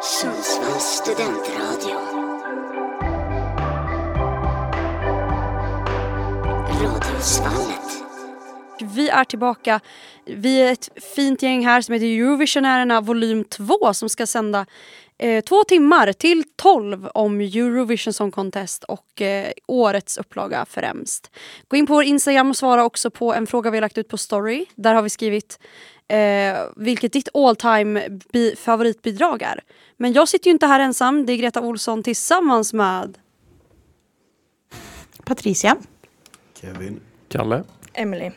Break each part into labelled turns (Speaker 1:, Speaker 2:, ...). Speaker 1: Sundsvalls studentradio. Radiosvallet.
Speaker 2: Vi är tillbaka. Vi är ett fint gäng här som heter Eurovisionärerna volym 2 som ska sända eh, två timmar till 12 om Eurovision Song Contest och eh, årets upplaga främst. Gå in på vår Instagram och svara också på en fråga vi har lagt ut på story. Där har vi skrivit eh, vilket ditt all time bi- favoritbidrag är. Men jag sitter ju inte här ensam. Det är Greta Olsson tillsammans med
Speaker 3: Patricia.
Speaker 4: Kevin.
Speaker 5: Kalle?
Speaker 6: Emily.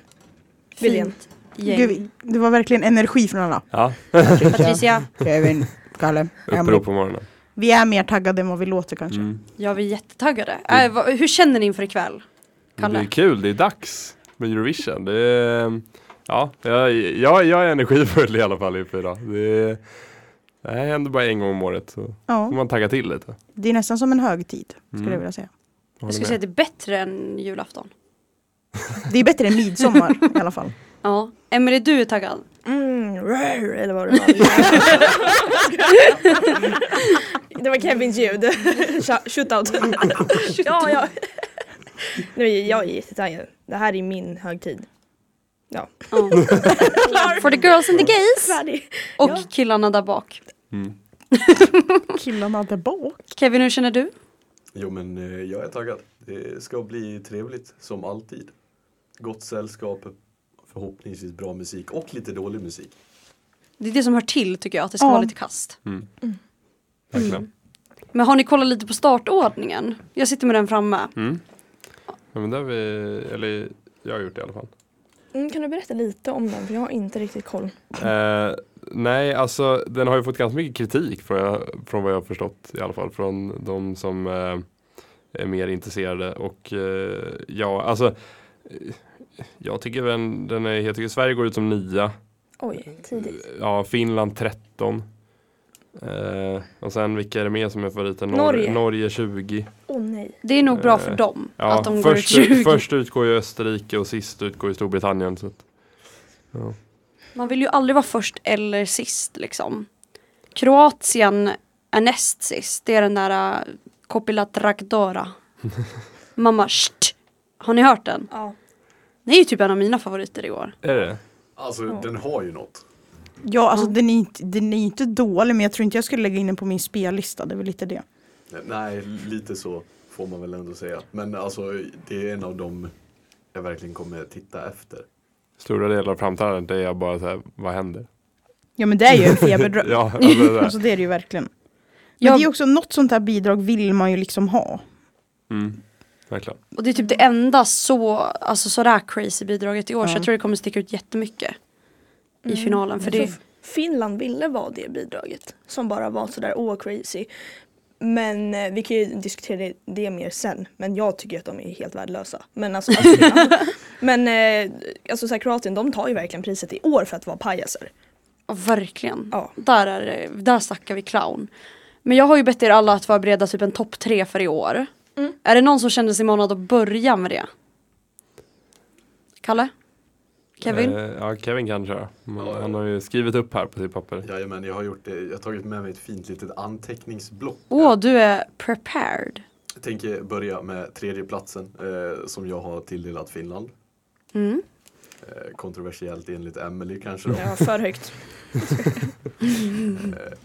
Speaker 6: William.
Speaker 2: fint gäng.
Speaker 3: Gud, det var verkligen energi från alla.
Speaker 5: Ja,
Speaker 2: Patricia,
Speaker 3: Kevin, Kalle, Emily.
Speaker 5: upprop Mm. på morgonen.
Speaker 3: Vi är mer taggade än vad vi låter kanske.
Speaker 2: ja, vi är jättetaggade. Eh, vad- hur känner ni inför ikväll?
Speaker 5: Det
Speaker 2: Kalle?
Speaker 5: är kul, det är dags med Eurovision. Det är, ja, jag, jag, jag är energifull i alla fall inför idag. Det, det här händer bara en gång om året så får
Speaker 3: Ja,
Speaker 5: man tagga till lite.
Speaker 3: det är nästan som en högtid skulle
Speaker 5: Mm.
Speaker 3: jag vilja säga.
Speaker 5: Håller
Speaker 2: Jag skulle
Speaker 5: med.
Speaker 2: säga att det är bättre än julafton.
Speaker 3: Det är bättre än midsommar i alla fall.
Speaker 2: Ja. Emelie, du är taggad.
Speaker 6: Mm, rrr, eller vad det var. det var Kevins ljud. Shou- Shootout. ja, ja. Nej, jag är jättetaggad. Det här är min högtid.
Speaker 2: Ja. For the girls and the gays.
Speaker 6: Färdig.
Speaker 2: Och
Speaker 6: Ja.
Speaker 2: killarna där bak.
Speaker 5: Mm.
Speaker 3: Killarna där bak.
Speaker 2: Kevin, hur känner du?
Speaker 4: Jo men eh, jag är taggad. Det ska bli trevligt som alltid. Gott sällskap, förhoppningsvis bra musik och lite dålig musik.
Speaker 2: Det är det som hör till tycker jag, att det ska
Speaker 3: Ja.
Speaker 2: vara lite kast.
Speaker 5: Verkligen.
Speaker 2: Men har ni kollat lite på startordningen? Jag sitter med den framme.
Speaker 5: Mm. Ja, men det har vi, eller jag har gjort det i alla fall.
Speaker 6: Mm, kan du berätta lite om den? För jag har inte riktigt koll.
Speaker 5: Eh, nej, alltså den har ju fått ganska mycket kritik från, från vad jag har förstått i alla fall. Från de som eh, är mer intresserade. Och eh, ja, alltså eh, jag tycker den, den är, jag tycker Sverige går ut som nia.
Speaker 6: Oj, tidigt.
Speaker 5: Ja, Finland 13. Eh, och sen vilka är det mer som är favoriter? Nor-
Speaker 6: Norge.
Speaker 5: Norge 20.
Speaker 6: Åh nej.
Speaker 2: Det är nog bra
Speaker 5: Eh,
Speaker 2: för dem
Speaker 5: Ja,
Speaker 2: att de går ut
Speaker 5: först,
Speaker 2: 20.
Speaker 5: först ut går ju Österrike och sist ut går ju Storbritannien. Så att, ja.
Speaker 2: Man vill ju aldrig vara först eller sist liksom. Kroatien är näst sist. Det är den där uh, Kopila Trakdora. Mamma, sht. Har ni hört den?
Speaker 6: Ja.
Speaker 2: Det är ju typ en av mina favoriter i år.
Speaker 5: Är det?
Speaker 4: Alltså den har ju något.
Speaker 3: Ja, alltså den är, inte, den är inte dålig men jag tror inte jag skulle lägga in den på min spellista. Det är väl lite det.
Speaker 4: Nej, lite så får man väl ändå säga. Men alltså det är en av dem jag verkligen kommer titta efter.
Speaker 5: Stora delar av framträdandet är jag bara så här, vad händer?
Speaker 3: Ja men det är ju en feberdröm.
Speaker 5: Ja, alltså, det där.
Speaker 3: Alltså det är det ju verkligen. Men
Speaker 2: Jag-
Speaker 3: det är också något sånt här bidrag vill man ju liksom ha.
Speaker 5: Mm. Verkligen.
Speaker 2: Och det är typ det enda så, alltså sådär crazy bidraget i år så jag tror det kommer sticka ut jättemycket
Speaker 6: Mm.
Speaker 2: i finalen. För det,
Speaker 6: Så Finland ville vara det bidraget som bara var sådär åh crazy. Men eh, vi kan ju diskutera det, det mer sen. Men jag tycker att de är helt värdelösa. Men alltså, alltså Men eh, alltså så här, Kroatien de tar ju verkligen priset i år för att vara pajaser.
Speaker 2: ja, verkligen.
Speaker 6: Ja.
Speaker 2: Där, är, det- där snackar vi clown. Men jag har ju bett er alla att förbereda typ en topp tre för i år. Är det någon som känner sig manad att börja med det? Kalle? Kevin?
Speaker 5: Eh, ja, Kevin kan köra. Men
Speaker 4: Ja,
Speaker 5: han har ju skrivit upp här på sitt papper.
Speaker 4: Jajamän, jag har gjort det. Jag har tagit med mig ett fint litet anteckningsblock.
Speaker 2: Åh, du är prepared.
Speaker 4: Jag tänker börja med tredjeplatsen eh, som jag har tilldelat Finland.
Speaker 2: Mm.
Speaker 4: Eh, kontroversiellt enligt Emelie kanske då.
Speaker 6: Ja, för högt.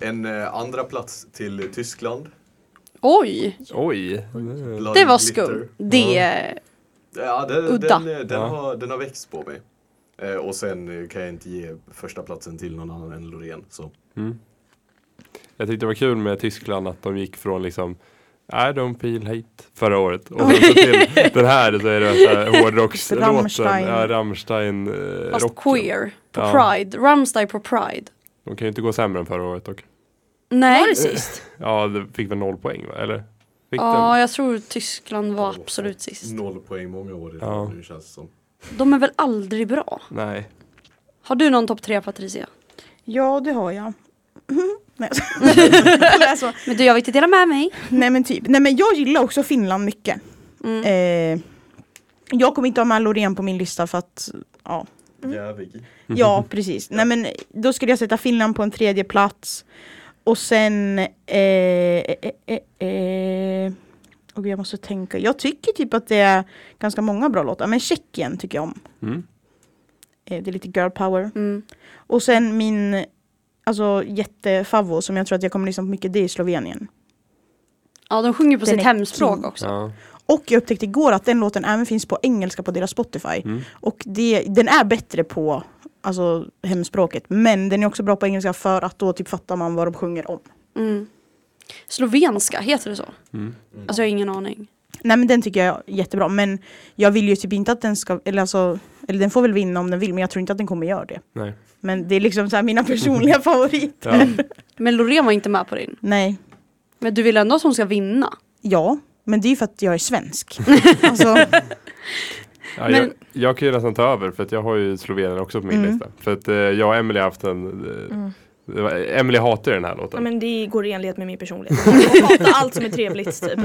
Speaker 4: En eh, andra plats till Tyskland.
Speaker 2: Oj,
Speaker 5: Oj!
Speaker 4: Bloody
Speaker 2: det var
Speaker 4: Glitter.
Speaker 2: skumt. Det
Speaker 4: Ja, den,
Speaker 2: Udda.
Speaker 4: Den, eh, den,
Speaker 5: Ja.
Speaker 4: har, den har växt på mig. Eh, och sen eh, kan jag inte ge första platsen till någon annan än Loreen. Så.
Speaker 5: Mm. Jag tyckte det var kul med Tyskland att de gick från liksom I don't feel hate förra året och sen så till den här så är det så här hårdrockslåten.
Speaker 3: Rammstein.
Speaker 5: Ja, Rammstein. Eh,
Speaker 2: fast
Speaker 5: rocken.
Speaker 2: queer. På
Speaker 5: Ja.
Speaker 2: Pride. Rammstein på Pride.
Speaker 5: De kan ju inte gå sämre än förra året dock.
Speaker 2: Nej.
Speaker 5: Ja, det fick väl noll poäng va? Eller? Eh, Fick
Speaker 2: Ja,
Speaker 5: den?
Speaker 2: jag tror Tyskland var absolut sist.
Speaker 4: Noll poäng många år idag
Speaker 5: Ja.
Speaker 4: nu känns det som.
Speaker 2: De är väl aldrig bra?
Speaker 5: Nej.
Speaker 2: Har du någon topp tre Patricia?
Speaker 3: Ja det har jag. Nej, jag skojar. så.
Speaker 2: Men du, jag vill inte dela med mig.
Speaker 3: Nej men typ. Nej men jag gillar också Finland mycket.
Speaker 2: Mm.
Speaker 3: Eh, jag kommer inte ha med Loreen på min lista för att ja,
Speaker 2: Mm.
Speaker 4: Jävig.
Speaker 3: Ja, precis. Nej, men då skulle jag sätta Finland på en tredje plats. Och sen... Eh, eh, eh, eh, och jag måste tänka. Jag tycker typ att det är ganska många bra låtar. Men Tjeckien tycker jag om.
Speaker 5: Mm.
Speaker 3: Eh, det är lite girl power.
Speaker 2: Mm.
Speaker 3: Och sen min alltså, jättefavo som jag tror att jag kommer lyssna på mycket. Det är Slovenien.
Speaker 2: Ja, de sjunger på
Speaker 3: Den
Speaker 2: sitt
Speaker 3: är
Speaker 2: hemspråk
Speaker 3: king.
Speaker 2: också.
Speaker 5: Ja.
Speaker 3: Och jag upptäckte igår att den låten även finns på engelska på deras Spotify.
Speaker 5: Mm.
Speaker 3: Och det, den är bättre på alltså, hemspråket. Men den är också bra på engelska för att då typ fattar man vad de sjunger om.
Speaker 2: Mm. Slovenska, heter det så?
Speaker 5: Mm.
Speaker 2: Alltså jag har ingen aning.
Speaker 3: Nej men den tycker jag är jättebra. Men jag vill ju typ inte att den ska, eller alltså, eller den får väl vinna om den vill. Men jag tror inte att den kommer göra det.
Speaker 5: Nej.
Speaker 3: Men det är liksom så här mina personliga favoriter.
Speaker 5: Ja.
Speaker 2: Men Loreen var inte med på din.
Speaker 3: Nej,
Speaker 2: Men du vill ändå att hon ska vinna?
Speaker 3: ja. Men det är ju för att jag är svensk. alltså,
Speaker 5: Ja, jag,
Speaker 2: Men-
Speaker 5: jag kan ju nästan ta över för att jag har ju Slovenien också på min
Speaker 3: Mm.
Speaker 5: lista. För att eh, jag och Emily har haft en... Eh, det var- Emily hatar ju den här
Speaker 6: Ja,
Speaker 5: låten.
Speaker 6: men det går i enlighet med min personlighet. Jag hatar allt som är trevligt typ.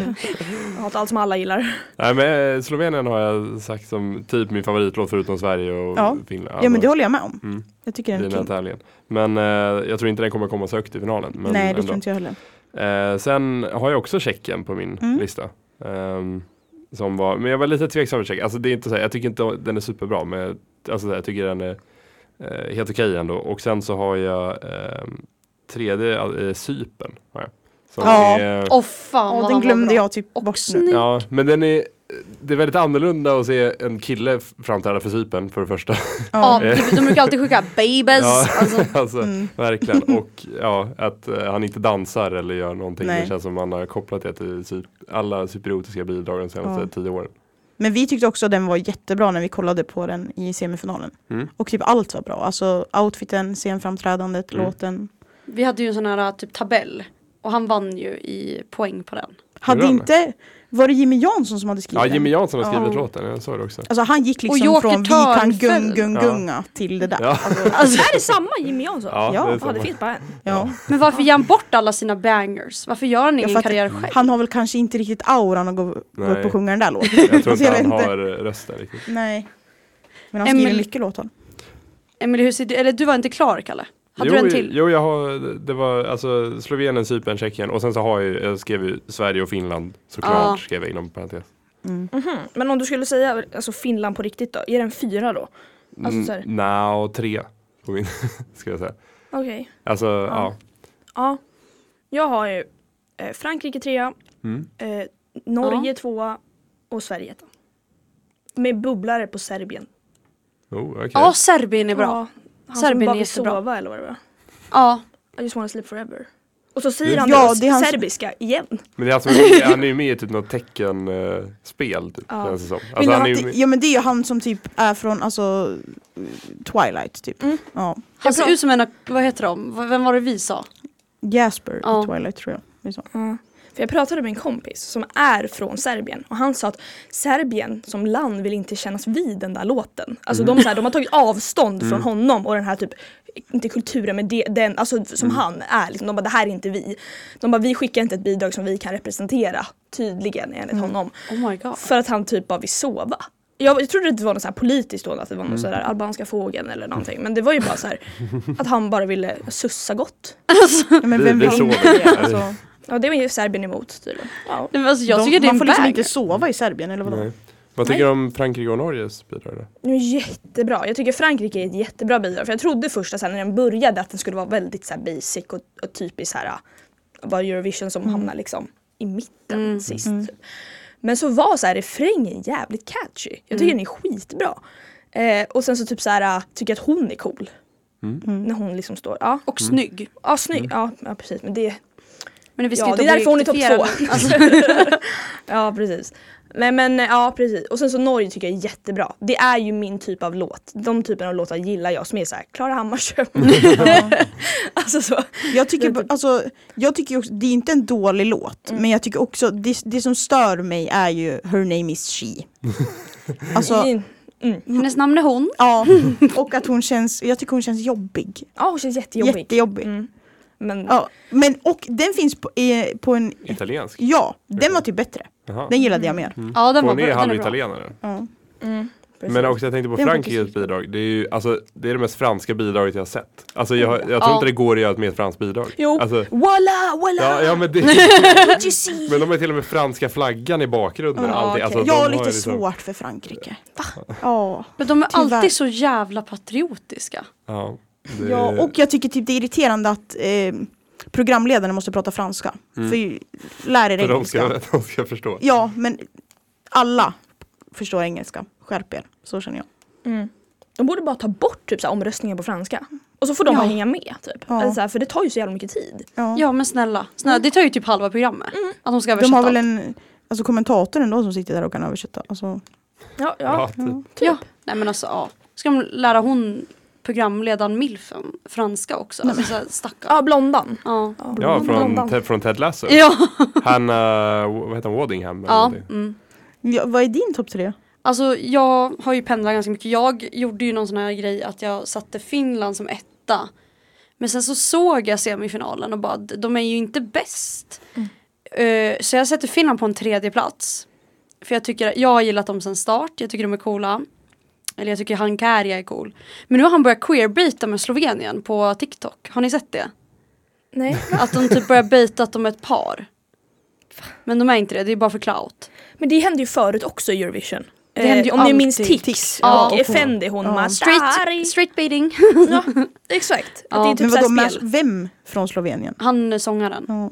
Speaker 6: Jag hatar allt som alla gillar.
Speaker 5: Nej men eh, Slovenien har jag sagt som typ min favoritlåt förutom Sverige och
Speaker 3: Ja.
Speaker 5: Finland.
Speaker 3: ja men det håller jag med om.
Speaker 5: Mm.
Speaker 3: Jag tycker den
Speaker 5: i
Speaker 3: är
Speaker 5: den här
Speaker 3: king.
Speaker 5: tävlingen. Men eh, jag tror inte den kommer komma så högt i finalen. Men
Speaker 3: Nej det
Speaker 5: ändå.
Speaker 3: tror inte jag heller.
Speaker 5: Eh, sen har jag också Tjeckien på min
Speaker 3: Mm.
Speaker 5: lista. Ehm, som var, men jag var lite tveksam över Tjeckien. Alltså, det är inte så här, jag tycker inte den är superbra men jag- alltså, så här, jag tycker den är eh, helt okej ändå. Och sen så har jag ehm, tredje, eh, Cypern. Har jag, som
Speaker 3: Ja.
Speaker 5: är,
Speaker 2: Åh fan vad
Speaker 3: Ja den
Speaker 2: han var
Speaker 3: glömde
Speaker 2: bra.
Speaker 3: jag typ
Speaker 2: Och
Speaker 3: bort nu.
Speaker 2: snygg.
Speaker 5: ja, men den är, det är väldigt annorlunda att se en kille framträda för Cypern för det första.
Speaker 2: Ja,
Speaker 3: Ja.
Speaker 2: de brukar alltid skicka babies.
Speaker 5: Ja.
Speaker 2: Alltså,
Speaker 5: alltså,
Speaker 3: Mm.
Speaker 5: Verkligen, och ja, att eh, han inte dansar eller gör någonting.
Speaker 3: Nej.
Speaker 5: Det känns som man har kopplat det till sy- alla cypriotiska bidrag de senaste
Speaker 3: Ja.
Speaker 5: tio åren.
Speaker 3: Men vi tyckte också att den var jättebra när vi kollade på den i semifinalen.
Speaker 5: Mm.
Speaker 3: Och typ allt var bra. Alltså outfiten, scenframträdandet,
Speaker 5: Mm.
Speaker 3: låten.
Speaker 2: vi hade ju en sån här typ tabell. Och han vann ju i poäng på den.
Speaker 3: Hade
Speaker 5: det?
Speaker 3: inte, var det Jimmy Jansson som hade skrivit
Speaker 5: Ja, Jimmy
Speaker 3: den?
Speaker 5: Jansson har skrivit
Speaker 3: Ja.
Speaker 5: låten, jag sa det också.
Speaker 3: Alltså han gick liksom
Speaker 2: Joker
Speaker 3: från vi kan gung,
Speaker 2: Törnfäll.
Speaker 3: gung,
Speaker 5: Ja.
Speaker 3: gunga till det där.
Speaker 5: Ja.
Speaker 3: Alltså,
Speaker 6: Alltså, är det samma Jimmy Jansson?
Speaker 5: Ja,
Speaker 3: Ja,
Speaker 5: det är
Speaker 6: Ja, det
Speaker 5: samma.
Speaker 6: finns bara en.
Speaker 3: ja.
Speaker 2: Men varför ger han bort alla sina bangers? Varför gör han ingen
Speaker 3: Jag fattar-
Speaker 2: karriär själv?
Speaker 3: Han har väl kanske inte riktigt auran att gå, gå
Speaker 5: Nej.
Speaker 3: upp och sjunga den där låten.
Speaker 5: jag tror
Speaker 3: Alltså,
Speaker 5: inte
Speaker 3: jag
Speaker 5: han
Speaker 3: vet inte.
Speaker 5: har eh, rösten riktigt.
Speaker 3: Nej. Men han
Speaker 2: Emil-
Speaker 3: skriver mycket låtar.
Speaker 2: Emily, hur ser du? Eller du var inte klar Kalle? Hade
Speaker 5: jo,
Speaker 2: du en till?
Speaker 5: jo, jag har, det var alltså Slovenien, Cypern, Tjeckien och sen så har jag, ju- jag skrev ju Sverige och Finland såklart
Speaker 2: Ja.
Speaker 5: skrev jag inom parentes.
Speaker 3: Mm.
Speaker 6: Mhm. Men om du skulle säga alltså, Finland på riktigt då? Är den fyra då? Alltså, så här-
Speaker 5: Mm, Nja, tre på min, ska jag säga.
Speaker 6: Okej.
Speaker 5: Alltså, ja.
Speaker 6: Ja. Jag har ju eh, Frankrike trea,
Speaker 5: Mm.
Speaker 6: eh, Norge tvåa och Sverige etta. Med bubblare på Serbien.
Speaker 5: Oh, okej.
Speaker 2: Ja, Serbien är bra. Ja.
Speaker 6: Ja, han som
Speaker 2: Serbien
Speaker 6: bara
Speaker 2: är
Speaker 6: vill
Speaker 2: jättebra.
Speaker 6: sova eller vad det var. I just wanna sleep forever. Och så säger han
Speaker 3: Ja,
Speaker 6: det,
Speaker 3: det är han som-
Speaker 6: serbiska igen.
Speaker 5: Men det är alltså, han är ju med i typ något teckenspel typ,
Speaker 6: Ja.
Speaker 5: känns det som. Alltså,
Speaker 3: Menar
Speaker 5: han är
Speaker 3: du
Speaker 5: ju
Speaker 3: att det,
Speaker 5: med-
Speaker 3: ja men det är ju han som typ är från alltså Twilight typ.
Speaker 6: Mm.
Speaker 3: Ja.
Speaker 2: Han ser
Speaker 6: pratar-
Speaker 2: ut som en, vad heter de? V- Vem var det vi sa?
Speaker 3: Jasper
Speaker 2: Ja.
Speaker 3: i Twilight tror jag. Det är så.
Speaker 6: Ja. För jag pratade med en kompis som är från Serbien och han sa att Serbien som land vill inte kännas vid den där låten. Alltså de, så här, de har tagit avstånd från honom och den här typ, inte kulturen men det, den, alltså som han är. Liksom, de bara det här är inte vi. De bara vi skickar inte ett bidrag som vi kan representera tydligen enligt honom.
Speaker 2: Oh my god.
Speaker 6: För att han typ bara vill sova. Jag, jag trodde det var något så här politiskt då, att det var någon så här albanska fågeln eller någonting. Men det var ju bara så här att han bara ville sussa gott.
Speaker 3: Ja, men
Speaker 5: Vi-
Speaker 3: vem
Speaker 5: vi
Speaker 3: vill
Speaker 5: sover.
Speaker 3: inte det? Alltså,
Speaker 6: Ja det var ju Serbien emot tydligen. Ja.
Speaker 2: Nej, men Alltså, jag
Speaker 3: de,
Speaker 2: tycker det är
Speaker 3: man
Speaker 2: en
Speaker 3: får liksom
Speaker 2: banger.
Speaker 3: inte sova i Serbien eller vadå?
Speaker 5: Nej. Vad tycker du om Frankrike och Norges bidrag då?
Speaker 6: Nu är jättebra. Jag tycker Frankrike är ett jättebra bidrag. För jag trodde först att så här, när den började att den skulle vara väldigt så här, basic och, och typisk så här, ah, var Eurovision som hamnar liksom i mitten
Speaker 2: Mm.
Speaker 3: Mm.
Speaker 6: sist. Typ. Men så var så här, refrängen jävligt catchy. Jag tycker den är skitbra. Eh, och sen så typ så här, ah, tycker jag att hon är cool. När hon liksom står, ja,
Speaker 2: Och
Speaker 3: Mm.
Speaker 2: snygg.
Speaker 6: ja snygg, ja, ja precis men det,
Speaker 2: Men vi ska
Speaker 6: Ja,
Speaker 2: inte
Speaker 6: det är därför hon är topp
Speaker 2: objektifiera
Speaker 6: två.
Speaker 2: nu. Alltså,
Speaker 6: ja precis. Nej men eh, ja precis. Och sen så Norge tycker jag är jättebra. Det är ju min typ av låt. De typen av låtar gillar jag som är såhär Klara Hammarström. alltså så.
Speaker 3: Jag tycker, ba- alltså, jag tycker ju också, det är inte en dålig låt,
Speaker 2: Mm.
Speaker 3: men jag tycker också, det, det som stör mig är ju Her name is she. Alltså,
Speaker 6: Mm.
Speaker 2: hennes namn är hon.
Speaker 3: ja, och att hon känns, jag tycker hon känns jobbig.
Speaker 6: Ja hon känns jättejobbig.
Speaker 3: Jättejobbig.
Speaker 6: Mm. Men
Speaker 3: Ja, men och den finns på, eh, på en,
Speaker 5: Italiensk?
Speaker 3: ja, den var typ bättre.
Speaker 5: Jaha.
Speaker 2: Mm.
Speaker 3: Den gillade jag mer.
Speaker 2: Ja, den var bra.
Speaker 5: Hon är
Speaker 2: Den är bra.
Speaker 5: halvitalienare.
Speaker 3: Ja.
Speaker 6: Mm, precis.
Speaker 5: Men också jag tänkte på
Speaker 6: Det är en
Speaker 5: Frankrikes
Speaker 6: faktiskt-
Speaker 5: bidrag. Det är ju alltså, det, är det mest franska bidraget jag har sett. Alltså jag, jag tror
Speaker 2: Ja.
Speaker 5: inte det går att göra ett mer franskt bidrag.
Speaker 6: Jo,
Speaker 5: Alltså,
Speaker 6: voila, voila!
Speaker 5: ja, ja, men, det,
Speaker 6: What you see?
Speaker 5: men de har till och med franska flaggan i bakgrunden.
Speaker 2: Ja,
Speaker 5: och allting.
Speaker 2: okej.
Speaker 5: Alltså, de
Speaker 3: Jag
Speaker 5: har
Speaker 3: har lite
Speaker 5: liksom-
Speaker 3: svårt för Frankrike. Va? Ja.
Speaker 2: Men de är
Speaker 3: Tyvärr. Mm.
Speaker 2: alltid så jävla patriotiska.
Speaker 5: Ja, det,
Speaker 3: ja, och jag tycker typ det är irriterande att eh, programledarna måste prata franska. För ju- lär er
Speaker 5: Mm. för de
Speaker 3: engelska.
Speaker 5: ska, de ska förstå.
Speaker 3: Ja, men alla förstår engelska. Skärp er, så känner jag.
Speaker 6: Mm. De borde bara ta bort typ så här, omröstningar på franska. Och så får de
Speaker 3: Ja.
Speaker 6: bara hänga med typ.
Speaker 3: Ja.
Speaker 6: Eller, så här, för det tar ju så jävla mycket tid.
Speaker 3: Ja.
Speaker 2: Ja men snälla, snälla det tar ju typ halva programmet. Att de ska översätta
Speaker 3: Mm. De har väl
Speaker 2: allt.
Speaker 3: en alltså, kommentator ändå som sitter där och kan översätta. Alltså,
Speaker 6: Ja,
Speaker 5: Ja,
Speaker 6: ja.
Speaker 5: typ.
Speaker 2: Ja. Nej men alltså ja. Ska de lära hon programledaren Milfen franska också? Alltså såhär stackarn.
Speaker 6: ja blondan.
Speaker 2: Ja.
Speaker 5: ja från,
Speaker 6: Blondan.
Speaker 5: Ted- från Ted Lasso.
Speaker 2: Ja.
Speaker 5: Han, eh, vad heter han, Waddingham? eller
Speaker 2: ja.
Speaker 5: någonting.
Speaker 2: Mm.
Speaker 3: ja, vad är din topp tre?
Speaker 2: Alltså jag har ju pendlat ganska mycket. Jag gjorde ju någon sån här grej att jag satte Finland som etta. Men sen så såg jag semifinalen och bara d- de är ju inte bäst. Eh, så jag sätter Finland på en tredje plats. För jag tycker, jag har gillat dem sen start, jag tycker de är coola. Eller jag tycker han Kärja är cool. Men nu har han börjat queerbaita med Slovenien på TikTok. Har ni sett det?
Speaker 6: Nej.
Speaker 2: Att de typ börjar baita att de är ett par. Men de är inte det, det är bara för clout.
Speaker 6: Men det hände ju förut också i Eurovision. Eh,
Speaker 2: Det hände ju
Speaker 6: om ni minns
Speaker 2: alltid.
Speaker 6: Tix,
Speaker 3: Tix,
Speaker 2: ja.
Speaker 6: och Effendi hon
Speaker 3: Ja.
Speaker 6: med
Speaker 2: Street,
Speaker 6: Street.
Speaker 2: street baiting.
Speaker 6: Ja, exakt. Att
Speaker 2: Ja.
Speaker 6: Det är typ
Speaker 3: men vadå,
Speaker 6: så här
Speaker 3: med,
Speaker 6: spel.
Speaker 3: vem från Slovenien?
Speaker 2: Han är sångaren.
Speaker 3: Ja.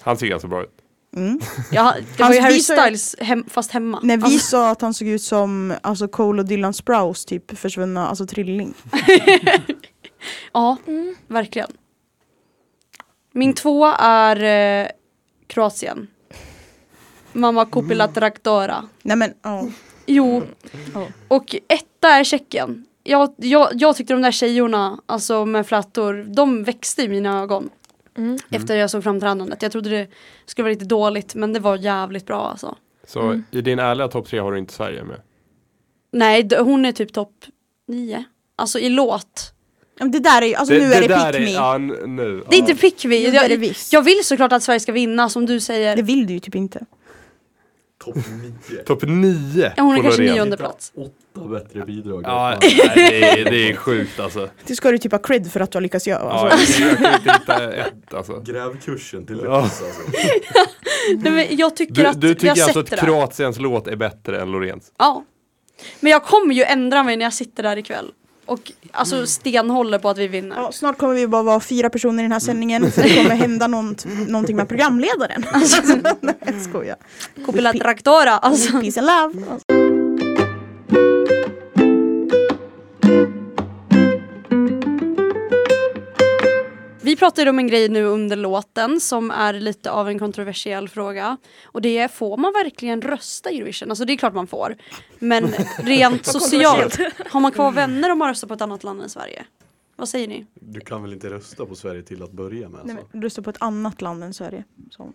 Speaker 5: Han ser ganska bra ut.
Speaker 3: Mm.
Speaker 2: Ja, det var
Speaker 3: Hans
Speaker 2: ju Harry
Speaker 3: visar-
Speaker 2: Styles hem, fast hemma.
Speaker 3: När vi
Speaker 2: Alltså,
Speaker 3: sa att han såg ut som alltså, Cole och Dylan Sprouse, typ försvunna, alltså trilling.
Speaker 2: Alltså. ja, verkligen. Min tvåa är eh, Kroatien. Mamma Kupila Traktora.
Speaker 3: Nej men,
Speaker 2: Mm.
Speaker 3: ja.
Speaker 2: Jo,
Speaker 3: Ja.
Speaker 2: och etta är Tjeckien. Jag, jag, jag tyckte de där tjejorna, alltså med flätor, de växte i mina ögon.
Speaker 6: Mm.
Speaker 2: Efter jag såg framträdandet. Jag trodde det skulle vara lite dåligt men det var jävligt bra alltså.
Speaker 5: Så i din ärliga topp tre har du inte Sverige med.
Speaker 2: Nej, d- hon är typ topp nio. Alltså i låt.
Speaker 3: Ja, men Det där är ju, alltså nu är det
Speaker 5: där
Speaker 3: pick me.
Speaker 5: ja, n- nu.
Speaker 2: Det är
Speaker 5: ja.
Speaker 2: inte pick me.
Speaker 3: Jo, det är det
Speaker 2: Jag,
Speaker 3: visst.
Speaker 2: jag vill såklart att Sverige ska vinna som du säger.
Speaker 3: Det vill du ju typ inte.
Speaker 4: Topp 9.
Speaker 5: Topp nio.
Speaker 2: Ja, hon är
Speaker 5: på
Speaker 2: kanske
Speaker 5: Loreen.
Speaker 2: nionde. plats.
Speaker 4: Åtta bättre bidrag.
Speaker 5: Ja, nej, det, är, det är sjukt alltså.
Speaker 3: Det ska du typ ha cred för att du har lyckats göra. Alltså.
Speaker 5: Ja, jag, jag kan inte hitta ett alltså.
Speaker 4: Gräv kursen till
Speaker 5: Ja.
Speaker 4: Lettland alltså.
Speaker 2: Nej, men jag tycker
Speaker 5: Du,
Speaker 2: att
Speaker 5: du
Speaker 2: vi har
Speaker 5: tycker
Speaker 2: sett
Speaker 5: alltså
Speaker 2: det
Speaker 5: att
Speaker 2: där.
Speaker 5: Kroatiens låt är bättre än Lorens?
Speaker 2: Ja. Men jag kommer ju ändra mig när jag sitter där ikväll. Och alltså stenhåller på att vi vinner.
Speaker 3: Ja, snart kommer vi bara vara fyra personer i den här sändningen för det kommer hända nånt, någonting med programledaren. Alltså, nej, jag skojar.
Speaker 2: Kopila Traktora alltså.
Speaker 3: Peace and love. Alltså.
Speaker 2: Vi pratade om en grej nu under låten som är lite av en kontroversiell fråga. Och det är, får man verkligen rösta i Eurovision? Alltså det är klart man får. Men rent socialt, har man kvar vänner om man röstar på ett annat land än Sverige? Vad säger ni?
Speaker 4: Du kan väl inte rösta på Sverige till att börja med?
Speaker 3: Nej,
Speaker 4: Alltså.
Speaker 3: men, rösta på ett annat land än Sverige. Så.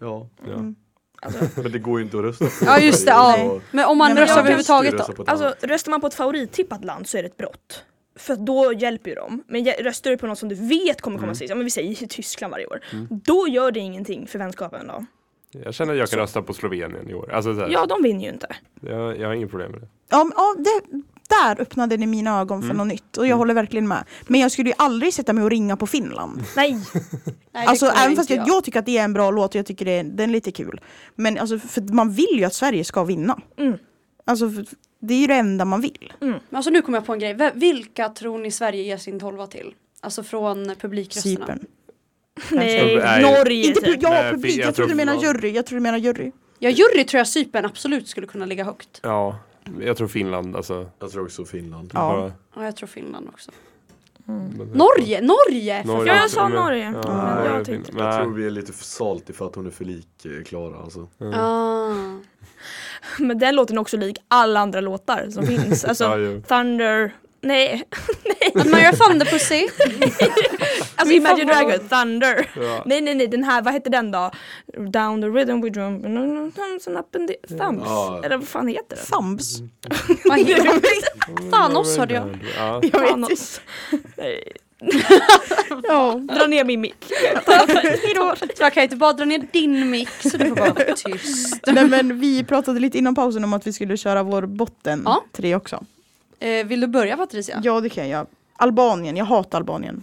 Speaker 4: Ja,
Speaker 5: Ja.
Speaker 3: Mm.
Speaker 2: Alltså,
Speaker 4: men det går ju inte att rösta på
Speaker 2: Ja just det,
Speaker 4: Sverige,
Speaker 2: ja.
Speaker 4: så
Speaker 2: Men om
Speaker 3: Nej,
Speaker 2: man
Speaker 3: men
Speaker 2: röstar
Speaker 6: jag-
Speaker 2: överhuvudtaget
Speaker 4: du
Speaker 2: då?
Speaker 4: röstar på ett
Speaker 6: Alltså
Speaker 4: annat.
Speaker 6: röstar man på ett favorittippat land så är det ett brott. För att då hjälper ju de. Men jä- röstar du på något som du vet kommer
Speaker 2: Mm.
Speaker 6: komma sist, ja men vi säger ju Tyskland varje år. Då gör det ingenting för vänskapen då.
Speaker 5: Jag känner att jag kan rösta på Slovenien i år. Alltså, så här,
Speaker 6: Ja, de vinner ju inte.
Speaker 5: jag, jag har inga problem med det.
Speaker 3: Ja, men, ja, det, där öppnade ni mina ögon
Speaker 5: Mm.
Speaker 3: för något nytt och jag håller verkligen med. Men jag skulle ju aldrig sätta mig och ringa på Finland.
Speaker 6: Nej,
Speaker 2: Nej, det
Speaker 3: Alltså
Speaker 2: kommer
Speaker 3: även
Speaker 2: inte
Speaker 3: fast jag, jag tycker att det är en bra låt och jag tycker det är, den är lite kul. Men alltså för att man vill ju att Sverige ska vinna.
Speaker 6: Mm.
Speaker 3: Alltså för, det är ju det enda man vill.
Speaker 2: Men alltså nu kommer jag på en grej. V- Vilka tror ni Sverige ger sin tolva till? Alltså från publikrösterna.
Speaker 3: Cypern.
Speaker 6: nej,
Speaker 5: Nej.
Speaker 6: Norge
Speaker 3: Inte pu-
Speaker 6: typ.
Speaker 3: ja,
Speaker 5: Nej,
Speaker 3: publik,
Speaker 5: jag
Speaker 3: jag,
Speaker 5: tror
Speaker 3: trodde du menade
Speaker 5: Finland.
Speaker 3: jury, jag trodde du menade jury.
Speaker 2: Ja, jury tror jag Cypern absolut skulle kunna ligga högt.
Speaker 5: Ja, jag tror Finland alltså.
Speaker 4: Jag tror också Finland.
Speaker 3: Ja.
Speaker 5: Bara-
Speaker 2: Ja, jag tror Finland också. Norge! Norge! för
Speaker 5: Mm. Norge
Speaker 6: Ja, jag
Speaker 5: också,
Speaker 6: sa
Speaker 5: men-
Speaker 6: Norge.
Speaker 5: Ja,
Speaker 6: Men
Speaker 5: Norge
Speaker 6: jag
Speaker 5: och
Speaker 6: tänkte-
Speaker 5: Finland.
Speaker 4: Jag
Speaker 5: Nej.
Speaker 4: tror vi är lite för salty för att hon är för lik eh, Klara alltså.
Speaker 5: Mm.
Speaker 2: Ah.
Speaker 6: Men den låten är också lik alla andra låtar som finns.
Speaker 5: Ja,
Speaker 6: Alltså
Speaker 5: jo.
Speaker 6: Thunder, nej.
Speaker 2: Att man gör Thunderpussy.
Speaker 6: Alltså
Speaker 2: Min
Speaker 6: Imagine
Speaker 2: favorit.
Speaker 6: Dragon, Thunder.
Speaker 5: Ja.
Speaker 6: Nej nej nej den här, vad hette den då? Down the rhythm we jump thumbs and up and the thumbs.
Speaker 4: Ja.
Speaker 6: Eller vad fan heter den?
Speaker 3: Thumbs.
Speaker 5: Mm,
Speaker 2: Vad heter Thanos hörde jag.
Speaker 5: Ja.
Speaker 6: Thanos. Nej, ja, dra ner min mick.
Speaker 2: Jag kan ju inte bara dra ner din mick så du får bara vara tyst.
Speaker 3: Nej, men vi pratade lite innan pausen om att vi skulle köra vår botten
Speaker 2: Ja.
Speaker 3: tre också.
Speaker 2: Eh, vill du börja Patricia?
Speaker 3: Ja det kan jag. Albanien, jag hatar Albanien.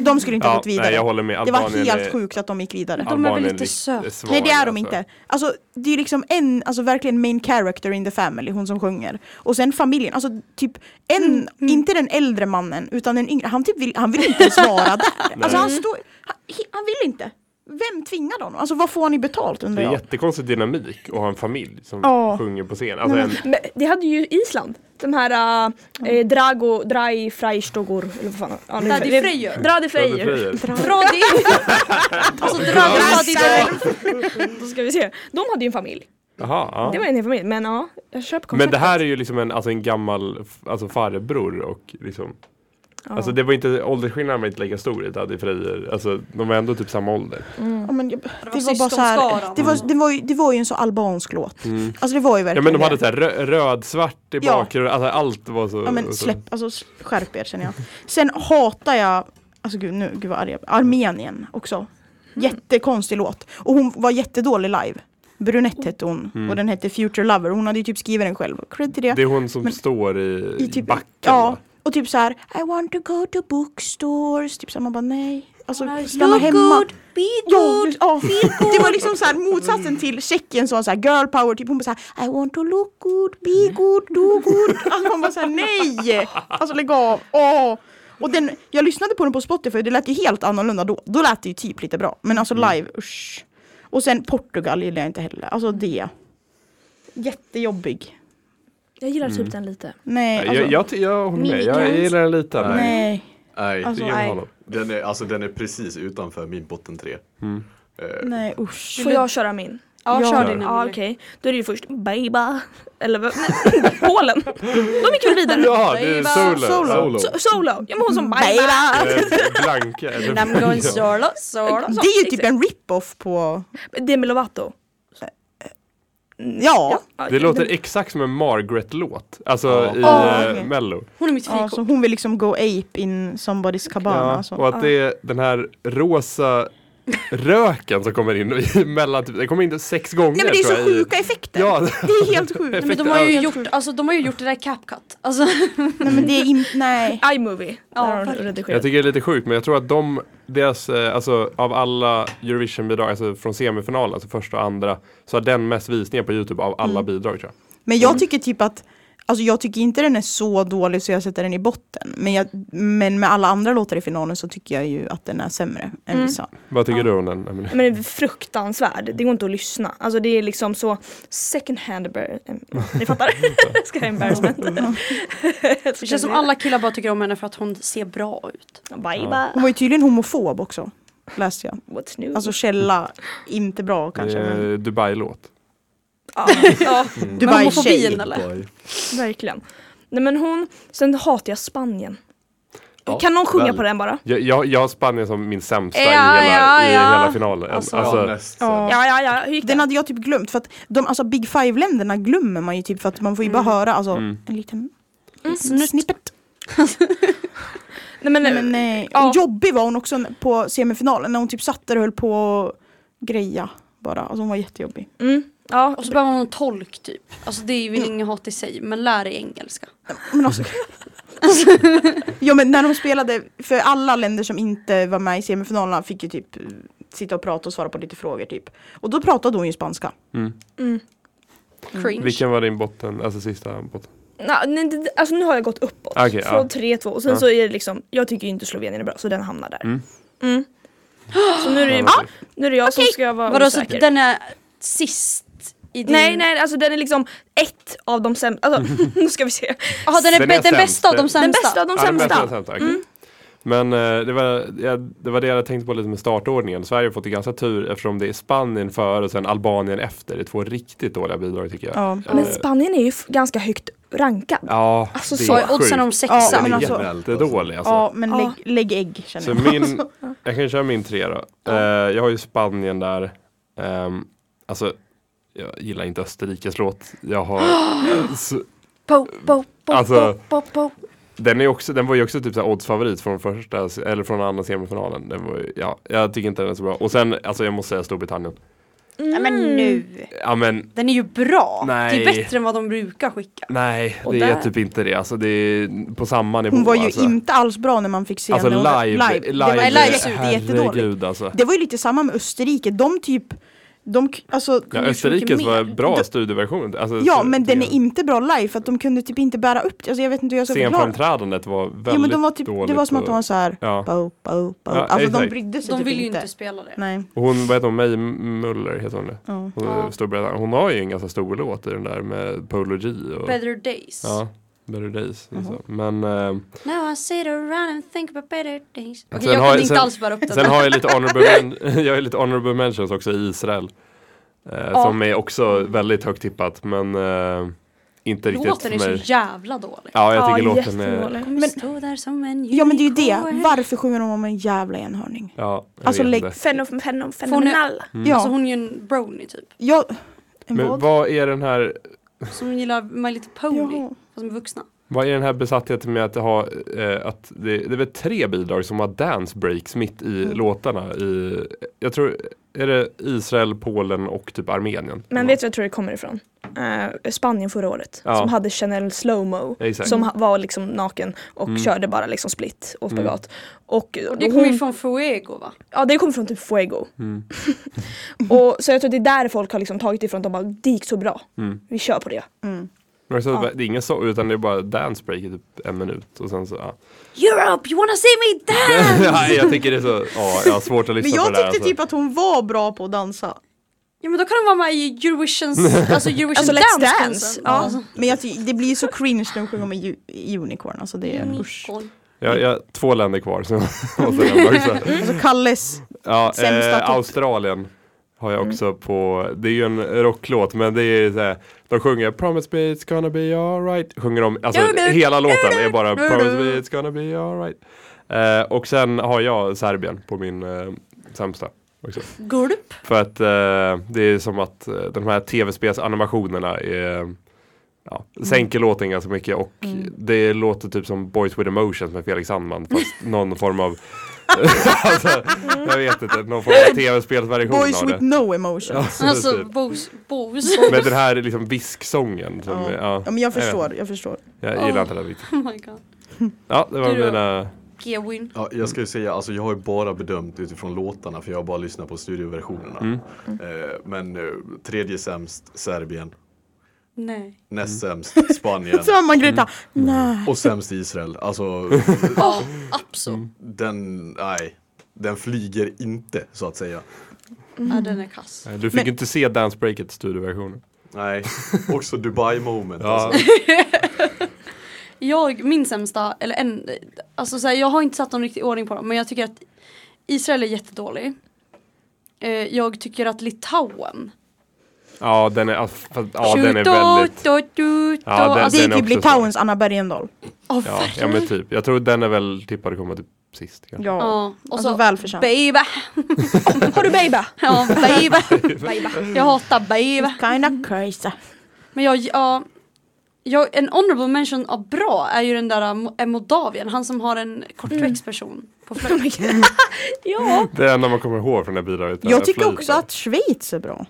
Speaker 3: De skulle inte ha
Speaker 5: Ja,
Speaker 3: gått vidare.
Speaker 5: nej, jag håller med.
Speaker 3: det var
Speaker 5: Albanien
Speaker 3: helt
Speaker 5: är-
Speaker 3: sjukt att de gick vidare.
Speaker 2: De är väl
Speaker 5: Albanien
Speaker 2: lite
Speaker 5: rikt-
Speaker 2: söta?
Speaker 5: är svaga,
Speaker 3: Nej det är de
Speaker 5: alltså.
Speaker 3: inte. Alltså det är liksom en, alltså verkligen main character in the family, hon som sjunger. Och sen familjen, alltså typ en, inte den äldre mannen utan den yngre, han typ vill, han vill inte ens vara där. Alltså han står, han, he- han vill inte. Vem tvingade honom? Alltså vad får han i betalt
Speaker 5: Det
Speaker 3: undrar
Speaker 5: är
Speaker 3: jag?
Speaker 5: jättekonstig dynamik att ha en familj som
Speaker 3: Ja.
Speaker 5: sjunger på scen. Alltså en,
Speaker 6: Men det hade ju Island. De här äh, eh, Drago, Drai Freistogor eller vad fan. Ja, nu-
Speaker 2: Dadi Freyr.
Speaker 6: Dradi
Speaker 5: Bröder
Speaker 6: Freyr.
Speaker 5: Freyr.
Speaker 2: Droddi! alltså Droddi Droddi Droddi.
Speaker 6: Då ska vi se. De hade ju en familj.
Speaker 5: Jaha, ja.
Speaker 6: Det var en hel familj. Men ja, jag köper
Speaker 5: Men
Speaker 6: konceptet.
Speaker 5: det här är ju liksom en, alltså en gammal f- alltså farbror och liksom
Speaker 6: Ja.
Speaker 5: Alltså det var inte, åldersskillnaden var inte lika stor i Daddy Frejer. Alltså de var ändå typ samma ålder.
Speaker 6: Mm.
Speaker 3: Ja, men jag, det,
Speaker 2: var
Speaker 3: var bara så
Speaker 2: syskonskaran.
Speaker 3: här, det, var, det, var ju, det var ju en så albansk låt. Alltså det var ju
Speaker 5: Mm. Ja
Speaker 3: verkligen
Speaker 5: men de hade
Speaker 3: det.
Speaker 5: såhär rö- röd-svart i
Speaker 3: Ja.
Speaker 5: bakgrunden, alltså allt var så.
Speaker 3: Ja men
Speaker 5: så-
Speaker 3: släpp, alltså s- skärp er känner jag. Sen hatar jag, alltså gud, nu, gud vad arg jag blev. Armenien också. Jättekonstig låt. Och hon var jättedålig live. Brunette hette hon
Speaker 5: Mm.
Speaker 3: och den hette Future Lover. Hon hade ju typ skrivit den själv. Cred till det.
Speaker 5: Det är hon som
Speaker 3: Men-
Speaker 5: står i,
Speaker 3: I
Speaker 5: i
Speaker 3: typ,
Speaker 5: backen.
Speaker 3: Ja.
Speaker 5: va?
Speaker 3: Och typ så här, I want to go to bookstores. Typ så här, man bara nej. Alltså stanna
Speaker 2: Look
Speaker 3: hemma.
Speaker 2: good, be
Speaker 3: Ja,
Speaker 2: good.
Speaker 3: ja. Det var liksom så här motsatsen till Tjeckien som var så här girl power, typ hon bara så här I want to look good, be good, do good. Alltså man bara så här nej! Alltså lägg av, åh! Och den, jag lyssnade på den på Spotify och det lät ju helt annorlunda då. Då lät det ju typ lite bra, men alltså
Speaker 5: Mm.
Speaker 3: live, usch. Och sen Portugal gillar jag inte heller, alltså det. Jättejobbig.
Speaker 6: Jag gillar
Speaker 5: Mm.
Speaker 6: typ den lite.
Speaker 3: Nej, alltså,
Speaker 5: Jag, jag, ty- jag håller med, jag, jag
Speaker 2: Mimikans.
Speaker 5: gillar den lite. men-
Speaker 3: nej.
Speaker 4: Nej,
Speaker 5: Det
Speaker 3: Alltså,
Speaker 5: gillar
Speaker 3: nej.
Speaker 5: honom.
Speaker 4: den är, alltså, den är precis utanför min botten tre. Eh,
Speaker 3: Nej usch.
Speaker 6: Får jag köra min?
Speaker 2: Ja,
Speaker 3: Ja.
Speaker 2: kör din
Speaker 6: Ja
Speaker 2: Emily.
Speaker 6: okej, då är det ju först Baiba, eller vad- nej, Polen. De gick väl vidare?
Speaker 5: Ja, det är
Speaker 2: Baby.
Speaker 5: solo.
Speaker 3: Solo.
Speaker 5: solo.
Speaker 6: So- Solo, ja men hon som Baiba.
Speaker 5: Eh, Blanka. eller-
Speaker 2: And I'm going
Speaker 5: Ja.
Speaker 2: solo, solo.
Speaker 3: Det är ju typ en rip-off på,
Speaker 6: Demi Lovato. Mm.
Speaker 3: ja.
Speaker 5: Det låter exakt som en Margaret-låt. Alltså
Speaker 4: Ja.
Speaker 5: i
Speaker 3: Ja,
Speaker 5: eh,
Speaker 3: okej.
Speaker 5: Mello.
Speaker 2: Hon är mitt
Speaker 3: ja
Speaker 2: fikon.
Speaker 3: så hon vill liksom go ape in somebody's cabana.
Speaker 5: Ja,
Speaker 3: alltså.
Speaker 5: och att det är den här rosa röken som kommer in i mellan, typ, det kommer in sex gånger
Speaker 3: Nej men det är
Speaker 5: tror
Speaker 3: så
Speaker 5: jag, i-
Speaker 3: sjuka effekter.
Speaker 5: Ja.
Speaker 3: Det är helt sjukt.
Speaker 2: Men de har ju gjort, alltså, de har ju gjort det där CapCut. Alltså,
Speaker 3: Nej men det är in, nej.
Speaker 6: iMovie.
Speaker 2: Ja,
Speaker 6: där har hon
Speaker 2: verkligen.
Speaker 5: Jag
Speaker 6: redigerat.
Speaker 5: tycker det är lite sjukt men jag tror att de, deras, eh, alltså av alla Eurovision-bidrag, alltså från semifinalen, alltså första och andra, så har den mest visningar på Youtube av
Speaker 3: Mm.
Speaker 5: alla bidrag tror jag.
Speaker 3: Men
Speaker 5: Mm.
Speaker 3: jag tycker typ att, alltså jag tycker inte den är så dålig så jag sätter den i botten. Men, jag, men med alla andra låtar i finalen så tycker jag ju att den är sämre än vissa.
Speaker 5: Vad tycker du om den? Emelie?
Speaker 6: Men den är fruktansvärd, det går inte att lyssna. Alltså det är liksom så second hand bear- eh, Ni fattar? Ska jag embarrassment?
Speaker 2: Mm. det känns som alla killar bara tycker om henne för att hon ser bra ut.
Speaker 6: Baiba,
Speaker 3: Hon var ju tydligen homofob också, läste jag.
Speaker 6: what's new?
Speaker 3: Alltså källa, inte bra kanske.
Speaker 5: Det är
Speaker 3: Men.
Speaker 5: Eh, Dubai-låt.
Speaker 6: ja, ja,
Speaker 3: Du var ju tjej.
Speaker 2: homofobin eller?
Speaker 4: Dubai.
Speaker 6: verkligen. Nej men hon, sen hatar jag Spanien.
Speaker 4: Ja,
Speaker 6: kan någon sjunga
Speaker 4: väl.
Speaker 6: på den bara?
Speaker 5: Jag, jag, jag har Spanien som min sämsta i,
Speaker 2: Ja,
Speaker 5: hela,
Speaker 2: ja,
Speaker 5: i
Speaker 2: ja.
Speaker 5: hela finalen.
Speaker 2: Alltså-
Speaker 5: Alltså,
Speaker 4: ja, nästan.
Speaker 3: Ja.
Speaker 6: Ja, ja, ja, hur gick
Speaker 3: Den
Speaker 6: det?
Speaker 3: hade jag typ glömt för att de, alltså Big Five-länderna glömmer man ju typ för att man får ju bara höra alltså
Speaker 5: Mm.
Speaker 3: en liten
Speaker 2: Snutt.
Speaker 3: snippet.
Speaker 6: Mm. Nej men,
Speaker 3: Nej,
Speaker 2: Mm.
Speaker 3: men nej.
Speaker 6: Ja.
Speaker 3: Och jobbig var hon också på semifinalen när hon typ satt där och höll på och greja bara. Alltså hon var jättejobbig.
Speaker 6: Mm, ja,
Speaker 2: Och så behöver hon en tolk typ. Alltså det är ju ingen hat i sig, men lär dig engelska.
Speaker 3: Men alltså, ja men när de spelade, för alla länder som inte var med i semifinalerna fick ju typ eh, sitta och prata och svara på lite frågor typ. Och då pratade hon ju spanska.
Speaker 2: mm. Cringe.
Speaker 5: mm. vilken var din botten, alltså sista botten?
Speaker 6: na, nej, det- det- alltså nu har jag gått uppåt.
Speaker 5: Okej, ja.
Speaker 6: Från 3-2 och sen
Speaker 5: Ja.
Speaker 6: så är det liksom, jag tycker ju inte Slovenien är bra så den hamnar där.
Speaker 5: Mm.
Speaker 6: Mm. Så nu är det, ju-
Speaker 5: Alltså,
Speaker 6: nu är det jag som ska vara
Speaker 2: Vadå så
Speaker 6: osäker.
Speaker 2: den är sist i din...
Speaker 6: Nej nej alltså den är liksom ett av de sämsta, alltså nu ska vi se.
Speaker 2: Jaha den är,
Speaker 5: Den
Speaker 2: den, den
Speaker 5: är sämst.
Speaker 2: bästa av de sämsta.
Speaker 6: Den bästa av de
Speaker 5: Ja, den bästa, den
Speaker 6: sämsta.
Speaker 5: sämsta, okej. Men eh, det, var, ja, det var det jag hade tänkt på lite med startordningen. Sverige har fått det ganska tur eftersom det är Spanien före och sen Albanien efter. Det är två riktigt dåliga bidrag tycker jag. Eh,
Speaker 3: Ja.
Speaker 6: Men Spanien är ju f- ganska högt rankad.
Speaker 5: Ja,
Speaker 6: Alltså,
Speaker 5: det
Speaker 6: så
Speaker 5: är
Speaker 2: Och oddsen är de
Speaker 5: sjukt.
Speaker 2: sexa.
Speaker 3: Ja,
Speaker 5: Den
Speaker 3: men
Speaker 5: är
Speaker 3: alltså-
Speaker 5: jättedålig alltså.
Speaker 3: Ja men
Speaker 6: Ja.
Speaker 3: lägg, lägg ägg känner
Speaker 5: Så
Speaker 3: jag.
Speaker 5: min, jag kan ju köra min tre då. Eh, jag har ju Spanien där. Ehm, alltså, jag gillar inte Österrikes låt. Jag har... så,
Speaker 2: Bo, bo, bo,
Speaker 5: Alltså-
Speaker 2: bo, bo, bo.
Speaker 5: Den, är ju också, den var ju också typ så här oddsfavorit från första, eller från andra semifinalen. Den var, ju- ja, jag tycker inte den är så bra. Och sen, alltså jag måste säga Storbritannien.
Speaker 3: Nej men nu.
Speaker 5: Ja men
Speaker 2: Den är ju bra.
Speaker 5: Nej.
Speaker 2: Det är bättre än vad de brukar skicka.
Speaker 5: nej,
Speaker 2: Och
Speaker 5: det är
Speaker 2: där-
Speaker 5: typ inte det. Alltså det är på samma nivå.
Speaker 3: Hon var ju
Speaker 5: alltså.
Speaker 3: inte alls bra när man fick se
Speaker 5: Alltså
Speaker 3: henne.
Speaker 5: live,
Speaker 3: Hon-
Speaker 5: live,
Speaker 3: Det var
Speaker 2: live,
Speaker 3: jätte- jättedåligt.
Speaker 5: herregud alltså.
Speaker 3: Det var ju lite samma med Österrike. De typ, de, k- alltså,
Speaker 5: Ja,
Speaker 2: ju så
Speaker 5: Österrikes
Speaker 2: mycket
Speaker 5: var
Speaker 2: mer.
Speaker 5: bra
Speaker 3: Du-
Speaker 5: studioversion. Alltså,
Speaker 3: ja
Speaker 5: så-
Speaker 3: men den är
Speaker 5: tycker jag.
Speaker 3: inte bra live för att de kunde typ inte bära upp det. Alltså, jag vet inte hur jag ska förklara.
Speaker 5: Scenframträdandet var väldigt
Speaker 3: Ja men de var typ,
Speaker 5: dåligt.
Speaker 3: det var som att de
Speaker 5: och-
Speaker 3: var så här.
Speaker 5: Ja.
Speaker 3: Bow, bow, bow.
Speaker 5: Ja,
Speaker 3: alltså de
Speaker 5: exakt.
Speaker 3: brydde sig
Speaker 2: De
Speaker 3: typ
Speaker 2: vill ju inte spela det.
Speaker 3: Nej.
Speaker 5: Och hon, vad heter hon, May Muller heter hon det?
Speaker 3: Ja.
Speaker 5: Hon,
Speaker 2: Ja.
Speaker 5: är Storbritannien. hon har ju en ganska stor låt i den där med Polo G och...
Speaker 2: Better days.
Speaker 5: Ja, Better Days.
Speaker 3: Mhm.
Speaker 5: Liksom. Men eh,
Speaker 2: Now I sit around and think about better days. Okej,
Speaker 5: Sen
Speaker 2: jag
Speaker 5: har-
Speaker 2: kunde inte
Speaker 5: sen-
Speaker 2: alls bära upp den.
Speaker 5: sen har jag lite honorable, men- jag har lite honorable mentions också i Israel. Eh, Som är också väldigt högt tippat men eh, inte riktigt
Speaker 2: Låten är
Speaker 5: för mig.
Speaker 2: så jävla dålig.
Speaker 5: Ja, jag tycker
Speaker 6: Ja,
Speaker 5: låten är...
Speaker 6: jättedålig.
Speaker 2: Men, stå där som en
Speaker 3: Ja men det är ju det.
Speaker 2: unicorn.
Speaker 3: Varför sjunger de om en jävla enhörning?
Speaker 5: Ja, jag
Speaker 3: Alltså,
Speaker 5: vet
Speaker 3: lägg-
Speaker 5: inte.
Speaker 6: Fenom, fenom, fenomenal.
Speaker 3: Ja.
Speaker 2: Alltså hon är ju en brony typ.
Speaker 3: ja. En
Speaker 5: Men
Speaker 3: vad?
Speaker 5: vad är den här
Speaker 2: Som gillar My Little Pony.
Speaker 3: Jaha.
Speaker 2: Fast med vuxna.
Speaker 5: Vad är den här besattheten med att ha eh, att det, det är väl tre bidrag som har dance breaks mitt i låtarna i jag tror är det Israel, Polen och typ Armenien.
Speaker 6: Men vet du vad jag tror det kommer ifrån? Eh, Spanien förra året.
Speaker 5: Ja.
Speaker 6: Som hade Chanel Slowmo.
Speaker 5: Exakt. Mm.
Speaker 6: Som ha- var liksom naken och körde bara liksom split och spagat. Och,
Speaker 2: Och det kommer ju från Fuego va?
Speaker 6: Ja det kom från typ Fuego.
Speaker 5: Mm.
Speaker 6: och, så jag tror det är där folk har liksom tagit ifrån. De bara det gick så bra.
Speaker 5: Mm.
Speaker 6: Vi kör på det.
Speaker 5: Men så, Det är ingen så utan det är bara dance break i typ en minut och sen så ja.
Speaker 2: Europe, you wanna see me dance?
Speaker 5: Nej, jag tycker det är så ja, jag har svårt att
Speaker 3: Men
Speaker 5: lyssna
Speaker 3: jag
Speaker 5: på det där. alltså.
Speaker 3: tyckte typ att hon var bra på att dansa.
Speaker 2: Alltså, Ja men då kan de vara med i Eurovisions, alltså Eurovision
Speaker 6: Alltså, Let's
Speaker 2: Dance.
Speaker 6: Dance.
Speaker 2: Ja. Alltså.
Speaker 3: Men jag, ty- det blir ju så cringe när de sjunger om en ju- unicorn. Alltså det är usch.
Speaker 2: Unicorn.
Speaker 5: jag, jag, två länder kvar så måste jag nämna också.
Speaker 3: Alltså Kalles.
Speaker 5: Ja,
Speaker 3: Sämsta
Speaker 5: eh,
Speaker 3: topp.
Speaker 5: Australien har jag också på, det är ju en rocklåt men det är så här, de sjunger Promise me it's gonna be alright, sjunger de, alltså
Speaker 2: Du, du,
Speaker 5: hela låten är bara
Speaker 2: du, du.
Speaker 5: Promise me it's gonna be alright. Eh, och sen har jag Serbien på min eh, sämsta. Också.
Speaker 2: Gulp.
Speaker 5: För att eh, det är som att eh, de här tv-spelsanimationerna är, ja, sänker låten ganska mycket och det låter typ som Boys with Emotions med Felix Sandman fast någon form av alltså, jag vet inte, någon form av tv-spelsversion
Speaker 3: Boys
Speaker 5: av
Speaker 3: with
Speaker 5: det.
Speaker 3: no emotion.
Speaker 2: Alltså
Speaker 5: Typ.
Speaker 2: Bos. Bos.
Speaker 5: Med den här liksom visksången. Som,
Speaker 3: Ja.
Speaker 5: ja.
Speaker 3: Ja men jag
Speaker 5: vet.
Speaker 3: förstår, jag förstår.
Speaker 5: Jag gillar inte den riktigt.
Speaker 2: Oh my god.
Speaker 5: Ja, det var
Speaker 2: Du då?
Speaker 5: mina...
Speaker 2: Gewin.
Speaker 4: Ja, jag ska ju säga, alltså jag har ju bara bedömt utifrån låtarna för jag har bara lyssnat på studioversionerna. Eh, men eh, tredje sämst Serbien,
Speaker 2: Nej.
Speaker 4: näst sämst Spanien
Speaker 3: Så Margareta,
Speaker 5: Mm.
Speaker 3: nej.
Speaker 4: och sämst Israel. Alltså
Speaker 2: Ja, Apso.
Speaker 4: den, nej, den flyger inte så att säga.
Speaker 5: Mm.
Speaker 2: Ja, den är kass.
Speaker 5: Du fick inte se Dance Breaket studioversionen.
Speaker 4: Nej, också Dubai moment.
Speaker 5: Ja,
Speaker 4: Alltså.
Speaker 2: Jag, min sämsta, eller en, alltså så här, jag har inte satt någon riktig ordning på dem men jag tycker att Israel är jättedålig. Eh, jag tycker att Litauen.
Speaker 5: ja, den är, ja, fast- ja, den är
Speaker 2: Tjuto,
Speaker 5: väldigt...
Speaker 2: tjuto, tjuto.
Speaker 5: Ja, den-
Speaker 2: Alltså,
Speaker 3: Det är
Speaker 5: den är
Speaker 3: typ
Speaker 5: också
Speaker 3: Litauens Anna Bergendahl.
Speaker 2: ja,
Speaker 5: Ja,
Speaker 2: verkligen.
Speaker 5: ja, men typ. Jag tror den är väl tippad att komma typ sist. kanske.
Speaker 3: Ja.
Speaker 2: Ja, och
Speaker 3: Alltså
Speaker 2: så
Speaker 3: välförtjänt.
Speaker 2: baby.
Speaker 6: Har du baby?
Speaker 2: Ja, baby. jag hatar baby.
Speaker 3: Kinda crazy.
Speaker 2: Men jag, ja, jag, en honorable mention av bra är ju den där eh, Mo- Moldavien, han som har en kortväxt person på
Speaker 3: Mm.
Speaker 2: flöjt.
Speaker 6: Ja.
Speaker 5: Det är när man kommer ihåg från det här bidraget.
Speaker 3: Jag tycker också att Schweiz är bra.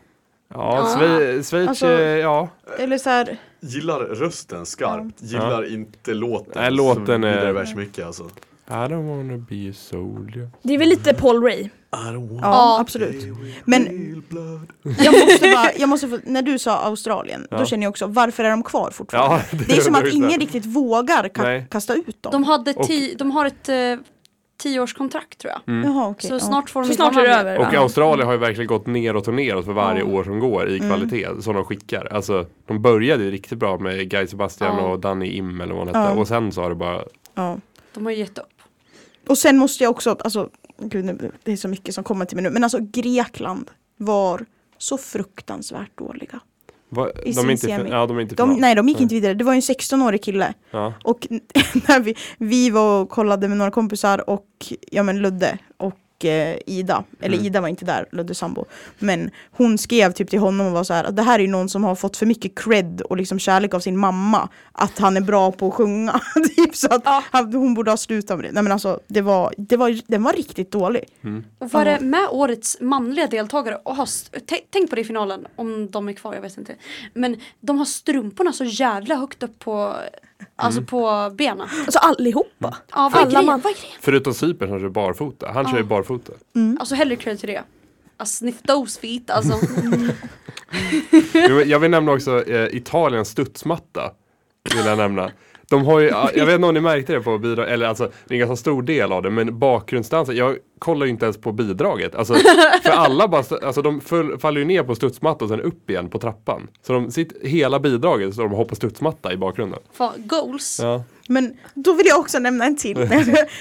Speaker 5: Ja, Sve- Schweiz,
Speaker 3: Alltså-
Speaker 5: eh, ja.
Speaker 3: Eller så här,
Speaker 4: Gillar rösten skarpt, gillar inte låten.
Speaker 5: Nej, låten
Speaker 4: så vidare
Speaker 5: är-
Speaker 4: värst mycket alltså.
Speaker 5: I don't wanna be a soldier.
Speaker 6: Det är väl lite Paul Ray.
Speaker 4: I don't want
Speaker 3: ja absolut. Men
Speaker 4: real blood.
Speaker 3: jag måste bara, jag måste få, när du sa Australien, då känner jag också varför är de kvar fortfarande?
Speaker 5: Ja,
Speaker 3: det, är som
Speaker 5: det
Speaker 3: att
Speaker 5: är
Speaker 3: ingen
Speaker 5: sant.
Speaker 3: riktigt vågar ka-
Speaker 5: Nej.
Speaker 3: kasta ut dem.
Speaker 2: De, hade
Speaker 5: Och-
Speaker 2: ti, de har ett eh, tioårskontrakt tror jag.
Speaker 3: Mm. Jaha, okej,
Speaker 2: Så
Speaker 3: ja.
Speaker 2: snart får de
Speaker 6: Så
Speaker 2: inte
Speaker 6: snart är
Speaker 2: vara
Speaker 6: det
Speaker 2: med.
Speaker 6: över.
Speaker 5: Och
Speaker 6: va?
Speaker 5: Australien har ju verkligen gått neråt och neråt för varje år som går
Speaker 3: Mm.
Speaker 5: i kvalitet som de skickar. Alltså, de började ju riktigt bra med Guy Sebastian
Speaker 2: Ja.
Speaker 5: och Danny Im eller vad han hette.
Speaker 3: Ja.
Speaker 5: Och sen så har det bara,
Speaker 3: Ja.
Speaker 2: De har ju gett upp.
Speaker 3: Och sen måste jag också, alltså, gud, nu- det är så mycket som kommer till mig nu, men alltså Grekland var så fruktansvärt dåliga.
Speaker 5: va,
Speaker 3: I
Speaker 5: de, är
Speaker 3: sin
Speaker 5: inte,
Speaker 3: semi.
Speaker 5: ja, de är inte
Speaker 3: De,
Speaker 5: final.
Speaker 3: nej, de gick inte vidare. Det var ju en 16-årig kille.
Speaker 5: Ja.
Speaker 3: Och när vi, vi var och kollade med några kompisar och ja, men Ludde och och eh, Ida, eller
Speaker 5: Mm.
Speaker 3: Ida var inte där, Ludde sambo. Men hon skrev typ till honom och var så här att det här är ju någon som har fått för mycket cred och liksom kärlek av sin mamma. Att han är bra på att sjunga. typ så att
Speaker 6: Ja.
Speaker 3: han, hon borde ha slutat med det. Nej men alltså det var, det var, den var riktigt dålig.
Speaker 2: Och var det med årets manliga deltagare? Och har st- t- tänk på det i finalen, om de är kvar, jag vet inte. Men de har strumporna så jävla högt upp på, alltså på benen.
Speaker 6: Alltså allihopa.
Speaker 2: Ja, vad är
Speaker 6: Alla
Speaker 2: grejen?
Speaker 6: man-
Speaker 2: Vad är grejen?
Speaker 5: Förutom Cypern som kör barfota. Han kör ju barfota.
Speaker 2: Alltså hellre cred till det. Alltså, sniff those feet, alltså.
Speaker 5: Jag vill, jag vill nämna också eh, Italiens studsmatta. Vill jag nämna. De har ju, jag vet inte om ni märkte det på bidrag, eller alltså det är en ganska stor del av det, men bakgrundsdansen, jag kollar ju inte ens på bidraget. Alltså, för alla bara, st- alltså de föll, faller ju ner på studsmattan och sen upp igen på trappan. Så de sitter, hela bidraget står de och hoppar studsmatta i bakgrunden.
Speaker 2: Fan, goals.
Speaker 5: Ja.
Speaker 3: Men då vill jag också nämna en till.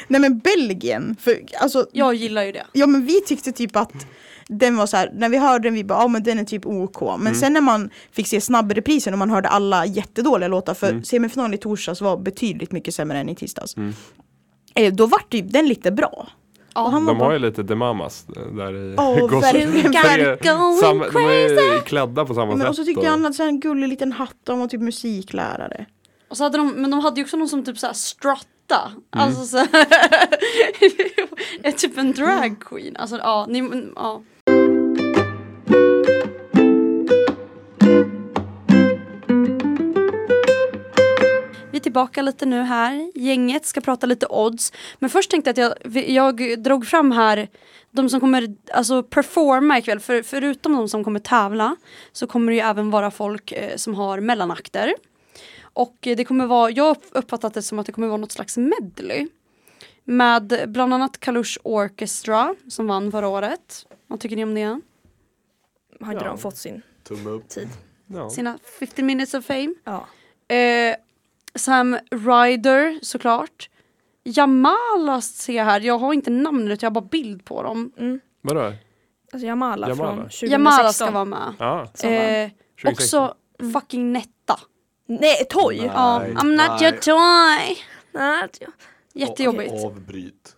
Speaker 3: Nej men Belgien, för alltså
Speaker 2: Jag gillar ju det.
Speaker 3: Ja men vi tyckte typ att den var så här, när vi hörde den vi bara, ja men den är typ OK. Men
Speaker 5: Mm.
Speaker 3: sen när man fick se snabbreprisen och man hörde alla jättedåliga låtar, för
Speaker 5: Mm.
Speaker 3: semifinalen i torsdags var betydligt mycket sämre än i tisdags. Eh, då vart typ den lite bra.
Speaker 2: Ja.
Speaker 3: Och han var
Speaker 5: De
Speaker 3: bara,
Speaker 5: har ju lite demamas där i
Speaker 3: Åh,
Speaker 5: gospel.
Speaker 3: verkligen.
Speaker 5: Så det är
Speaker 2: Going
Speaker 5: samma- De är ju klädda på samma
Speaker 3: men
Speaker 5: sätt.
Speaker 3: och så tyckte han att så här en gullig liten hatt, han var typ musiklärare.
Speaker 2: Och så hade de, men de hade ju också någon som typ såhär strotta. Alltså så är typ en drag queen. Alltså ja, ni, men, ja. Vi är tillbaka lite nu här. Gänget ska prata lite odds. Men först tänkte jag att jag, vi- jag drog fram här de som kommer alltså, performa ikväll. För, förutom de som kommer tävla så kommer det ju även vara folk eh, som har mellanakter. Och eh, det kommer vara, jag har upp- uppfattat det som att det kommer vara något slags medley. Med bland annat Kalush Orchestra som vann förra året. Vad tycker ni om det?
Speaker 6: Har inte
Speaker 5: Ja.
Speaker 6: de fått sin
Speaker 4: Tumme upp.
Speaker 6: tid?
Speaker 5: Ja.
Speaker 2: Sina 50 minutes of fame.
Speaker 6: Ja.
Speaker 2: Eh, Sam Ryder såklart. Jamala ser jag här, jag har inte namnet, jag har bara bild på dem.
Speaker 5: Vadå?
Speaker 6: Alltså Jamala,
Speaker 5: Jamala.
Speaker 6: från 2016.
Speaker 2: Jamala ska vara med.
Speaker 5: Ja,
Speaker 6: Som vann.
Speaker 2: Eh,
Speaker 5: 2016.
Speaker 2: också fucking Netta.
Speaker 6: Nej, Toy!
Speaker 4: Nej.
Speaker 2: Ja, I'm not your toy.
Speaker 6: Nej, jag-
Speaker 2: Jättejobbigt.
Speaker 4: Och Avbryt.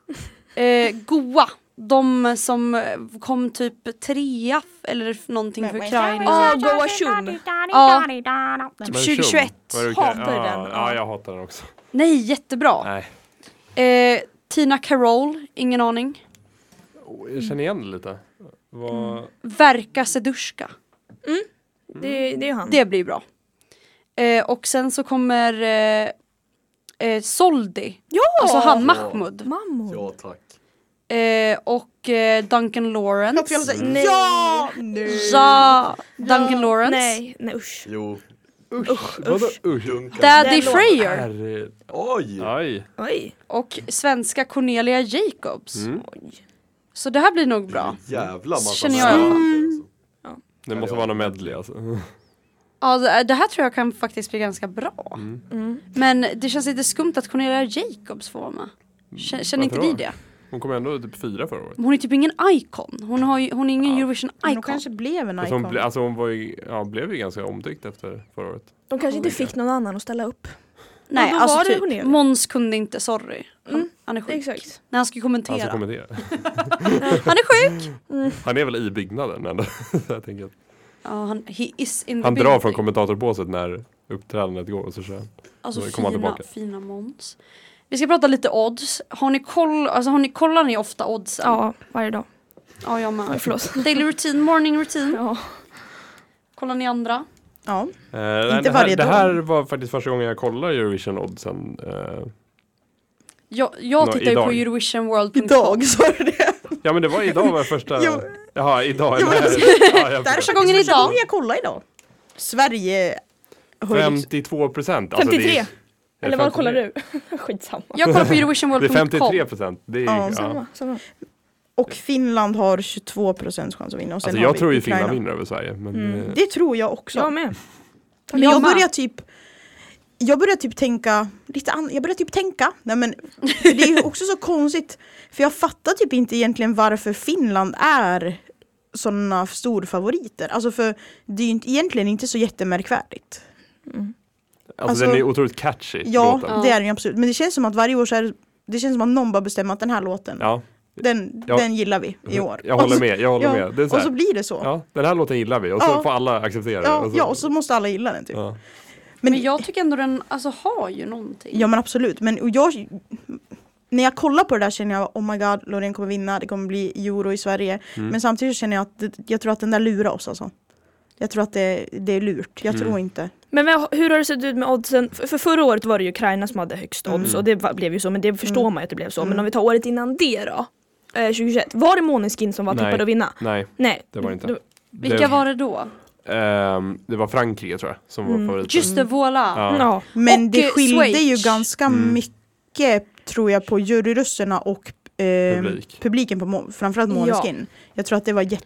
Speaker 2: Eh, Goa. De som eh, kom typ trea f- eller f- någonting för Ukraina.
Speaker 6: Ja, Ah, Goa Chum.
Speaker 2: Ja, typ
Speaker 5: Men tjum,
Speaker 2: 2021.
Speaker 5: vad är det- Ah,
Speaker 6: Hatar
Speaker 5: ja,
Speaker 6: den.
Speaker 5: Ja, jag hatar den också.
Speaker 2: Nej, jättebra.
Speaker 5: Nej.
Speaker 2: Eh, Tina Carroll, ingen aning.
Speaker 5: Jag känner igen det lite. Vad...
Speaker 2: Verka Sedushka.
Speaker 6: Det, det är han.
Speaker 2: Det blir bra. Eh, och sen så kommer eh, eh, Soldi,
Speaker 6: Ja!
Speaker 2: alltså han Mahmoud.
Speaker 6: Mammor.
Speaker 4: Ja tack.
Speaker 2: Eh, och eh, Duncan
Speaker 3: Jag tror jag
Speaker 2: Lawrence.
Speaker 3: säger, ja!
Speaker 2: Ja, Duncan Lawrence.
Speaker 6: Nej, nej usch.
Speaker 4: Jo.
Speaker 5: Vadå usch?
Speaker 4: Dunkan.
Speaker 2: Daddy
Speaker 6: Den
Speaker 2: Freyer.
Speaker 5: Herre...
Speaker 4: Oj!
Speaker 5: Aj.
Speaker 6: Oj.
Speaker 2: och svenska Cornelia Jacobs.
Speaker 5: Mm.
Speaker 6: Oj.
Speaker 2: Så det här blir nog bra.
Speaker 4: Jävla massa
Speaker 2: Känner jag.
Speaker 4: namn,
Speaker 3: Mm.
Speaker 4: alltså.
Speaker 5: Det måste vara någon medley alltså.
Speaker 2: Ja, det det här tror jag kan faktiskt bli ganska bra.
Speaker 5: Mm.
Speaker 6: Mm.
Speaker 2: Men det känns lite skumt att Cornelia Jacobs får vara med. Kä- Känner inte
Speaker 5: Mm. Varför
Speaker 2: ni
Speaker 5: då?
Speaker 2: det?
Speaker 5: Hon kom ändå typ fyra förra året.
Speaker 2: Men Hon är typ ingen icon. Hon, har ju, hon är ingen
Speaker 3: Men
Speaker 2: Eurovision-icon.
Speaker 3: hon kanske blev en
Speaker 5: Alltså hon,
Speaker 3: icon.
Speaker 5: ble, alltså hon var ju, ja, blev ju ganska omtyckt efter förra året.
Speaker 6: De kanske inte fick någon annan att ställa upp.
Speaker 2: Nej,
Speaker 6: Ja, då var
Speaker 2: alltså
Speaker 6: det
Speaker 2: typ,
Speaker 6: Cornelia. Mm.
Speaker 2: Måns kunde inte, sorry. Han, han är sjuk.
Speaker 6: Exakt.
Speaker 2: När han ska kommentera.
Speaker 5: Alltså kommentera.
Speaker 2: Han är sjuk!
Speaker 5: Han är väl i byggnaden ändå. Så jag tänker att
Speaker 2: Ja, han, he is in the
Speaker 5: han drar
Speaker 2: building.
Speaker 5: från kommentatorpåset när uppträdandet går och så kör han.
Speaker 2: Alltså
Speaker 5: Då kommer han
Speaker 2: fina,
Speaker 5: tillbaka.
Speaker 2: fina Måns. Vi ska prata lite odds. Har ni koll, alltså har ni, kollar ni ofta oddsen?
Speaker 6: Ja, varje dag.
Speaker 2: Ja, jag
Speaker 6: Oj,
Speaker 2: med.
Speaker 6: förlåt.
Speaker 2: Daily routine, morning routine.
Speaker 6: Ja.
Speaker 2: Kollar ni andra?
Speaker 3: Ja.
Speaker 5: Eh,
Speaker 3: Inte
Speaker 5: nej, det,
Speaker 3: varje
Speaker 5: här, det
Speaker 3: dag.
Speaker 5: här var faktiskt första gången jag kollade Eurovision oddsen. Eh,
Speaker 2: Jag, jag
Speaker 5: Nå,
Speaker 2: tittar ju på
Speaker 5: idag.
Speaker 2: Eurovisionworld.com.
Speaker 3: Idag sa du det.
Speaker 5: ja men det var idag var första...
Speaker 3: Jo.
Speaker 5: Jaha, idag.
Speaker 3: Jo, men
Speaker 5: eller-
Speaker 3: alltså, Där
Speaker 5: ja, jag förstår.
Speaker 3: faktiskt
Speaker 2: gången
Speaker 3: första
Speaker 2: idag.
Speaker 3: gången jag kollade idag. Sverige höll
Speaker 5: 52 procent. Alltså,
Speaker 6: 53. Eller vad kollar du? Skitsamma.
Speaker 2: Jag kollar på
Speaker 5: Det är
Speaker 2: Eurovisionworld.com.
Speaker 5: 53 procent. Det är,
Speaker 3: Ja,
Speaker 5: ja, Alltså,
Speaker 6: Samma, samma.
Speaker 3: Och Finland har 22 procents chans att vinna. Och sen
Speaker 5: Alltså,
Speaker 3: har
Speaker 5: jag
Speaker 3: vi
Speaker 5: tror ju
Speaker 3: Ukraina. Mm.
Speaker 5: Finland vinner över Sverige. Men, eh,
Speaker 3: Det tror jag också.
Speaker 6: Jag med.
Speaker 3: men
Speaker 2: Jag
Speaker 3: jag
Speaker 2: med.
Speaker 3: börjar typ jag börjar typ tänka, lite an- jag börjar typ tänka, nej men för det är ju också så konstigt För jag fattar typ inte egentligen varför Finland är sådana storfavoriter Alltså för det är ju inte, egentligen inte så jättemärkvärdigt
Speaker 5: alltså,
Speaker 3: Alltså-
Speaker 5: den är otroligt catchy,
Speaker 3: Ja,
Speaker 5: låten.
Speaker 2: Ja.
Speaker 3: det är det ju absolut, men det känns som att varje år så är det, det känns som att någon bara bestämmer att den här låten
Speaker 5: Ja.
Speaker 3: Den,
Speaker 5: Ja.
Speaker 3: den gillar vi i år.
Speaker 5: Jag
Speaker 3: Och så-
Speaker 5: håller med, jag håller
Speaker 3: ja,
Speaker 5: med. Det är så
Speaker 3: och
Speaker 5: här,
Speaker 3: så blir det så. Ja,
Speaker 5: ja, den här låten gillar vi och så
Speaker 3: Ja.
Speaker 5: får alla acceptera det.
Speaker 3: ja, och så måste alla gilla den typ.
Speaker 5: ja.
Speaker 3: Men,
Speaker 2: Men jag tycker ändå den alltså, har ju någonting.
Speaker 3: Ja men absolut, men och jag när jag kollar på det där känner jag oh my god, Loreen kommer vinna, det kommer bli euro i Sverige.
Speaker 2: Mm.
Speaker 3: Men samtidigt så känner jag att det- jag tror att den där lurar oss alltså. Jag tror att det, det är lurt, jag
Speaker 2: Mm.
Speaker 3: tror inte.
Speaker 6: Men vad- hur har det sett ut med oddsen? För för förra året var det ju Ukraina som hade högst odds
Speaker 5: Mm.
Speaker 6: och det var- blev ju så, men det förstår man ju att det blev så. Men om vi tar året innan det då? Eh, 2021, var det Måneskin som var
Speaker 5: Nej.
Speaker 6: tippad att vinna?
Speaker 5: Nej,
Speaker 6: Nej.
Speaker 5: det var det inte.
Speaker 6: Det-
Speaker 2: Vilka var det då?
Speaker 5: ehm, det var Frankrike tror jag som
Speaker 6: Mm.
Speaker 5: var favoriten.
Speaker 2: Just det, voilà.
Speaker 5: Ja.
Speaker 6: Ja.
Speaker 3: Men
Speaker 2: Och,
Speaker 3: det
Speaker 2: eh,
Speaker 3: skilde ju
Speaker 2: Schweiz. Mm.
Speaker 3: ganska mycket tror jag på juryrösterna och eh,
Speaker 5: Publik.
Speaker 3: publiken på Mo- framförallt Måneskin. Jag tror att det var jätte,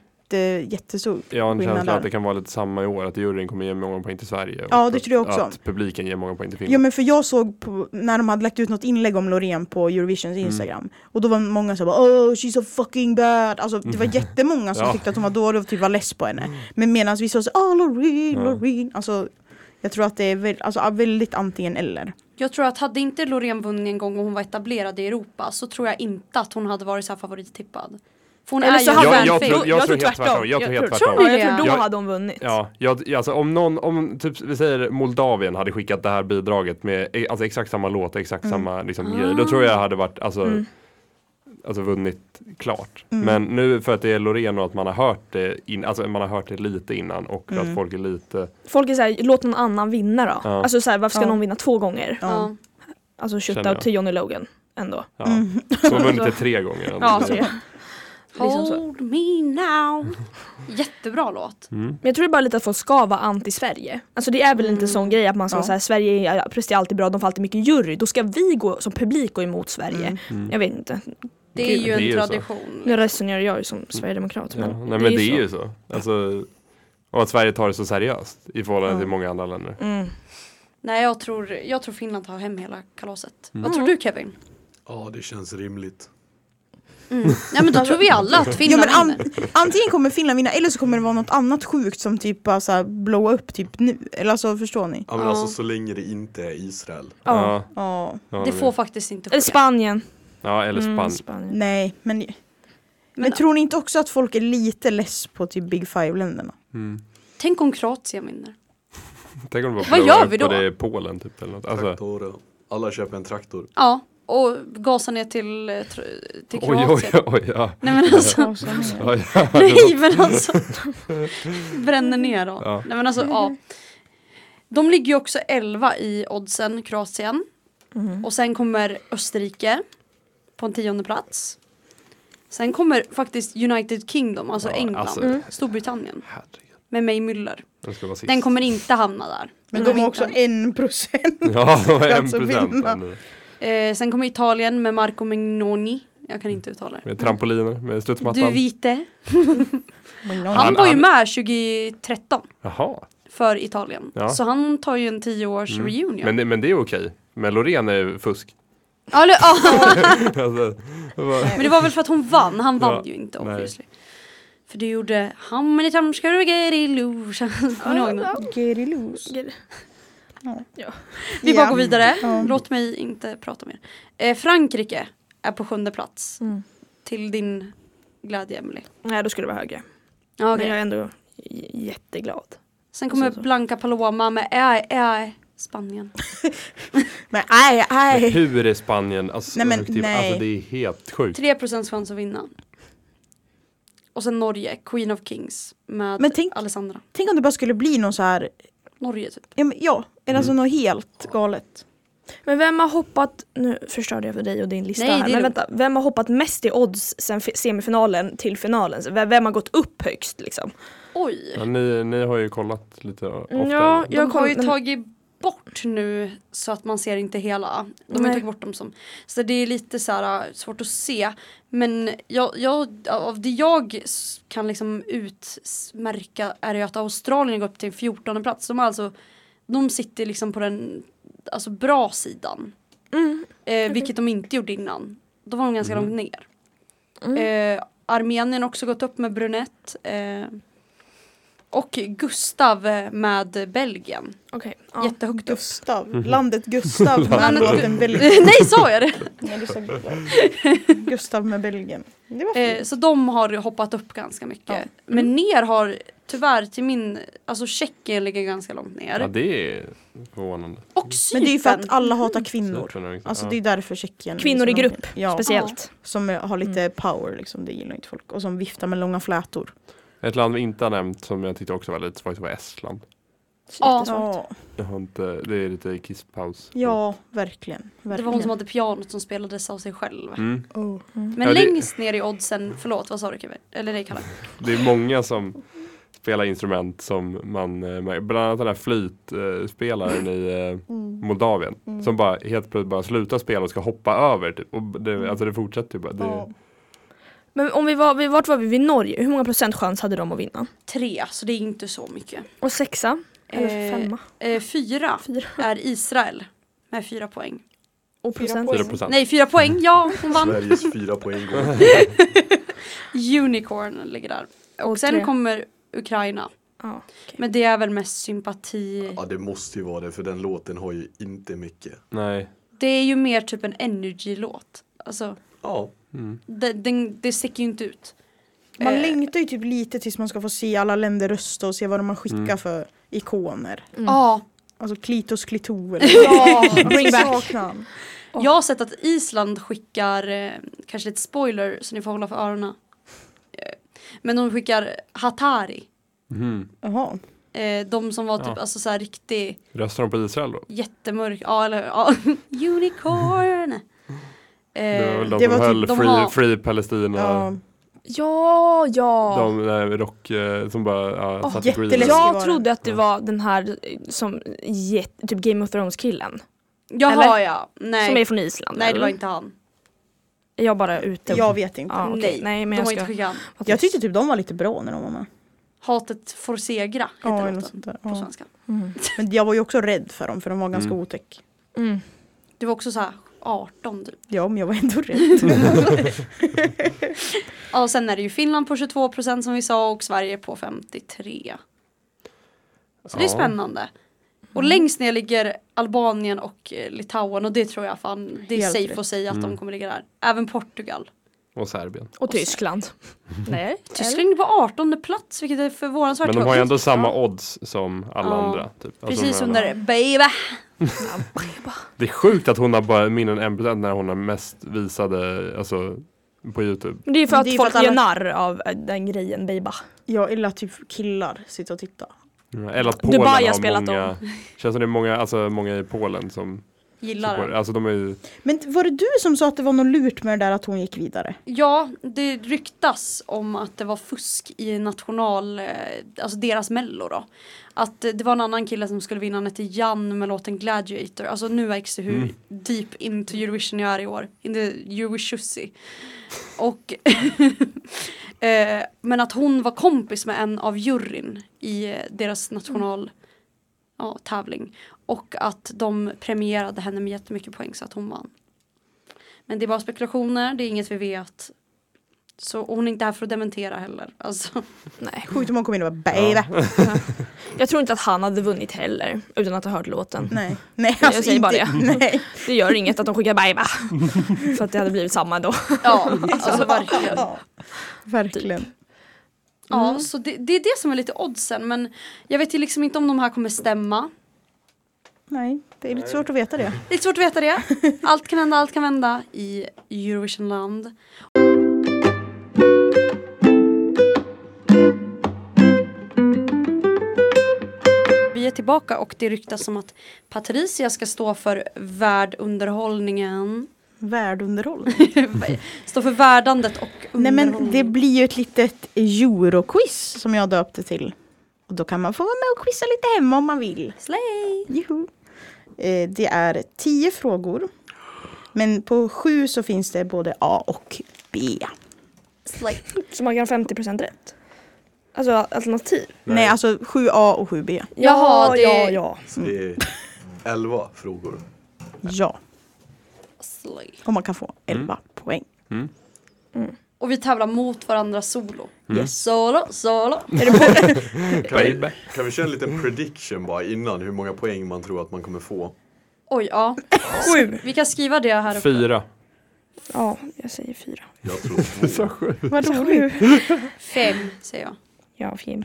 Speaker 3: jättestor
Speaker 5: Jag har en
Speaker 3: skillnad
Speaker 5: känsla att det
Speaker 3: där.
Speaker 5: kan vara lite samma i år, att juryn kommer ge många poäng till Sverige. och
Speaker 3: Ja, det tror jag också.
Speaker 5: Att publiken ger många poäng till
Speaker 3: Ja
Speaker 5: Finland.
Speaker 3: men för jag såg på, när de hade lagt ut något inlägg om Loreen på Eurovisions instagram Och då var många som bara oh she's so fucking bad Alltså det var jättemånga som
Speaker 5: Ja.
Speaker 3: tyckte att hon var dålig och typ var less på henne Men medan vi såg så ah Loreen, Loreen Alltså jag tror att det är väl, alltså, väldigt antingen eller
Speaker 2: Jag tror att hade inte Loreen vunnit en gång och hon var etablerad i Europa så tror jag inte att hon hade varit så här favorittippad. För hon
Speaker 6: Eller
Speaker 2: är
Speaker 6: så
Speaker 2: ju
Speaker 6: hade-
Speaker 2: en
Speaker 5: jag, jag,
Speaker 2: fanfic.
Speaker 5: tror, jag, tror helt
Speaker 6: tvärtom.
Speaker 5: tvärtom. Jag tror helt tvärtom.
Speaker 2: Tror
Speaker 6: Ja,
Speaker 2: ni
Speaker 6: jag tror då
Speaker 5: Jag-
Speaker 6: hade hon vunnit.
Speaker 5: Ja, jag, alltså om någon, om typ, vi säger Moldavien hade skickat det här bidraget med eh, alltså, exakt samma låt, exakt
Speaker 3: Mm.
Speaker 5: samma liksom,
Speaker 3: Ah.
Speaker 5: grej, då tror jag hade varit, alltså,
Speaker 6: Mm.
Speaker 5: alltså vunnit klart.
Speaker 3: Mm.
Speaker 5: Men nu för att det är Loreen och att man har hört det, in, alltså man har hört det lite innan och
Speaker 3: Mm.
Speaker 5: att folk är lite,
Speaker 6: Folk är såhär, låt någon annan vinna då.
Speaker 5: Ja.
Speaker 6: Alltså såhär, varför ska
Speaker 3: Ja.
Speaker 6: någon vinna två gånger?
Speaker 2: Ja.
Speaker 6: Alltså
Speaker 5: Känner jag.
Speaker 6: shootout till Johnny Logan ändå. Alltså,
Speaker 5: ja,
Speaker 3: Mm.
Speaker 5: som har vunnit det tre gånger. ändå.
Speaker 6: Ja, så. Liksom så.
Speaker 2: Hold me now. Jättebra låt.
Speaker 5: Mm.
Speaker 6: Men jag tror det är bara lite att folk ska vara anti-Sverige. Alltså det är väl
Speaker 2: Mm.
Speaker 6: lite sån grej att man ska
Speaker 3: Ja.
Speaker 6: säga Sverige är- presterar alltid bra, de får alltid mycket jury. Då ska vi gå som publik gå emot Sverige.
Speaker 2: Mm.
Speaker 5: Mm.
Speaker 6: Jag vet inte.
Speaker 2: Det är ju
Speaker 5: Det är
Speaker 2: en
Speaker 5: ju så.
Speaker 2: tradition.
Speaker 6: Nu resonerar jag ju som sverigedemokrat.
Speaker 5: Mm. Ja,
Speaker 6: Men
Speaker 5: nej men det är ju så. Alltså, och att Sverige tar det så seriöst i förhållande till många andra länder.
Speaker 6: Mm.
Speaker 2: Nej jag tror, jag tror Finland tar hem hela kalaset.
Speaker 3: Mm.
Speaker 2: Vad tror du Kevin?
Speaker 4: Ja, det känns rimligt.
Speaker 2: Ja men då tror vi alla att
Speaker 3: ja,
Speaker 2: Finland
Speaker 3: men an,
Speaker 2: vinner.
Speaker 3: Antingen kommer Finland vinna eller så kommer det vara något annat sjukt som typ bara såhär blow upp typ nu Eller alltså förstår ni?
Speaker 4: Ja, men
Speaker 2: Ja.
Speaker 4: alltså så länge det inte är Israel.
Speaker 6: Ja.
Speaker 3: Ja,
Speaker 5: ja,
Speaker 2: Det
Speaker 5: men-
Speaker 2: får faktiskt inte
Speaker 6: Eller
Speaker 2: ske.
Speaker 6: Spanien.
Speaker 5: ja eller Spanien.
Speaker 6: Mm, Spanien.
Speaker 3: nej men men, tror ni inte också att folk är lite less på typ big five-länderna?
Speaker 2: Tänk om Kroatien vinner.
Speaker 5: Mm. Tänk om det var
Speaker 2: Vad gör
Speaker 5: blowup
Speaker 2: vi då?
Speaker 5: och Det är Polen typ eller något. Alltså,
Speaker 4: Traktorer. Alla köper en traktor.
Speaker 2: Ja. Och gasa ner till, eh, tr- till
Speaker 5: oj
Speaker 2: Kroatien.
Speaker 5: oj oj ja.
Speaker 2: Nej men alltså.
Speaker 5: ja, ja.
Speaker 2: Nej men alltså Bränner ner dem.
Speaker 5: Ja.
Speaker 2: Nej men alltså ja De ligger ju också 11 i oddsen Kroatien Och sen kommer Österrike På en tionde plats Sen kommer faktiskt United Kingdom, alltså
Speaker 5: Ja,
Speaker 2: England,
Speaker 5: alltså- Mm.
Speaker 2: Storbritannien
Speaker 5: Herregud,
Speaker 2: med May Müller.
Speaker 5: Den ska vara sist.
Speaker 2: Den kommer inte hamna där.
Speaker 3: Men
Speaker 2: Den
Speaker 3: de har också
Speaker 2: kommer inte
Speaker 3: en procent
Speaker 5: Ja, det var en
Speaker 3: Alltså,
Speaker 5: procent.
Speaker 3: vinna.
Speaker 5: ändå.
Speaker 2: hamna. Eh, sen kommer Italien med Marco Mignoni. Jag kan inte uttala det.
Speaker 5: Med trampoliner, med
Speaker 2: Du
Speaker 5: studsmattan.
Speaker 2: vite.
Speaker 5: Mm. Han-
Speaker 2: Han var ju
Speaker 5: han-
Speaker 2: med 2013
Speaker 5: Jaha.
Speaker 2: för Italien.
Speaker 5: Ja. Mm.
Speaker 2: Så han tar ju en 10-års reunion.
Speaker 5: Men, det- men det är okej. Men Loreen är ju fusk.
Speaker 2: Ja, eller, ja.
Speaker 5: Alltså, vad-
Speaker 2: Men det var väl för att hon vann, han vann
Speaker 5: Ja,
Speaker 2: ju inte
Speaker 5: nej.
Speaker 2: obviously. För det gjorde How many times can we get illusion? Kommer ni ihåg den?
Speaker 3: Get it loose.
Speaker 2: Vi bara
Speaker 3: Ja.
Speaker 2: går vidare,
Speaker 3: Ja.
Speaker 2: låt mig inte prata mer. Eh, Frankrike är på sjunde plats.
Speaker 6: Mm.
Speaker 2: Till din glädje Emily.
Speaker 6: Nej, då skulle det vara högre.
Speaker 2: Ja, okej.
Speaker 6: Men jag är ändå j- jätteglad.
Speaker 2: Sen kommer
Speaker 6: Så, så.
Speaker 2: Blanca Paloma med Ä, Ä, Spanien.
Speaker 3: Men nej,
Speaker 5: Men
Speaker 3: nej.
Speaker 5: hur är Spanien? Alltså,
Speaker 3: Nej, men
Speaker 5: objektivt,
Speaker 3: nej.
Speaker 5: alltså det är helt
Speaker 2: Typ.
Speaker 5: sjukt.
Speaker 2: 3% chans att vinna. Och sen Norge, Queen of Kings med
Speaker 3: Men tänk-
Speaker 2: Alessandra.
Speaker 3: Tänk om det bara skulle bli någon så här,
Speaker 2: Norge typ.
Speaker 3: ja, men, ja eller alltså något helt galet.
Speaker 6: Men vem har hoppat, nu förstörde jag för dig och din lista
Speaker 2: Nej, det
Speaker 6: här,
Speaker 2: är
Speaker 6: men
Speaker 2: lugnt.
Speaker 6: vänta, vem har hoppat mest i odds sen fi- semifinalen till finalen? Vem, vem har gått upp högst liksom?
Speaker 2: Oj.
Speaker 5: Ja, ni, ni har ju kollat lite ofta.
Speaker 6: Ja,
Speaker 2: Jag
Speaker 6: jag
Speaker 2: har ju
Speaker 6: koll-
Speaker 2: tagit bort nu så att man ser inte hela. De har ju
Speaker 6: Nej.
Speaker 2: tagit bort dem som. Så det är lite så här äh, svårt att se. Men jag, jag, av det jag s- kan liksom utmärka är ju att Australien går upp till 14 plats. De, har alltså, de sitter liksom på den alltså bra sidan.
Speaker 6: Mm.
Speaker 2: Eh, vilket de inte gjorde innan. Då var de ganska långt ner. Mm. Eh, Armenien har också gått upp med brunett. Eh, Och Gustav eh, med Belgien.
Speaker 6: Okej. ja.
Speaker 2: Jättehögt upp.
Speaker 3: Gustav, Typ landet Gustav med
Speaker 2: Landet-
Speaker 3: låten Belgien.
Speaker 2: Nej, sa jag det?
Speaker 6: Nej, du sa Gustav.
Speaker 3: Gustav med Belgien. Det var
Speaker 2: Eh,
Speaker 3: fint.
Speaker 2: så de har hoppat upp ganska mycket.
Speaker 6: Ja. Mm.
Speaker 2: Men ner har tyvärr till min, alltså Tjeckien ligger ganska långt ner.
Speaker 5: Ja, det är förvånande.
Speaker 2: Och Cypern.
Speaker 3: Men det är ju för att alla hatar kvinnor.
Speaker 5: Cypern är liksom-
Speaker 3: Alltså
Speaker 5: ja.
Speaker 3: det är därför Tjeckien.
Speaker 6: Kvinnor i
Speaker 3: liksom-
Speaker 6: grupp,
Speaker 3: Ja,
Speaker 6: Speciellt.
Speaker 3: som eh, har lite power liksom. Det gillar inte folk. Och som viftar med långa flätor.
Speaker 5: Ett land vi inte har nämnt som jag tyckte också var lite svagt var Estland.
Speaker 2: Ja.
Speaker 6: Jättesvagt.
Speaker 3: Ja,
Speaker 5: Jag har inte, det är lite kisspaus.
Speaker 3: ja verkligen. verkligen.
Speaker 2: det var hon som hade pianot som spelades av sig själv.
Speaker 5: Mm.
Speaker 3: Oh. Mm.
Speaker 2: Men
Speaker 5: Ja, det-
Speaker 2: längst ner i oddsen, förlåt vad sa du Kevin? Eller nej Kalle.
Speaker 5: Det är många som spelar instrument som man, eh, märker. bland annat den här flöjtspelaren i eh,
Speaker 3: mm,
Speaker 5: Moldavien som bara helt plötsligt bara slutar spela och ska hoppa över. Typ. Och det, alltså det fortsätter ju bara. Det,
Speaker 3: Ja.
Speaker 6: Men om vi var, vi- vart var vi? Vid Norge? Hur många procent chans hade de att vinna?
Speaker 2: Tre, så det är inte så mycket.
Speaker 6: Och sexa? Eller
Speaker 2: Eh,
Speaker 6: femma?
Speaker 2: Eh, fyra
Speaker 6: Fyra?
Speaker 2: är Israel med fyra poäng.
Speaker 6: Och
Speaker 3: fyra
Speaker 6: procent?
Speaker 3: poäng.
Speaker 5: 4%.
Speaker 2: Nej, fyra poäng, ja hon vann.
Speaker 4: Sveriges fyra poäng går.
Speaker 2: Unicorn ligger där. Och
Speaker 6: Och
Speaker 2: sen
Speaker 6: tre.
Speaker 2: kommer Ukraina.
Speaker 6: Ja, okej.
Speaker 2: Men det är väl mest sympati.
Speaker 4: Ja det måste ju vara det för den låten har ju inte mycket.
Speaker 5: Nej.
Speaker 2: Det är ju mer typ en energy-låt. Alltså,
Speaker 4: Ja,
Speaker 5: Mm.
Speaker 2: det, den, det sticker ju inte ut.
Speaker 3: Man
Speaker 2: Eh.
Speaker 3: längtar ju typ lite tills man ska få se alla länder rösta och se vad de har skickat för ikoner.
Speaker 6: Mm.
Speaker 2: Ja,
Speaker 3: Alltså klitos klitorer.
Speaker 6: Ja,
Speaker 3: Bring
Speaker 6: bring
Speaker 3: back.
Speaker 6: back.
Speaker 3: Saknar.
Speaker 2: jag har sett att Island skickar, eh, kanske lite spoiler så ni får hålla för öronen. Eh, Men de skickar Hatari.
Speaker 5: Mhm.
Speaker 3: Jaha.
Speaker 2: Eh, de som var typ
Speaker 5: Ja.
Speaker 2: alltså så här riktig
Speaker 5: Röstar de på Israel då?
Speaker 2: jättemörk, ja eller ja, unicorn.
Speaker 5: Det
Speaker 2: Eh,
Speaker 5: var väl de
Speaker 3: det var
Speaker 5: som
Speaker 3: typ-
Speaker 5: höll
Speaker 2: de
Speaker 5: Free,
Speaker 2: har-
Speaker 5: free Palestina.
Speaker 3: Ja.
Speaker 6: Ja, ja.
Speaker 5: De där rock eh, som bara ja,
Speaker 6: Åh,
Speaker 5: satte greenen.
Speaker 3: jätteläskigt.
Speaker 6: jag
Speaker 3: var den.
Speaker 6: trodde att det
Speaker 5: Ja.
Speaker 6: var den här eh, som jätte- typ Game of Thrones killen.
Speaker 2: Eh, Jaha
Speaker 6: Eller?
Speaker 2: ja,
Speaker 6: Som
Speaker 2: nej.
Speaker 6: är från Island.
Speaker 2: Nej det
Speaker 6: eller?
Speaker 2: var inte han.
Speaker 6: Jag bara är ute.
Speaker 3: Jag vet inte.
Speaker 6: Typ. Ja, okej.
Speaker 2: Nej,
Speaker 6: Nej,
Speaker 2: de
Speaker 6: men
Speaker 2: har
Speaker 6: jag
Speaker 2: inte
Speaker 6: ska...
Speaker 2: skickat han.
Speaker 3: Jag tyckte typ de var lite bra när de var med.
Speaker 2: Hatet får segra
Speaker 3: Ja,
Speaker 2: heter
Speaker 3: eller något
Speaker 2: låten
Speaker 3: sånt
Speaker 2: på
Speaker 3: där. Ja.
Speaker 2: svenska.
Speaker 3: Men jag var ju också rädd för dem för de var ganska
Speaker 5: Mm.
Speaker 3: otäck.
Speaker 6: Mm.
Speaker 2: Du var också så här 18 typ.
Speaker 3: Ja men jag var ändå rädd.
Speaker 2: Ja, och sen är det ju Finland på 22 procent som vi sa och Sverige på 53. Så det är
Speaker 5: Ja.
Speaker 2: spännande. Och
Speaker 3: Mm.
Speaker 2: längst ner ligger Albanien och eh, Litauen och det tror jag fan, det är
Speaker 3: Helt
Speaker 2: safe
Speaker 3: rätt.
Speaker 2: att säga att de
Speaker 5: Mm.
Speaker 2: kommer ligga där. Även Portugal.
Speaker 5: Och Serbien.
Speaker 6: Och Tyskland. Nej.
Speaker 2: Tyskland ligger på 18 plats vilket är förvånansvärt
Speaker 5: Men de har ju
Speaker 2: högt.
Speaker 5: ändå samma odds som alla
Speaker 2: Ja.
Speaker 5: andra. Typ. Alltså,
Speaker 2: Precis
Speaker 5: de
Speaker 2: som
Speaker 5: här-
Speaker 2: där baby.
Speaker 5: Det är sjukt att hon har bara mindre än 1% när hon har mest visade alltså, på Youtube.
Speaker 6: Men det är ju för
Speaker 3: Men
Speaker 6: att
Speaker 3: det är ju
Speaker 6: folk
Speaker 3: för att alla-
Speaker 6: gör narr av eh, den grejen, Beiba.
Speaker 3: jag eller att typ killar sitter och tittar.
Speaker 5: Eller att
Speaker 6: Dubai
Speaker 5: Polen
Speaker 6: har
Speaker 5: har
Speaker 6: spelat
Speaker 5: många,
Speaker 6: dem.
Speaker 5: känns som det är många, alltså, många i Polen som
Speaker 2: Gillar den.
Speaker 5: Alltså de är ju,
Speaker 3: Men var det du som sa att det var något lurt med det där att hon gick vidare?
Speaker 2: Ja, det ryktas om att det var fusk i national, eh, alltså deras mello då. Att eh, det var en annan kille som skulle vinna, han hette Jan med låten Gladiator. Alltså nu märks det hur
Speaker 5: Mm.
Speaker 2: deep into Eurovision jag är i år. In the Eurovision. Och eh, men att hon var kompis med en av juryn i eh, deras national ja, tävling. Och att de premierade henne med jättemycket poäng så att hon vann. Men det är bara spekulationer, det är inget vi vet. Så och hon är inte här för att dementera heller. Alltså,
Speaker 6: Nej.
Speaker 3: Sjukt om hon kom in och bara baby.
Speaker 6: Jag tror inte att han hade vunnit heller utan att ha hört låten.
Speaker 3: Nej. Nej
Speaker 6: Jag
Speaker 3: alltså
Speaker 6: säger
Speaker 3: inte.
Speaker 6: bara
Speaker 3: Nej.
Speaker 6: Det gör inget att de skickar Beiba. för att det hade blivit samma då.
Speaker 2: ja, alltså verkligen.
Speaker 3: Ja. Verkligen.
Speaker 2: Ja, så det, det är det som är lite oddsen. Men jag vet ju liksom inte om de här kommer stämma.
Speaker 3: Nej det är lite svårt att veta det.
Speaker 2: Det är svårt att veta det. Allt kan hända, allt kan vända i Eurovisionland. Vi är tillbaka och det ryktas om att Patricia ska stå för värdunderhållningen.
Speaker 3: Världunderhållning.
Speaker 2: Stå för värdandet och
Speaker 3: Nej men det
Speaker 2: underhållningen.
Speaker 3: blir ju ett litet euroquiz som jag döpte till. Och då kan man få vara med och quizza lite hemma om man vill.
Speaker 2: Slay!
Speaker 3: Juhu. Eh, Det är tio frågor. Men på sju så finns det både A och B.
Speaker 2: Slay.
Speaker 6: Så man kan ha 50% rätt. Alltså alternativ.
Speaker 3: Nej, alltså sju A och sju B. Eh,
Speaker 2: Jaha,
Speaker 6: ja,
Speaker 2: det-
Speaker 6: ja.
Speaker 4: så det är elva frågor.
Speaker 3: Ja,
Speaker 2: Slay.
Speaker 3: och man kan få elva poäng.
Speaker 2: Och vi tävlar mot varandra solo.
Speaker 5: Mm.
Speaker 2: Solo, solo.
Speaker 4: Kan vi,
Speaker 5: Baby.
Speaker 4: kan vi köra en liten prediction bara innan hur många poäng man tror att man kommer få?
Speaker 2: Oj, ja.
Speaker 6: Sju!
Speaker 2: Vi kan skriva det här uppe.
Speaker 5: Fyra.
Speaker 6: Ja, jag säger fyra.
Speaker 4: Jag tror två.
Speaker 6: Vad roligt.
Speaker 2: Fem, säger jag.
Speaker 6: Ja, fem.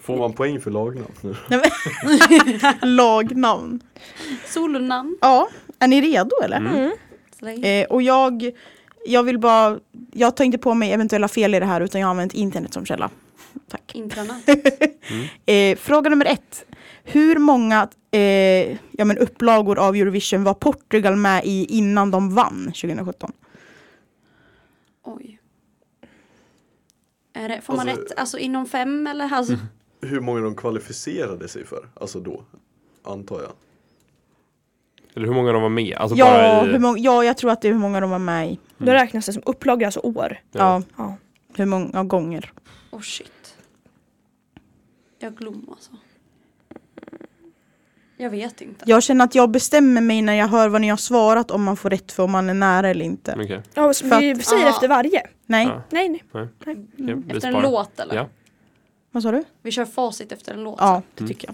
Speaker 4: Får man poäng för lagnamn?
Speaker 3: Lagnamn.
Speaker 2: Solonamn.
Speaker 3: Ja, är ni redo eller? Eh, och jag, jag vill bara, jag tar inte på mig eventuella fel i det här utan jag har använt internet som källa. Tack.
Speaker 2: Intranät.
Speaker 5: Mm.
Speaker 3: Eh, fråga nummer ett. Hur många eh, ja, men upplagor av Eurovision var Portugal med i innan de vann 2017?
Speaker 2: Oj. Är det, får man
Speaker 4: Alltså-
Speaker 2: rätt? Alltså inom fem eller? Alltså,
Speaker 5: Mm.
Speaker 4: Hur många de kvalificerade sig för? Alltså då, antar jag.
Speaker 5: Eller hur många de var med? Alltså
Speaker 3: Ja,
Speaker 5: bara i...
Speaker 3: hur många, ja, jag tror att det är hur många de var med i.
Speaker 6: Då räknas det som upplaga, alltså år.
Speaker 3: Ja,
Speaker 6: Ja.
Speaker 3: hur många gånger.
Speaker 2: oh shit. Jag glömmer alltså. Jag vet inte.
Speaker 3: Jag känner att jag bestämmer mig när jag hör vad ni har svarat om man får rätt för om man är nära eller inte.
Speaker 5: Okej. Okay.
Speaker 6: Ja, så
Speaker 3: För
Speaker 6: vi säger
Speaker 2: Ja.
Speaker 6: efter varje.
Speaker 3: Nej,
Speaker 5: Ja.
Speaker 6: Nej, nej.
Speaker 5: vi
Speaker 2: Efter en
Speaker 5: sparar.
Speaker 2: låt eller?
Speaker 5: Ja.
Speaker 3: vad sa du?
Speaker 2: Vi kör facit efter en låt.
Speaker 5: Mm.
Speaker 3: Ja, det tycker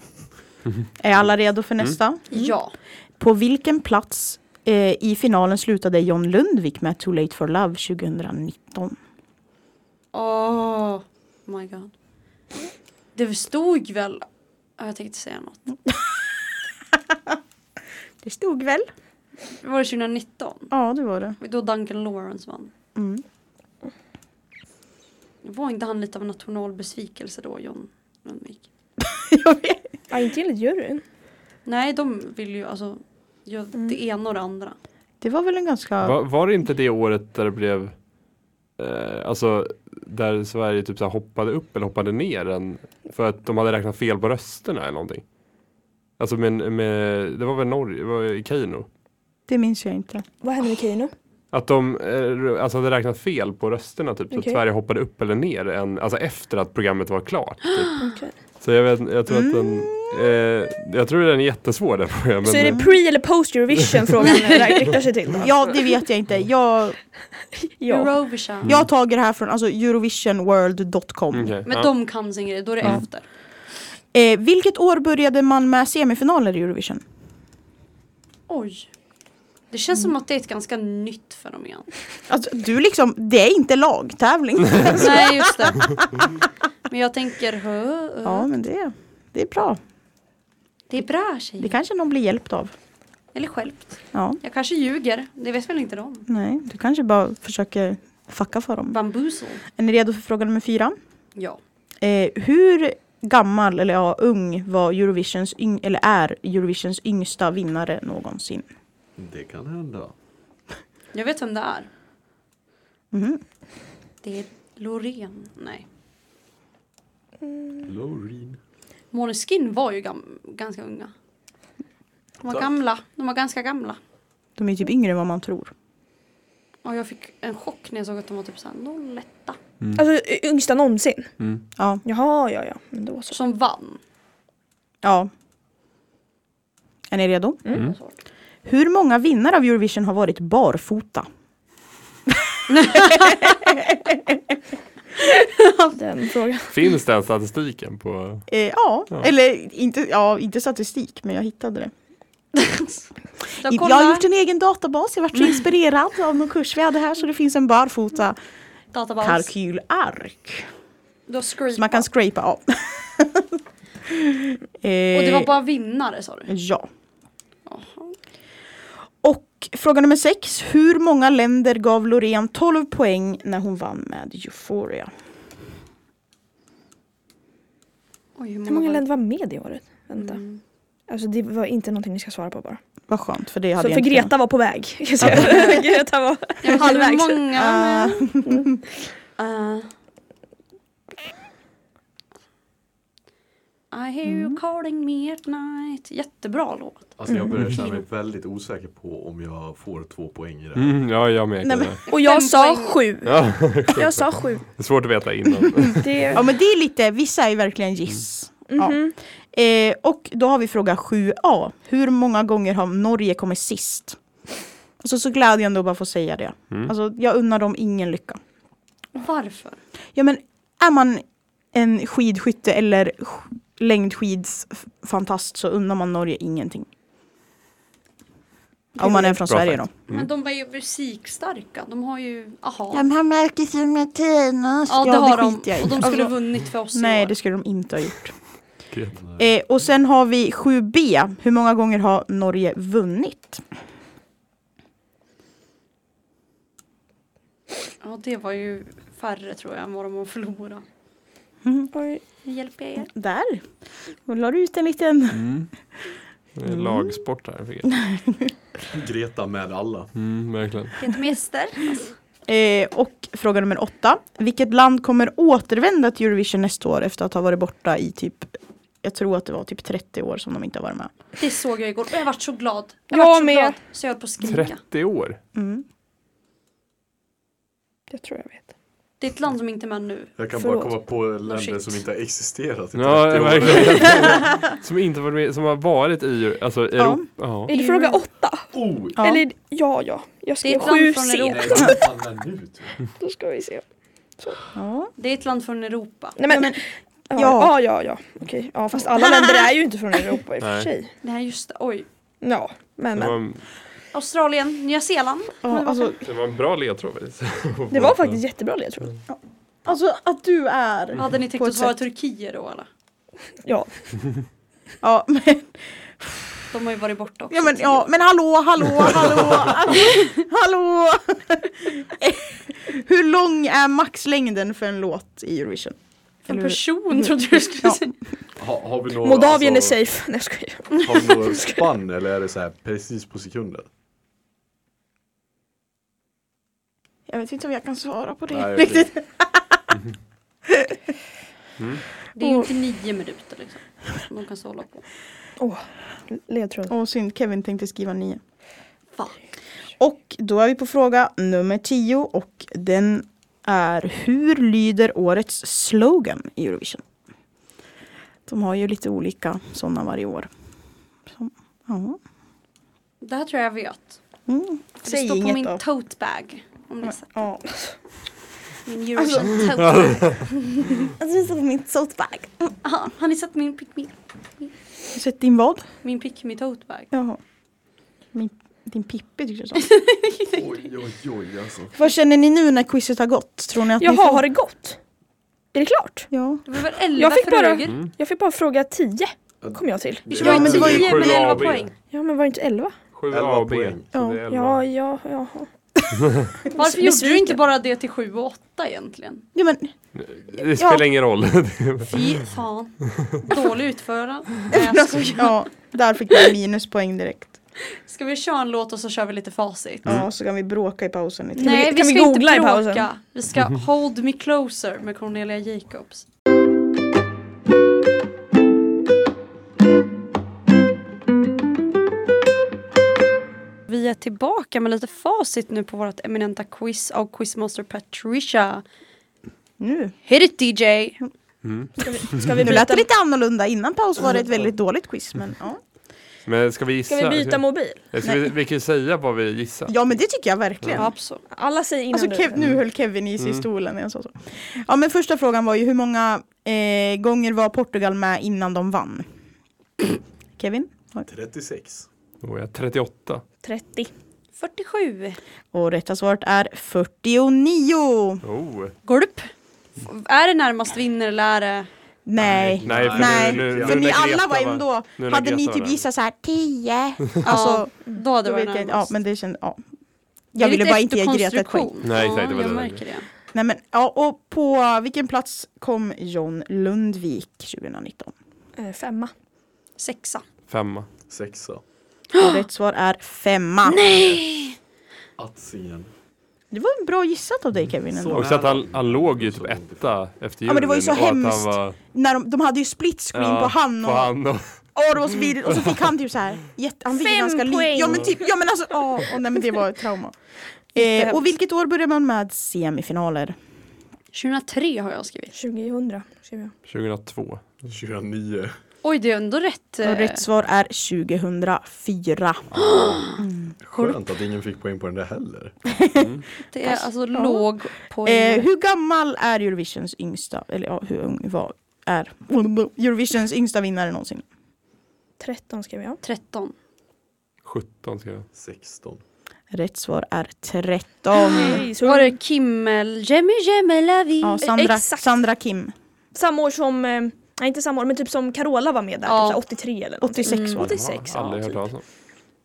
Speaker 3: jag. Är alla redo för nästa?
Speaker 2: Ja.
Speaker 3: På vilken plats eh, i finalen slutade John Lundvik med Too Late For Love 2019?
Speaker 2: Åh, my god. Det stod väl... Ja, Jag tänkte säga något.
Speaker 3: Det stod väl?
Speaker 2: Var det 2019?
Speaker 3: Ja, det var det.
Speaker 2: Då Duncan Lawrence vann.
Speaker 3: Mm.
Speaker 2: Var inte han lite av en national besvikelse då, John Lundvik?
Speaker 3: jag vet.
Speaker 6: Ja, inte enligt juryn.
Speaker 2: Nej, de vill ju alltså göra det ena och det andra.
Speaker 3: Det var väl en ganska...
Speaker 5: Va, var det inte det året där det blev eh, alltså där Sverige typ så här hoppade upp eller hoppade ner en, för att de hade räknat fel på rösterna eller någonting? Alltså men med, det var väl Norge, det var i Keino?
Speaker 3: Det minns jag inte.
Speaker 6: Vad hände med Keino?
Speaker 5: Att de eh, alltså hade räknat fel på rösterna typ så
Speaker 6: Okej.
Speaker 5: att Sverige hoppade upp eller ner en, alltså efter att programmet var klart. Typ.
Speaker 6: Okej.
Speaker 5: Så jag, vet, jag tror att den eh, jag tror den är jättesvår den frågan.
Speaker 6: Så är
Speaker 5: men-
Speaker 6: det pre eller post Eurovision frågan rä- riktar sig till? då?
Speaker 3: Ja, det vet jag inte. Jag,
Speaker 5: Mm.
Speaker 6: ja.
Speaker 2: Eurovision.
Speaker 3: jag har tagit det här från alltså, Eurovisionworld.com.
Speaker 5: Mm, Okej,
Speaker 2: Men
Speaker 5: ja.
Speaker 2: de kan sin grej, då är det efter.
Speaker 3: Eh, vilket år började man med semifinaler i Eurovision?
Speaker 2: Oj. Det känns som att det är ett ganska nytt fenomen.
Speaker 3: Alltså, du liksom, det är inte lagtävling.
Speaker 2: Nej, just det. Men jag tänker, hö, hö.
Speaker 3: ja, men det, det är bra.
Speaker 2: det är bra
Speaker 3: Det
Speaker 2: tjejer.
Speaker 3: kanske någon blir hjälpt av.
Speaker 2: Eller självt.
Speaker 3: Ja,
Speaker 2: Jag kanske ljuger, det vet väl inte de.
Speaker 3: nej, du kanske bara försöker fucka för dem.
Speaker 2: Bambuzel.
Speaker 3: Är ni redo för fråga nummer fyra?
Speaker 2: Ja.
Speaker 3: Eh, hur gammal, eller ja, ung var Eurovisions yng- eller är Eurovisions yngsta vinnare någonsin?
Speaker 4: Det kan hända.
Speaker 2: Jag vet vem det är.
Speaker 3: Mhm.
Speaker 2: Det är Loreen. Nej.
Speaker 4: Loreen.
Speaker 2: Måneskin var ju gam- ganska unga. De var
Speaker 4: Tack.
Speaker 2: gamla. De var ganska gamla.
Speaker 3: De är typ yngre än vad man tror.
Speaker 2: Och jag fick en chock när jag såg att de var typ såhär 01.
Speaker 5: Mm,
Speaker 6: Alltså y- yngsta någonsin?
Speaker 3: Ja,
Speaker 6: Jaha, ja, ja. Men då så.
Speaker 2: Som vann.
Speaker 3: ja. Är ni redo?
Speaker 2: Mm.
Speaker 3: Hur många vinnare av Eurovision har varit barfota?
Speaker 6: Den frågan.
Speaker 5: Finns den statistiken på
Speaker 3: Eh, ja.
Speaker 5: Ja.
Speaker 3: eller inte, ja, inte statistik, men jag hittade det.
Speaker 2: Jag
Speaker 3: Jag,
Speaker 2: kollar
Speaker 3: har gjort en egen databas, jag varit så inspirerad av någon kurs vi hade här så det finns en barfota
Speaker 2: databas.
Speaker 3: kalkylark.
Speaker 2: Då
Speaker 3: Så man
Speaker 2: scrapar.
Speaker 3: kan scrapa av. Eh,
Speaker 2: Och det var bara vinnare sa du?
Speaker 3: Ja.
Speaker 2: Jaha.
Speaker 3: Och fråga nummer sex. Hur många länder gav Loreen 12 poäng när hon vann med Euphoria?
Speaker 2: Oj, hur Mm.
Speaker 6: Hur många länder var med i året? Vänta. Alltså det var inte någonting ni ska svara på bara.
Speaker 3: Vad skönt för det hade
Speaker 6: Så
Speaker 3: jag
Speaker 6: för
Speaker 3: inte
Speaker 6: Greta var på väg. kan jag säga. Greta var
Speaker 2: Jag vet inte hur
Speaker 6: halvvägs.
Speaker 2: många
Speaker 3: kunnat. Eh,
Speaker 2: Uh, I hear
Speaker 3: Mm.
Speaker 2: you calling me at night. Jättebra låt.
Speaker 4: Alltså jag börjar känna mig väldigt osäker på om jag får två poäng i det här.
Speaker 5: Mm, ja, jag med.
Speaker 3: Nej,
Speaker 5: Nej,
Speaker 3: men-
Speaker 6: Och jag
Speaker 2: Fem
Speaker 6: sa
Speaker 2: poäng.
Speaker 6: sju.
Speaker 5: ja,
Speaker 6: Jag sa sju.
Speaker 5: det är svårt att veta innan.
Speaker 6: Det... mhm.
Speaker 3: ja men det är lite, vissa är verkligen giss. Ja. Eh, och då har vi fråga 7a. Hur många gånger har Norge kommit Mm. sist? Alltså så glädjande att bara få säga det. Alltså jag unnar dem ingen lycka.
Speaker 2: Varför?
Speaker 3: Ja men är man en skidskytte eller sk- längdskidsfantast så undrar man Norge ingenting. Om man är från
Speaker 5: Bra
Speaker 3: Sverige
Speaker 5: fact.
Speaker 3: då.
Speaker 2: Men de var ju musikstarka. De har ju, aha.
Speaker 1: De har märkt sina tenor.
Speaker 2: Ja, det
Speaker 3: Ja, det
Speaker 2: har de.
Speaker 3: skiter jag i.
Speaker 2: Och de skulle
Speaker 3: Alltså,
Speaker 2: vunnit för oss i
Speaker 3: Nej
Speaker 2: år.
Speaker 3: det skulle de inte ha gjort.
Speaker 5: Gud.
Speaker 3: Eh, och sen har vi 7B. Hur många gånger har Norge vunnit?
Speaker 2: Ja, det var ju färre tror jag än vad de har förlorat.
Speaker 6: Oj.
Speaker 2: Nu hjälper jag er.
Speaker 3: Där. Och la du ut en liten...
Speaker 5: Mm. Det är Lagsport här. fick jag.
Speaker 6: Mm.
Speaker 4: Greta med alla.
Speaker 5: Mm, verkligen.
Speaker 2: Det är inte mäster.
Speaker 3: Eh, och fråga nummer åtta. Vilket land kommer återvända till Eurovision nästa år efter att ha varit borta i typ jag tror att det var typ 30 år som de inte har varit med.
Speaker 2: Det såg jag igår och jag vart så glad. Jag,
Speaker 6: Jag
Speaker 2: vart så
Speaker 6: med.
Speaker 2: glad så jag höll på att skrika.
Speaker 5: 30 år.
Speaker 3: Mm.
Speaker 6: Jag tror jag vet.
Speaker 2: Det är ett land som inte är med nu.
Speaker 4: Jag kan
Speaker 6: Förlåt.
Speaker 4: bara komma på länder
Speaker 2: shit.
Speaker 4: som inte har existerat i 30
Speaker 5: Ja,
Speaker 4: år.
Speaker 5: verkligen. som inte varit med, som har varit i alltså, Europa. Ja.
Speaker 6: Är det fråga åtta?
Speaker 4: Oh!
Speaker 3: Ja.
Speaker 6: Eller ja, ja. Jag
Speaker 2: Det är
Speaker 6: skrev
Speaker 2: ett land
Speaker 6: sju
Speaker 2: från
Speaker 6: C.
Speaker 2: Europa.
Speaker 4: Nej, vad fan är det nu?
Speaker 6: Då ska vi se.
Speaker 3: Ja.
Speaker 2: Det är ett land från Europa.
Speaker 6: Nej men. Ja, ja, ja. ja. Okej. Ja, fast alla länder är ju inte från Europa i och för
Speaker 5: Nej.
Speaker 6: sig.
Speaker 2: Nej just det, oj.
Speaker 6: Ja, men,
Speaker 5: Det, var
Speaker 6: men.
Speaker 5: en,
Speaker 2: Australien, Nya Zeeland.
Speaker 3: Ja, alltså,
Speaker 5: det var en bra ledtråd. faktiskt.
Speaker 6: Det var faktiskt jättebra ledtråd.
Speaker 3: alltså att du är...
Speaker 2: Hade ni tänkt
Speaker 3: På ett
Speaker 2: att svara
Speaker 3: sätt.
Speaker 2: Turkiet då eller?
Speaker 6: Ja.
Speaker 3: Ja men,
Speaker 2: De har ju varit borta också.
Speaker 3: ja, men, ja, men hallå, hallå, hallå, alltså, hallå! Hur lång är maxlängden för en låt i Eurovision?
Speaker 2: För en
Speaker 3: eller-
Speaker 2: person trodde jag du skulle
Speaker 3: Ja.
Speaker 2: säga.
Speaker 4: Ha, har vi några,
Speaker 6: Moldavien är
Speaker 4: alltså,
Speaker 6: safe. Nej jag skojar.
Speaker 4: Har vi några spann eller är det så här precis på sekunden?
Speaker 3: Jag vet inte om jag kan svara på det.
Speaker 4: Nej, okej.
Speaker 3: Riktigt.
Speaker 2: Det är ju inte nio minuter liksom. Som de kan så hålla på.
Speaker 6: Åh, ledtråd.
Speaker 3: Åh synd, Kevin tänkte skriva nio.
Speaker 2: Fan.
Speaker 3: Och då är vi på fråga nummer tio och den är Hur lyder årets slogan i Eurovision? De har ju lite olika sådana varje år. Så, ja.
Speaker 2: Det här tror jag jag vet.
Speaker 3: mm.
Speaker 2: Det
Speaker 3: Säg
Speaker 2: står på
Speaker 3: inget
Speaker 2: min
Speaker 3: då.
Speaker 2: tote bag. Om ni ser.
Speaker 6: Ja.
Speaker 2: Min Eurovision tote bag.
Speaker 6: Alltså visa på min saltbag.
Speaker 2: Aha, har ni sett min pick me?
Speaker 3: Sätt din vad?
Speaker 2: Min pick me tote bag.
Speaker 3: Jaha. Min, din Pippi tyckte jag sa.
Speaker 4: Oj, oj, oj alltså.
Speaker 3: Vad känner ni nu när quizet har gått? Tror ni att ni
Speaker 6: Jaha,
Speaker 3: får...
Speaker 6: har det gått? Är det klart?
Speaker 3: Ja.
Speaker 2: Det var väl elva
Speaker 6: Jag fick bara-
Speaker 2: frågor?
Speaker 6: Jag fick bara fråga 10. Kom jag till.
Speaker 2: Vi
Speaker 4: Ja,
Speaker 2: var ju
Speaker 3: men det var ju
Speaker 2: tio
Speaker 5: Mm. sju
Speaker 2: men elva
Speaker 5: AB.
Speaker 2: poäng.
Speaker 6: Ja men var det inte 11?
Speaker 5: 7
Speaker 4: Elva
Speaker 5: AB.
Speaker 4: poäng.
Speaker 5: så det är elva.
Speaker 6: Ja, ja, ja.
Speaker 2: Varför gjorde du
Speaker 6: Besviken.
Speaker 2: inte bara det till sju och åtta egentligen?
Speaker 3: ja men,
Speaker 5: Det spelar ingen roll.
Speaker 2: Fy fan. Dålig utförare. Nej, jag skojar.
Speaker 3: ja, där fick jag minuspoäng direkt.
Speaker 2: Ska vi köra en låt och så kör vi lite facit?
Speaker 3: Ja, så kan vi bråka i pausen lite.
Speaker 2: Nej,
Speaker 6: Kan
Speaker 2: vi ska
Speaker 6: vi
Speaker 2: inte
Speaker 6: googla i
Speaker 2: bråka.
Speaker 6: pausen?
Speaker 2: Vi ska Hold Me Closer med Cornelia Jacobs. Vi är tillbaka med lite facit nu på vårt eminenta quiz av Quizmaster Patricia.
Speaker 3: Nu.
Speaker 2: Hit it DJ!
Speaker 5: Mm.
Speaker 6: Ska vi
Speaker 3: Nu lät det
Speaker 6: byta,
Speaker 3: lite annorlunda. Innan paus var det ett väldigt dåligt quiz. Men, ja.
Speaker 5: Men ska vi gissa?
Speaker 6: ska vi byta mobil?
Speaker 5: ska vi, vi kan ju säga vad vi gissar.
Speaker 3: ja men det tycker jag verkligen.
Speaker 2: Ja, absolut.
Speaker 6: Alla säger innan
Speaker 3: Alltså
Speaker 6: du.
Speaker 3: Kev, nu höll Kevin i sig i stolen när jag sa så. Ja men första frågan var ju hur många eh, gånger var Portugal med innan de vann? Kevin?
Speaker 4: 36.
Speaker 5: Då är jag 38.
Speaker 6: 30.
Speaker 2: 47.
Speaker 3: Och rätta svaret är 49!
Speaker 5: Oh.
Speaker 2: Gulp. Är det närmast vinner eller är det...
Speaker 3: Nej.
Speaker 5: Nej, för
Speaker 3: Nej.
Speaker 5: nu, nu, nu,
Speaker 3: För
Speaker 5: när
Speaker 3: ni alla
Speaker 5: Greta
Speaker 3: var ändå,
Speaker 5: nu när
Speaker 3: hade ni
Speaker 5: Greta
Speaker 3: typ
Speaker 5: var
Speaker 3: gissat så här 10?
Speaker 2: Då
Speaker 3: Alltså,
Speaker 2: hade
Speaker 3: då
Speaker 2: det varit
Speaker 3: vet jag
Speaker 2: närmast.
Speaker 3: inte. Ja men det kändes, ja.
Speaker 2: Det är
Speaker 3: Jag ville
Speaker 2: lite
Speaker 3: bara inte ge Greta ett poäng.
Speaker 2: efterkonstruktion.
Speaker 5: Nej,
Speaker 2: ja,
Speaker 5: exakt, det var
Speaker 2: jag
Speaker 5: det.
Speaker 2: märker det.
Speaker 3: Nej men ja, och på vilken plats kom John Lundvik 2019?
Speaker 6: Eh, femma.
Speaker 2: Sexa.
Speaker 5: Femma.
Speaker 4: Sexa.
Speaker 3: Och rätt svar är femma.
Speaker 4: Attingen.
Speaker 3: Det var en bra gissat av
Speaker 5: Mm,
Speaker 3: dig Kevin ändå.
Speaker 4: Så.
Speaker 5: Också att han, han låg ju typ etta efter julen.
Speaker 3: Ja, men det var ju så
Speaker 5: och att han
Speaker 3: hemskt.
Speaker 5: var-
Speaker 3: När de, de hade ju split screen
Speaker 5: ja,
Speaker 3: på han och,
Speaker 5: på han och
Speaker 3: Åh, det var så vidrigt. och så fick han typ så här jätte, han fick
Speaker 6: Fem
Speaker 3: ganska lite-
Speaker 6: poäng.
Speaker 3: Ja men typ, ja men alltså åh, åh, nej men det var ett trauma. Eh,
Speaker 2: Jättehemskt.
Speaker 3: och vilket år började man med semifinaler?
Speaker 2: 2003 har jag skrivit.
Speaker 6: 2000 skrev jag.
Speaker 5: 2002.
Speaker 4: 29.
Speaker 2: Oj, det är ändå rätt. eh,
Speaker 3: Och rätt svar är 2004.
Speaker 2: Mm.
Speaker 4: Skönt att ingen fick poäng på den där heller.
Speaker 2: Det är alltså låg poäng.
Speaker 3: Eh, hur gammal är Eurovisions yngsta, eller ja, hur ung var, är Eurovisions yngsta vinnare någonsin?
Speaker 6: 13 skrev jag.
Speaker 2: 13.
Speaker 5: 17 skrev jag.
Speaker 4: 16.
Speaker 3: Rätt svar är 13.
Speaker 6: Så-
Speaker 2: Var det Kimmel? Jemmy Jemmy Lavi?
Speaker 3: Ja, Sandra,
Speaker 6: Exakt.
Speaker 3: Sandra Kim,
Speaker 6: Samma år som, eh, nej inte samma år, men typ som Carola var med där,
Speaker 2: Ja.
Speaker 6: typ så här 83 eller någonting.
Speaker 3: 86
Speaker 2: Mm.
Speaker 3: var det.
Speaker 6: 86,
Speaker 5: Jaha, Aldrig
Speaker 6: ja,
Speaker 5: hört
Speaker 3: typ.
Speaker 5: talas om.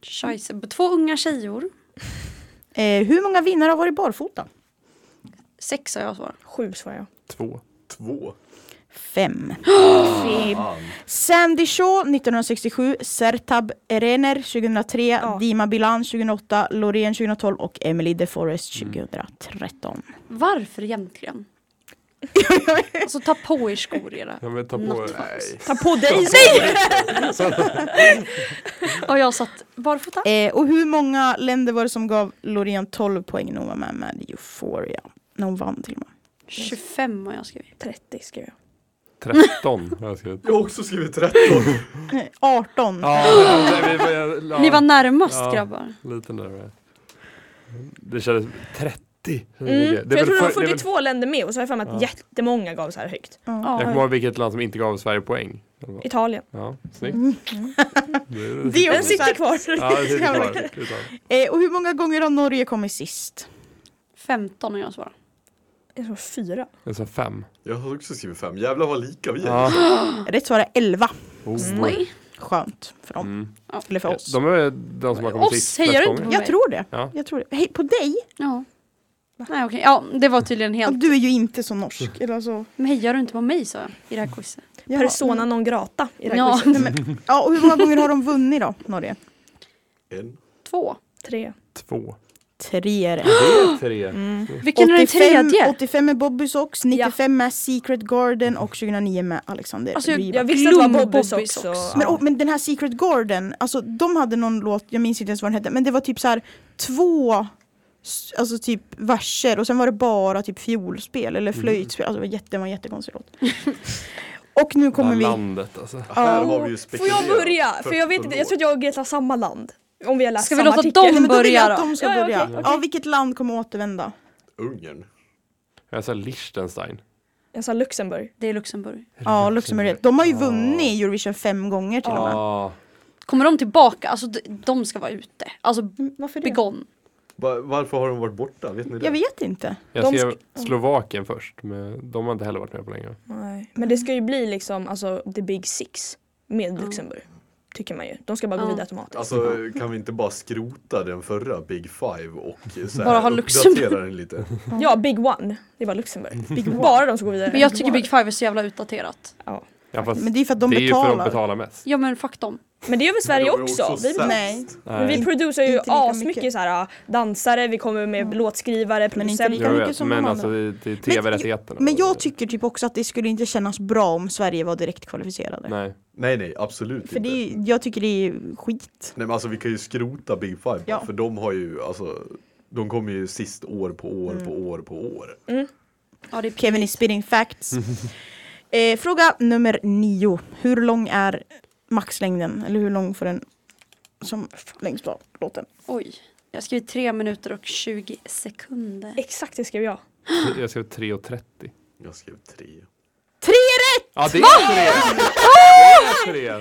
Speaker 2: Scheisse. Två unga tjejor.
Speaker 3: Eh, hur många vinnare har varit barfota?
Speaker 2: Sex har jag svarat.
Speaker 6: Typ Sju svarar jag.
Speaker 5: Två.
Speaker 4: Två.
Speaker 3: Fem.
Speaker 4: Fan.
Speaker 3: Sandy Shaw 1967, Sertab Erener 2003, Dima Bilan 2008, Loreen 2012 och Emily de Forest 2013.
Speaker 2: Varför egentligen? alltså ta på er skor era.
Speaker 5: Ja men ta på
Speaker 2: Något
Speaker 5: Nej.
Speaker 6: Ta på dig!
Speaker 2: Och jag satt barfota.
Speaker 3: Eh, och hur många länder var det som gav Loreen 12 poäng när hon var med med Euphoria? När hon vann till och med.
Speaker 2: 25 har jag skrivit.
Speaker 6: 30 skrev jag.
Speaker 5: 13 har jag skrivit.
Speaker 4: Jag har också skrivit 13.
Speaker 3: Nej, 18.
Speaker 5: Ja, nej, vi var- ja,
Speaker 2: Ni var närmast
Speaker 5: Ja.
Speaker 2: grabbar.
Speaker 5: Lite närmare. Det kändes 30.
Speaker 6: Mm,
Speaker 5: Det är
Speaker 6: för jag
Speaker 5: väl
Speaker 6: tror det var
Speaker 5: för- det är väl-
Speaker 6: 42 länder med och så har jag för mig att jättemånga gav så här högt.
Speaker 5: Jag kommer ihåg vilket land som inte gav Sverige poäng.
Speaker 6: Italien.
Speaker 5: Ja, snyggt. Det är-
Speaker 3: Mm. Det är
Speaker 6: Den
Speaker 3: också så här-
Speaker 6: sitter kvar.
Speaker 5: Ja, det sitter kvar. Det sitter kvar.
Speaker 3: eh, och hur många gånger har Norge kommit sist?
Speaker 2: 15 har jag svarat.
Speaker 6: Jag tror fyra.
Speaker 5: Jag sa fem.
Speaker 4: Jag har också skrivit fem. Jävlar vad lika vi är.
Speaker 5: Ja.
Speaker 3: Rätt svar är 11.
Speaker 5: Oh.
Speaker 2: Oj.
Speaker 3: Skönt för dem.
Speaker 5: Mm.
Speaker 3: Eller för oss.
Speaker 5: De är de som har kommit
Speaker 2: Oss
Speaker 5: sist
Speaker 2: säger
Speaker 5: flest
Speaker 2: du inte
Speaker 5: gånger.
Speaker 2: på.
Speaker 3: Jag tror det.
Speaker 5: Ja.
Speaker 3: Jag tror det. Hej, på dig?
Speaker 2: Ja. Nej okej, ja det var tydligen
Speaker 3: Ja,
Speaker 2: helt.
Speaker 3: Du är ju inte så
Speaker 5: Mm.
Speaker 3: norsk. Eller så.
Speaker 2: Men hejar du inte på mig sa jag i det här quizet.
Speaker 3: Ja. Mm.
Speaker 6: Persona non grata i det här
Speaker 2: Ja.
Speaker 6: quizet.
Speaker 3: Ja, och hur många gånger har de vunnit då, Norge?
Speaker 4: En.
Speaker 2: Två.
Speaker 6: Tre.
Speaker 5: Två.
Speaker 3: Tre är det.
Speaker 5: Det är tre.
Speaker 2: Vilken är den tredje?
Speaker 3: 85 Ah, med Bobby Socks, 95 med Secret Garden och 2009 med Alexander
Speaker 2: Alltså, jag-
Speaker 3: Rybak.
Speaker 6: Jag visste att det var
Speaker 2: Glöm
Speaker 6: Bobbys
Speaker 2: Bobbys
Speaker 6: också.
Speaker 2: också.
Speaker 3: Men, och, men den här Secret Garden, alltså de hade någon låt, jag minns inte ens vad den hette, men det var typ så här två s- Alltså typ verser och sen var det bara typ fiolspel eller
Speaker 5: Mm.
Speaker 3: flöjtspel, alltså det var jätte, det var en jättekonstig låt. och nu kommer
Speaker 5: Bara
Speaker 3: vi...
Speaker 5: landet alltså.
Speaker 4: Här har vi ju
Speaker 6: Får
Speaker 4: spekulerat.
Speaker 6: jag börja? För jag vet inte, jag tror att jag och Greta har samma land. Om vi har läst
Speaker 2: Ska vi
Speaker 6: samma
Speaker 2: låta
Speaker 6: artikel.
Speaker 2: dem-
Speaker 3: Nej, men då vill jag
Speaker 2: börja
Speaker 3: att
Speaker 2: då.
Speaker 3: de ska
Speaker 6: Ja, ja,
Speaker 3: börja.
Speaker 6: okej,
Speaker 3: Ja, vilket land kommer återvända?
Speaker 4: Ungern.
Speaker 5: Jag sa Liechtenstein.
Speaker 6: Jag sa Luxemburg.
Speaker 2: Det är Luxemburg.
Speaker 3: Ja, Luxemburg. är rätt. De har ju vunnit Eurovision fem gånger till och med.
Speaker 5: Ja.
Speaker 2: Kommer de tillbaka? Alltså de, de ska vara ute. Alltså
Speaker 3: Mm, Varför
Speaker 2: begånn.
Speaker 4: Va- Varför har de varit borta? Vet ni det?
Speaker 3: Jag vet inte.
Speaker 5: Jag
Speaker 6: De
Speaker 5: skrev Slovakien först, men de har inte heller varit med på länge.
Speaker 6: Nej. Men det ska ju bli liksom alltså the big six med Luxemburg. Tycker man ju. De ska bara gå
Speaker 2: Ja.
Speaker 6: vidare automatiskt.
Speaker 4: Alltså kan vi inte bara skrota den förra Big Five och så här,
Speaker 2: Bara ha
Speaker 4: uppdatera
Speaker 2: Luxemburg.
Speaker 4: den lite?
Speaker 6: Ja, Big One. Det var Luxemburg. Bara de som går vidare.
Speaker 2: Men jag tycker Big Five är så jävla utdaterat.
Speaker 6: Ja.
Speaker 5: Ja, fast
Speaker 3: Men det är för att de
Speaker 5: det är ju för
Speaker 3: betalar.
Speaker 5: de betalar mest.
Speaker 2: Ja men fuck dem.
Speaker 6: Men det gör väl Sverige
Speaker 4: De är
Speaker 6: också?
Speaker 4: också
Speaker 6: Vi,
Speaker 4: sämst.
Speaker 3: Nej.
Speaker 6: men vi
Speaker 5: Nej.
Speaker 6: producerar ju
Speaker 3: Inte lika
Speaker 6: asmycket
Speaker 3: mycket.
Speaker 6: så här, ah, dansare, vi kommer med
Speaker 2: Mm.
Speaker 6: låtskrivare,
Speaker 3: inte lika-
Speaker 6: producenter.
Speaker 5: Jag
Speaker 3: mycket
Speaker 5: vet,
Speaker 3: som
Speaker 5: men
Speaker 3: de
Speaker 5: alltså
Speaker 3: andra.
Speaker 5: det, det är tv-rättigheterna.
Speaker 3: Men jag tycker typ också att det skulle inte kännas bra om Sverige var direkt kvalificerade.
Speaker 5: Nej.
Speaker 4: Nej nej, absolut
Speaker 3: För
Speaker 4: inte.
Speaker 3: det är, ju- jag tycker det är skit.
Speaker 4: Nej men alltså vi kan ju skrota Big Five bara,
Speaker 3: Ja.
Speaker 4: för de har ju alltså de kommer ju sist år på år på år på år.
Speaker 2: Ja, det är
Speaker 3: Kevin is spitting facts. eh, fråga nummer nio. Hur lång är maxlängden? Eller hur lång får den som längst var låten?
Speaker 2: Oj. Jag har skrivit 3 minuter och 20 sekunder.
Speaker 6: Exakt det skrev jag.
Speaker 5: Jag skrev 3.30.
Speaker 4: Jag skrev tre.
Speaker 3: Tre rätt!
Speaker 5: Ja, det är tre! Det är tre!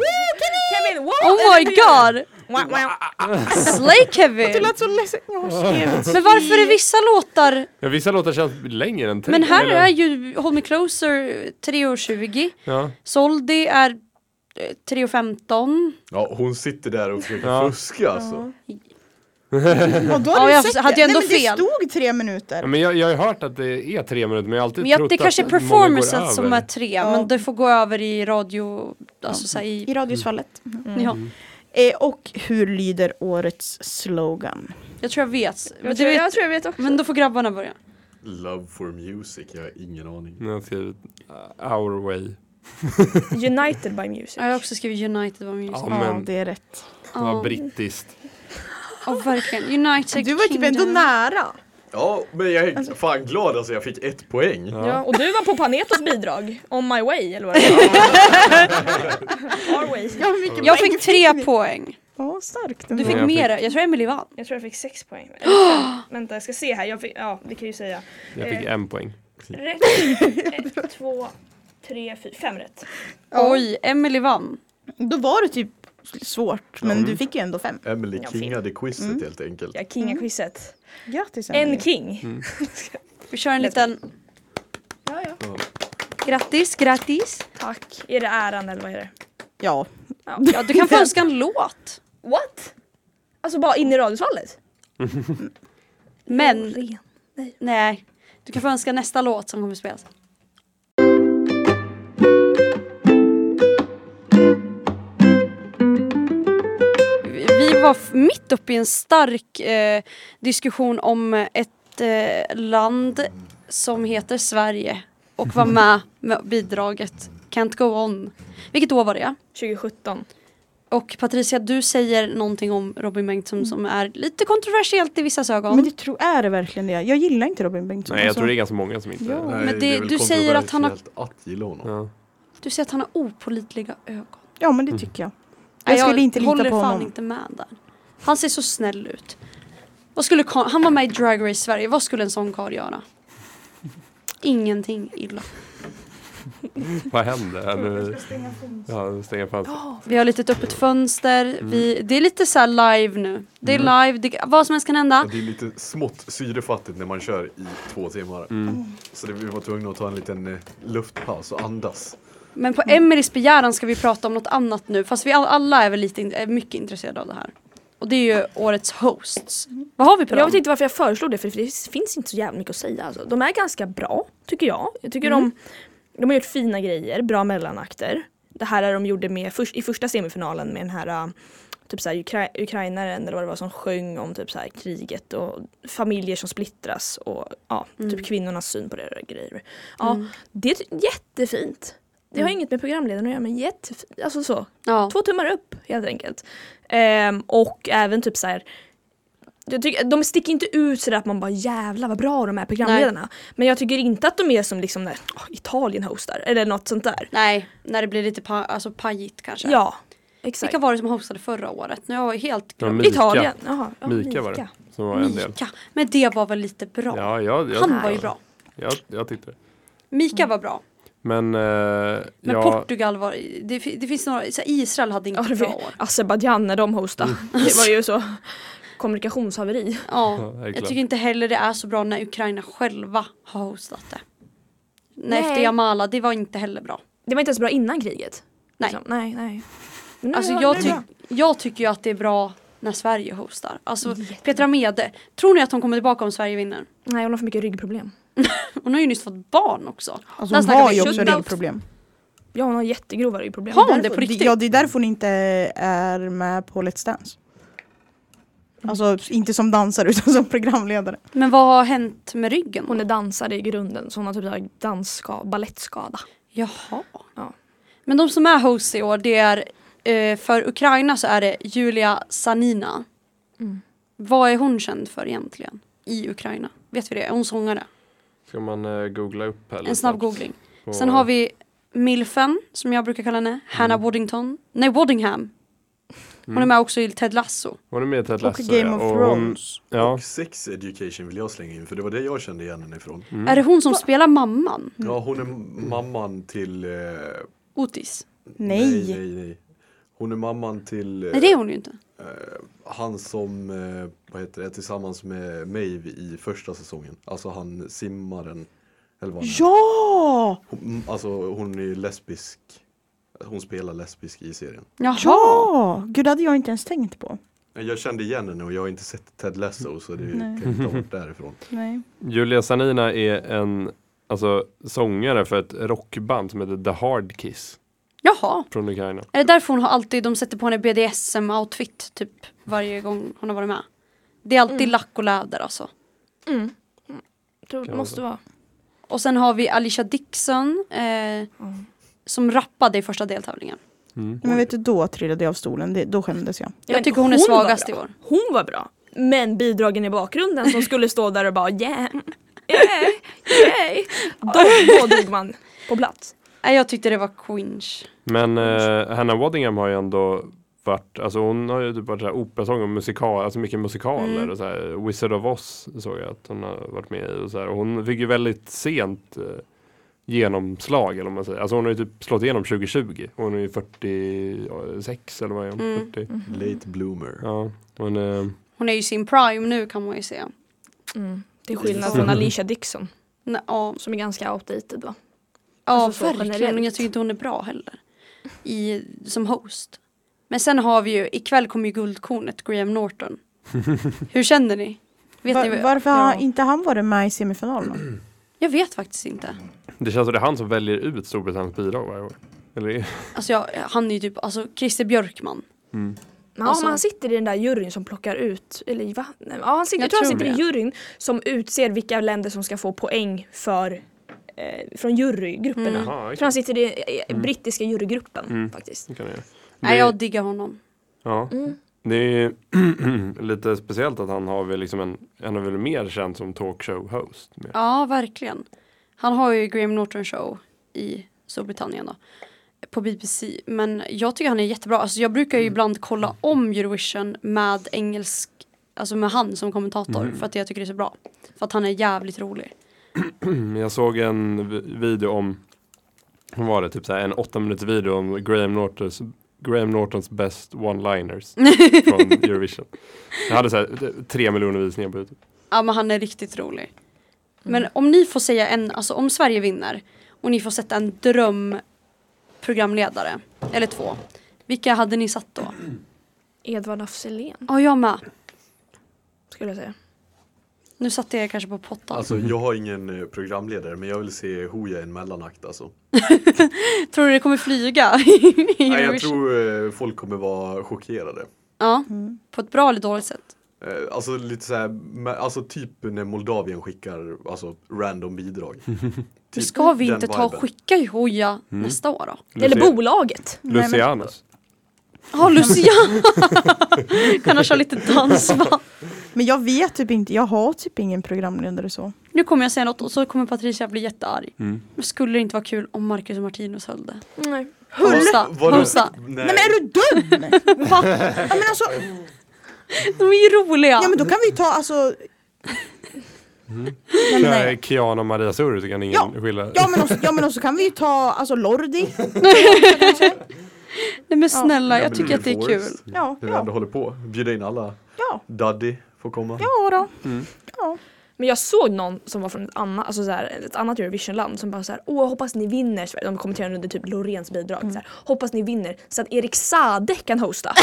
Speaker 6: Kevin, what?
Speaker 2: Oh my god!
Speaker 6: Wah, wah.
Speaker 2: Slay
Speaker 3: Det
Speaker 2: Kevin!
Speaker 3: lät så ledsen. Jag skrev
Speaker 2: Men varför är vissa låtar...
Speaker 5: Ja, vissa låtar känns längre än tre.
Speaker 2: Men här
Speaker 5: eller-
Speaker 2: är ju Hold Me Closer 3.20.
Speaker 5: Ja.
Speaker 2: Soldi är eh, 3.15.
Speaker 4: Ja hon sitter där och försöker
Speaker 5: Ja.
Speaker 4: fuska alltså.
Speaker 3: Och då
Speaker 2: Ja,
Speaker 3: har
Speaker 2: jag
Speaker 3: du sett
Speaker 2: hade
Speaker 3: det.
Speaker 2: ju ändå
Speaker 3: Nej, men
Speaker 2: fel.
Speaker 3: Det stod tre
Speaker 5: Ja,
Speaker 3: minuter.
Speaker 5: Men jag, jag har ju hört att det är tre minuter men jag har alltid
Speaker 2: Men jag,
Speaker 5: trott
Speaker 2: det kanske är
Speaker 5: att många går
Speaker 2: performancen
Speaker 5: över.
Speaker 2: som är 3 men det får gå över i radio... Alltså så här,
Speaker 3: I
Speaker 2: i...
Speaker 3: radiosfallet.
Speaker 2: Ja.
Speaker 3: Eh, och hur lyder årets slogan?
Speaker 2: Jag tror jag vet. Men,
Speaker 6: Jag
Speaker 2: du
Speaker 6: tror
Speaker 2: vet.
Speaker 6: jag, tror jag vet också.
Speaker 2: men då får grabbarna börja.
Speaker 4: Love for music, jag har ingen aning.
Speaker 5: Nu har jag skrivit uh, Our Way.
Speaker 6: United by Music.
Speaker 2: Ja, Jag har också skrivit United var min
Speaker 5: Ja,
Speaker 2: ja,
Speaker 3: Ja,
Speaker 5: men
Speaker 3: det är rätt.
Speaker 5: det var brittiskt.
Speaker 2: ja, verkligen. United
Speaker 3: Du var typ ändå
Speaker 2: Kingdom.
Speaker 3: nära.
Speaker 4: Ja, men jag är fan glad alltså jag fick ett poäng.
Speaker 6: Ja, och du var på Panetos bidrag, On My Way eller vad det var. Our way.
Speaker 3: Ja, hur mycket
Speaker 2: Jag
Speaker 3: poäng
Speaker 2: fick tre poäng.
Speaker 3: Ja, starkt.
Speaker 2: Du
Speaker 3: ändå.
Speaker 2: fick
Speaker 5: jag fick-
Speaker 2: mer. Jag tror Emily vann.
Speaker 6: Jag tror jag fick sex poäng. Eller, vänta jag ska se här, jag fick, ja vi kan ju säga.
Speaker 5: Jag fick en poäng.
Speaker 6: Rätt, ett, två, tre, fyra, fem rätt.
Speaker 3: Ja.
Speaker 2: Oj, Emily vann.
Speaker 3: Då var det typ svårt, men du fick ju ändå fem.
Speaker 4: Emily
Speaker 6: Ja,
Speaker 4: kingade quizet helt enkelt.
Speaker 6: Ja, kingaquizet.
Speaker 3: Grattis
Speaker 6: En king.
Speaker 2: Vi kör en liten
Speaker 6: Ja, ja.
Speaker 2: grattis, grattis.
Speaker 6: Tack. Är det äran eller vad är det?
Speaker 3: Ja.
Speaker 2: Ja, du kan få önska en låt.
Speaker 6: What? Alltså bara in i radhusvallet?
Speaker 2: Men nej, du kan få önska nästa låt som kommer spelas. Vi- Vi var f- mitt uppe i en stark eh, diskussion om ett eh, land som heter Sverige och var med med bidraget Can't Go On. Vilket år var det?
Speaker 6: 2017.
Speaker 2: Och Patricia, du säger någonting om Robin Bengtsson som är lite kontroversiellt i vissas ögon.
Speaker 3: Mm. Men det tror, är det verkligen det? Jag gillar inte Robin Bengtsson.
Speaker 5: Nej, jag
Speaker 3: alltså.
Speaker 5: tror det är ganska många som inte...
Speaker 3: Ja.
Speaker 5: Ja.
Speaker 4: Nej,
Speaker 2: Men det-
Speaker 4: väl
Speaker 2: du säger att han har-
Speaker 4: kontroversiellt att gilla honom.
Speaker 2: Du säger att han har opolitliga ögon.
Speaker 3: Ja, men det
Speaker 5: Mm.
Speaker 3: tycker jag.
Speaker 2: Nej,
Speaker 3: Jag skulle inte lita
Speaker 2: håller
Speaker 3: på
Speaker 2: fan
Speaker 3: honom.
Speaker 2: inte med där. Han ser så snäll ut. Vad skulle Ka- han var med i Drag Race Sverige. Vad skulle en sån karl göra? Ingenting illa.
Speaker 5: Vad hände? här nu? Ja, stänga fönstret.
Speaker 2: Vi har lite öppet fönster. Vi, det är lite så här live nu. Det är live. Det, vad som helst kan hända.
Speaker 4: Ja, Det är lite smått syrefattigt när man kör i två timmar.
Speaker 2: Mm.
Speaker 4: Så det, vi var tvungna att ta en liten eh, luftpaus och andas.
Speaker 2: Men på Emelies begäran ska vi prata om något annat nu. Fast vi all- alla är väl lite, in- är mycket intresserade av det här. Och det är ju årets hosts. Vad har vi på
Speaker 6: Jag
Speaker 2: dem?
Speaker 6: vet inte varför jag föreslog det för det finns inte så jävla mycket att säga. Alltså, de är ganska bra tycker jag. Jag tycker
Speaker 2: Mm.
Speaker 6: de, de har gjort fina grejer, bra mellanakter. Det här är de gjorde med först, i första semifinalen med den här äh, typ så här, ukra- ukrainaren eller vad det var som sjöng om typ så här, kriget och familjer som splittras och ja,
Speaker 2: Mm.
Speaker 6: typ kvinnornas syn på det och grejer. Ja, Det är ty- jättefint. Det har
Speaker 2: Mm.
Speaker 6: inget med programledaren att göra men jättefint. Alltså så,
Speaker 2: Ja.
Speaker 6: Två tummar upp helt enkelt. Ehm, och även typ så här. Jag tycker, de sticker inte ut sådär att man bara jävlar vad bra de är programledarna. Men jag tycker inte att de är som liksom när åh, Italien hostar eller något sånt där.
Speaker 2: Nej, när det blir lite pa- alltså pajigt kanske.
Speaker 6: Ja, exakt.
Speaker 2: Vilka var det som hostade förra året? Nu har jag helt
Speaker 5: Ja,
Speaker 2: glömt.
Speaker 5: Mika.
Speaker 6: Italien. Jaha, ja,
Speaker 5: Mika var det. Som var en del.
Speaker 2: Mika. Men det var väl lite bra?
Speaker 5: Ja, jag, jag,
Speaker 2: Han
Speaker 5: jag,
Speaker 2: var ju bra.
Speaker 5: Jag, jag tyckte det.
Speaker 2: Mika
Speaker 6: Mm.
Speaker 2: var bra.
Speaker 5: Men, eh,
Speaker 2: Men
Speaker 5: ja,
Speaker 2: Portugal var... Det, fi- det finns några... Så här, Israel hade
Speaker 6: Ja,
Speaker 2: inte
Speaker 6: det
Speaker 2: bra
Speaker 6: var
Speaker 2: år.
Speaker 6: Azerbajdzjan när de
Speaker 5: Mm.
Speaker 6: hostade. Det var ju så kommunikationshaveri.
Speaker 2: Ja,
Speaker 5: det är
Speaker 2: jag
Speaker 5: klart.
Speaker 2: tycker inte heller det är så bra när Ukraina själva har hostat det. Nej,
Speaker 6: Nej.
Speaker 2: efter Jamala, det var inte heller bra.
Speaker 6: Det var inte ens bra innan kriget.
Speaker 2: Nej.
Speaker 6: Liksom. Nej, nej. Men nu
Speaker 2: Alltså,
Speaker 6: var-
Speaker 2: jag,
Speaker 6: nu är
Speaker 2: ty
Speaker 6: det bra.
Speaker 2: jag tycker ju att det är bra när Sverige hostar. Alltså Petra Mede, tror ni att hon kommer tillbaka om Sverige vinner?
Speaker 6: Nej, hon har för mycket ryggproblem.
Speaker 2: Hon har ju nyss fått barn också.
Speaker 3: Alltså,
Speaker 2: Där
Speaker 3: hon
Speaker 2: snackar
Speaker 3: har
Speaker 2: vi
Speaker 3: ju också
Speaker 2: shootout.
Speaker 3: ryggproblem.
Speaker 6: Ja, hon har jättegrova ryggproblem.
Speaker 2: Har hon det
Speaker 3: Därför-
Speaker 2: på riktigt?
Speaker 3: Ja, det är därför hon inte är med på Let's Dance.
Speaker 5: Mm.
Speaker 3: Alltså inte som dansare utan som programledare.
Speaker 2: Men vad har hänt med ryggen?
Speaker 6: Hon är dansare i grunden så hon har typ så här dansska, balettskada.
Speaker 2: Jaha.
Speaker 6: Ja.
Speaker 2: Men de som är host i år, det är eh, för Ukraina så är det Julia Sanina.
Speaker 6: Mm.
Speaker 2: Vad är hon känd för egentligen i Ukraina? Vet vi det? Är hon sångare?
Speaker 5: ska man eh, googla upp här
Speaker 2: En
Speaker 5: lite
Speaker 2: snabb
Speaker 5: snabbt
Speaker 2: googling.
Speaker 5: på- Mm.
Speaker 2: Sen har vi Milfen, som jag brukar kalla henne. Hannah Waddington. Nej, Waddingham. Hon är
Speaker 5: Mm.
Speaker 2: med också i Ted Lasso.
Speaker 5: Hon är med i Ted
Speaker 3: Och
Speaker 5: Lasso.
Speaker 3: Game
Speaker 5: ja,
Speaker 3: of
Speaker 5: och hon-
Speaker 3: Thrones.
Speaker 5: Ja,
Speaker 4: Och sex education vill jag slänga in för det var det jag kände igen henne ifrån.
Speaker 5: Mm.
Speaker 2: Är det hon som spelar mamman?
Speaker 4: Ja, hon är mamman till... Eh, nej.
Speaker 2: Otis?
Speaker 3: Nej.
Speaker 4: nej, nej. Hon är mamman till eh,
Speaker 2: Nej, det är hon ju inte.
Speaker 4: han som, eh, vad heter det, tillsammans med Maeve i första säsongen. Alltså han simmaren. Eller vad han är.
Speaker 3: Ja!
Speaker 4: hon, Alltså hon är ju lesbisk. Hon spelar lesbisk i serien.
Speaker 2: Jaha.
Speaker 3: Ja! Gud, det hade jag inte ens tänkt på.
Speaker 4: Jag kände igen henne och jag har inte sett Ted Lasso så det kan inte ha varit därifrån.
Speaker 3: Nej.
Speaker 5: Julia Sanina är en alltså, sångare för ett rockband som heter The Hard Kiss
Speaker 2: Jaha.
Speaker 5: från Ukraina.
Speaker 2: Är det därför hon har alltid, de sätter på henne BDSM-outfit typ varje gång hon har varit med? Det är alltid lack och läder alltså.
Speaker 6: Mm. Tror,
Speaker 5: Kan
Speaker 6: måste vara.
Speaker 2: Och sen har vi Alicia Dixon eh, som rappade i första deltävlingen.
Speaker 5: Mm.
Speaker 3: Men vet du, då trillade jag av stolen. Det, då skämdes jag.
Speaker 2: Jag tycker hon är
Speaker 6: var
Speaker 2: svagast
Speaker 6: bra.
Speaker 2: i år.
Speaker 6: Hon var bra. Men bidragen i bakgrunden som skulle stå där och bara yeah, yeah, yeah. Då, då dog man på plats.
Speaker 2: Nej, jag tyckte det var cringe.
Speaker 5: Men eh, Hanna Waddingham har ju ändå varit, alltså hon har ju typ varit så här operasång och musikal, alltså mycket musikaler
Speaker 2: Mm.
Speaker 5: och så här, Wizard of Oz såg jag att hon har varit med i och så här. Och hon fick ju väldigt sent eh, genomslag eller vad man säger. Alltså hon har ju typ slått igenom 2020. Hon är ju 46 eller vad är hon?
Speaker 2: Mm.
Speaker 5: 40.
Speaker 4: Late bloomer.
Speaker 5: Ja, hon eh,
Speaker 2: Hon är ju i sin prime nu kan man ju säga.
Speaker 6: Mm. Till skillnad från Alicia Dixon
Speaker 2: Nej, Ja,
Speaker 6: som är ganska outdated va?
Speaker 2: ja
Speaker 6: Alltså så
Speaker 2: verkligen.
Speaker 6: generellt.
Speaker 2: Jag tycker inte hon är bra heller. I, som host. Men sen har vi ju, ikväll kommer ju guldkornet, Graham Norton. Hur känner ni? Vet ni?
Speaker 3: Va-
Speaker 2: vad-
Speaker 3: varför
Speaker 2: ja.
Speaker 3: har inte han varit med i semifinalen? då?
Speaker 2: Jag vet faktiskt inte.
Speaker 5: Det känns som det är han som väljer ut Storbritanniens bidrag varje år. Eller?
Speaker 2: Alltså jag, han är ju typ, alltså Christer Björkman.
Speaker 6: Ja
Speaker 2: Alltså-
Speaker 6: men han sitter i den där juryn som plockar ut, eller va? Nej, Ja han sitter, jag,
Speaker 2: Jag
Speaker 6: tror han
Speaker 2: tror
Speaker 6: sitter
Speaker 2: det.
Speaker 6: i juryn som utser vilka länder som ska få poäng för eh, från jurygrupperna.
Speaker 2: Mm.
Speaker 5: Jaha,
Speaker 6: Jag
Speaker 5: okej.
Speaker 6: tror han sitter i, i brittiska jurygruppen
Speaker 5: Mm.
Speaker 6: faktiskt.
Speaker 5: Det kan jag göra.
Speaker 2: Nej,
Speaker 5: Det-
Speaker 2: jag diggar honom.
Speaker 5: Ja.
Speaker 6: Mm.
Speaker 5: Det är ju lite speciellt att han har väl liksom en, han är väl mer känd som talkshow-host. mer.
Speaker 2: Ja, verkligen. Han har ju Graham Norton show i Storbritannien då. På BBC. Men jag tycker han är jättebra. Alltså jag brukar ju ibland kolla om Eurovision med engelsk, alltså med han som kommentator. För att jag tycker det är så bra. För att han är jävligt rolig.
Speaker 6: Mm.
Speaker 5: Jag såg en vi- video om, vad var det, typ så här, en åtta minuters video om Graham Nortons, Graham Nortons best one-liners från Eurovision. Jag hade så här, eh, tre miljoner visningar på Youtube.
Speaker 2: Ja, men han är riktigt rolig. Men om ni får säga en, alltså om Sverige vinner och ni får sätta en drömprogramledare, eller två. Vilka hade ni satt då?
Speaker 6: Edvard af Sillén
Speaker 2: Ja, jag med.
Speaker 6: skulle jag säga.
Speaker 2: Nu satte jag kanske på pottan.
Speaker 4: Alltså jag har ingen eh, programledare men jag vill se Hooja i en mellanakt alltså.
Speaker 2: Tror du det kommer flyga? i
Speaker 4: Nej, jag
Speaker 2: Eurovision?
Speaker 4: tror eh, folk kommer vara chockerade.
Speaker 2: Ja,
Speaker 3: Mm.
Speaker 2: på ett bra eller dåligt sätt.
Speaker 4: Eh, Alltså lite så här, me- alltså typ när Moldavien skickar alltså random bidrag.
Speaker 2: Men
Speaker 4: Typ
Speaker 2: ska vi
Speaker 4: den
Speaker 2: inte ta och
Speaker 4: viben. Mm.
Speaker 2: skicka i Hoja nästa år då?
Speaker 6: Eller bolaget.
Speaker 5: Lucianus.
Speaker 2: Ja, Lucia! kan han köra lite dansband?
Speaker 3: Men jag vet typ inte, jag har typ ingen programledare så.
Speaker 2: Nu kommer jag säga något och så kommer Patricia bli jättearg.
Speaker 4: Mm.
Speaker 2: Men skulle det inte vara kul om Marcus och Martinus höll det?
Speaker 6: Nej.
Speaker 2: Hosta,
Speaker 4: Vadå?
Speaker 2: hosta.
Speaker 4: Nej.
Speaker 3: Nej men är du dum? Va? Ja, men alltså,
Speaker 2: De är ju roliga!
Speaker 3: ja men då kan vi ta alltså,
Speaker 5: Kör Kiana och Maria Suru så kan ingen
Speaker 3: Ja.
Speaker 5: skilja.
Speaker 3: ja men också, ja men också kan vi ju ta alltså Lordi.
Speaker 2: Nej men snälla,
Speaker 4: Ja,
Speaker 2: jag
Speaker 4: men
Speaker 2: tycker att det är kul.
Speaker 4: Forrest,
Speaker 3: Ja,
Speaker 4: När vi
Speaker 3: ja.
Speaker 4: ändå håller på. Bjuda in alla.
Speaker 3: Ja,
Speaker 4: Daddy får komma.
Speaker 3: ja då. Ja.
Speaker 6: Men jag såg någon som var från ett annat, alltså så här, ett annat Eurovisionland som bara såhär Åh hoppas ni vinner Sverige. De kommenterade under typ Lorens bidrag. Så här,
Speaker 3: Mm.
Speaker 6: hoppas ni vinner så att Erik Sade kan hosta.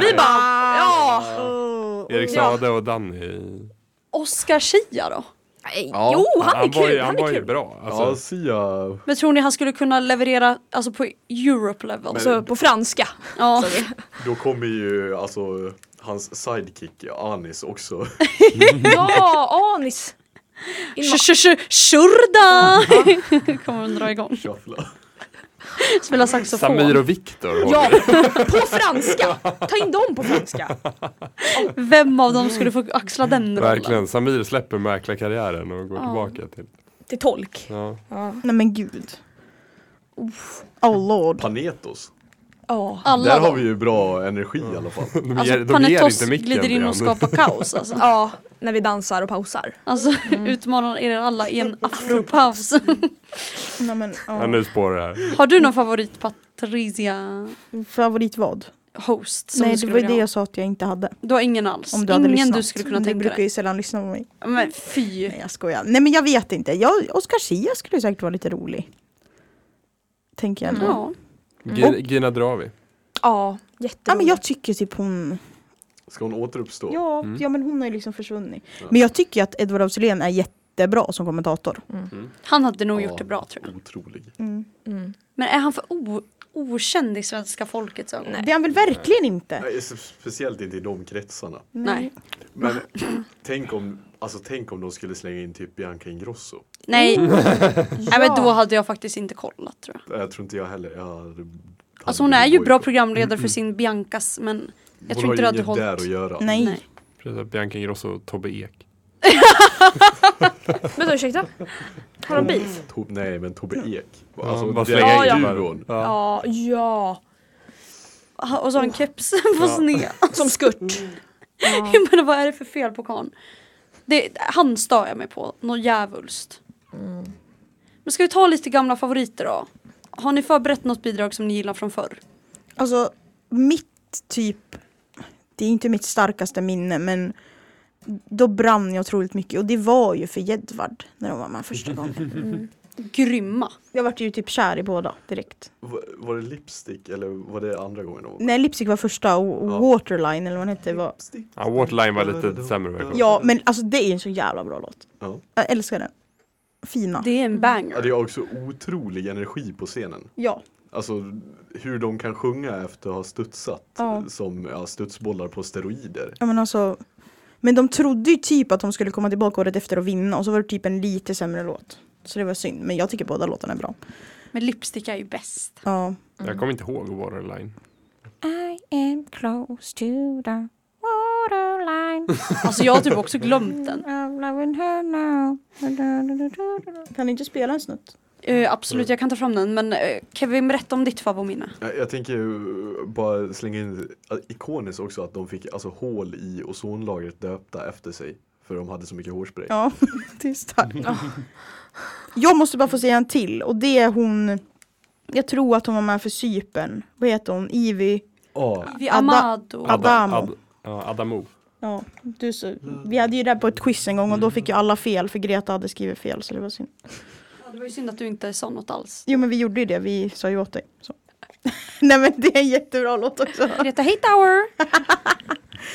Speaker 6: Vi bara ja.
Speaker 5: Erik Saade och Danny.
Speaker 2: Oscar Schia då?
Speaker 6: Nej,
Speaker 4: Ja,
Speaker 6: Jo Oh, han, är
Speaker 5: var
Speaker 6: kul,
Speaker 5: ju,
Speaker 6: han,
Speaker 5: han var
Speaker 6: är
Speaker 5: ju
Speaker 6: kul.
Speaker 5: bra. Alltså,
Speaker 4: Ja, Sia.
Speaker 2: Men tror ni han skulle kunna leverera alltså på Europe level?
Speaker 6: Så på franska.
Speaker 2: ja.
Speaker 4: Då kommer ju alltså hans sidekick Anis också.
Speaker 6: ja, anis. In ma-
Speaker 2: Shurda! Kommer hon dra igång.
Speaker 4: Shuffla.
Speaker 2: Spela saxofon.
Speaker 5: Samir och Viktor.
Speaker 6: Ja, på franska! Ta in dem på franska.
Speaker 2: Vem av dem skulle få axla den rollen?
Speaker 5: Verkligen, Samir släpper mäklarkarriären och går tillbaka till...
Speaker 6: Till tolk.
Speaker 5: Ja.
Speaker 3: Nej men gud. Oh lord.
Speaker 4: Panetos.
Speaker 6: Ja.
Speaker 2: Alla
Speaker 4: Där har
Speaker 2: dem.
Speaker 4: vi ju bra energi i alla fall.
Speaker 5: De,
Speaker 2: Alltså,
Speaker 5: ger, de ger
Speaker 2: Panetos
Speaker 5: inte micken
Speaker 2: glider
Speaker 5: till
Speaker 2: in
Speaker 5: han.
Speaker 2: och skapar kaos alltså.
Speaker 6: ja, när vi dansar och pausar.
Speaker 2: alltså utmanar er alla i en afropaus.
Speaker 3: Nej, men,
Speaker 5: Ja,
Speaker 3: ja.
Speaker 5: nu spårar det här.
Speaker 2: har du någon favorit Patricia
Speaker 3: Favorit vad?
Speaker 2: host? Som
Speaker 3: Nej
Speaker 2: du
Speaker 3: det
Speaker 2: skulle
Speaker 3: var ju det
Speaker 2: vilja ha?
Speaker 3: jag sa att jag inte hade.
Speaker 2: Du har ingen alls?
Speaker 3: Om du hade
Speaker 2: ingen
Speaker 3: lyssnat.
Speaker 2: du skulle kunna
Speaker 3: Du
Speaker 2: tänka
Speaker 3: brukar Mm.
Speaker 2: dig?
Speaker 3: ju sällan lyssna på mig.
Speaker 2: Men fy.
Speaker 3: Nej jag skojar. Nej men jag vet inte. Jag, Oscar Schia skulle säkert vara lite rolig. Tänker jag nu.
Speaker 2: Ja. Mm.
Speaker 5: Gi- Gina Dravi.
Speaker 6: Ja,
Speaker 3: Ja men
Speaker 6: jätteroligt.
Speaker 3: jag tycker typ hon
Speaker 4: Ska hon återuppstå?
Speaker 3: Ja, ja men hon har ju liksom försvunnit. Men jag tycker ju att Edward af Sillén är jättebra som kommentator.
Speaker 2: Han hade nog
Speaker 4: Ja,
Speaker 2: gjort det bra tror jag.
Speaker 4: Otrolig.
Speaker 3: Mm.
Speaker 7: Mm.
Speaker 2: Men är han för o- okänd i svenska folkets ögon?
Speaker 3: Det är han väl verkligen inte?
Speaker 4: Nej, så- Speciellt inte i de kretsarna.
Speaker 2: Nej.
Speaker 4: Men tänk om, alltså, tänk om de skulle slänga in typ Bianca Ingrosso.
Speaker 2: Nej. Nej men då hade jag faktiskt inte kollat tror jag.
Speaker 4: Nej, Jag tror inte jag heller. Jag hade-
Speaker 2: Alltså hon är ju bra programledare för sin Biancas men jag
Speaker 4: Mm, Hon
Speaker 2: tror
Speaker 4: har
Speaker 2: inte
Speaker 4: ju
Speaker 2: det hade
Speaker 4: inget där att
Speaker 2: hållit.
Speaker 4: göra.
Speaker 3: Nej.
Speaker 2: Nej.
Speaker 5: Precis, Bianca Ingrosso och Tobbe Ek.
Speaker 7: Vänta ursäkta? Har de beef?
Speaker 4: To- nej, men Tobbe Ek.
Speaker 5: Ja,
Speaker 4: Alltså,
Speaker 5: bara
Speaker 4: den
Speaker 5: slänga
Speaker 7: in
Speaker 4: duon.
Speaker 5: Ja.
Speaker 7: Ja, ja.
Speaker 2: Ja, Och så har han kepsen på
Speaker 5: Ja.
Speaker 2: sned.
Speaker 6: Som skurt.
Speaker 2: Jag menar vad är det för fel på karln? Det, han stör jag mig på, något djävulskt. Men ska vi ta lite gamla favoriter då? Har ni förberett något bidrag som ni gillar från förr?
Speaker 3: Alltså mitt typ, det är inte mitt starkaste minne men då brann jag otroligt mycket och det var ju för Jedvard när de var med första gången.
Speaker 2: Grymma.
Speaker 3: Jag vart ju typ kär i båda direkt.
Speaker 4: Var, var det lipstick eller var det andra gången? de var med?
Speaker 3: Nej Lipstick var första och och
Speaker 4: Ja.
Speaker 3: Waterline eller vad den hette var
Speaker 4: Lipstick.
Speaker 5: Ja, Waterline var lite sämre version.
Speaker 3: Ja men alltså det är en så jävla bra låt.
Speaker 4: Ja.
Speaker 3: Jag älskar den. Fina.
Speaker 2: Det är en
Speaker 4: Ja,
Speaker 2: banger.
Speaker 4: det är också otrolig energi på scenen.
Speaker 3: Ja.
Speaker 4: Alltså hur de kan sjunga efter att ha studsat
Speaker 3: Ja.
Speaker 4: som ja, studsbollar på steroider.
Speaker 3: ja men alltså Men de trodde ju typ att de skulle komma tillbaka året efter och vinna och så var det typ en lite sämre låt. Så det var synd men jag tycker båda låtarna är bra.
Speaker 2: Men lipstick är ju bäst.
Speaker 3: Ja.
Speaker 2: Mm.
Speaker 5: Jag kommer inte ihåg Waterline.
Speaker 1: I am close to the waterline.
Speaker 2: Alltså jag har typ också glömt den.
Speaker 1: I'm loving her now.
Speaker 3: Kan du inte spela en snutt?
Speaker 2: Eh, absolut, jag kan ta fram den. Men eh, Kevin, berätta om ditt favoritminne.
Speaker 4: Jag, jag tänker ju bara slänga in äh, ikoniskt också att de fick alltså hål i ozonlagret döpta efter sig. För de hade så mycket hårspray.
Speaker 3: Ja, det är starkt. Jag måste bara få säga en till och det är hon Jag tror att hon var med för Cypern. Vad heter hon? Ivy?
Speaker 4: Ja.
Speaker 2: Vi
Speaker 3: Ada-
Speaker 2: Amado.
Speaker 3: Ad- Adamo.
Speaker 5: Ad, ja, Adamo.
Speaker 3: Ja, du så. Vi hade ju det här på ett quiz en gång och då fick ju alla fel för Greta hade skrivit fel så det var synd.
Speaker 2: Ja, Det var ju synd att du inte sa något alls.
Speaker 3: Jo men vi gjorde ju det, vi sa ju åt dig. Så. Nej men det är en jättebra låt också.
Speaker 2: Greta Hightower!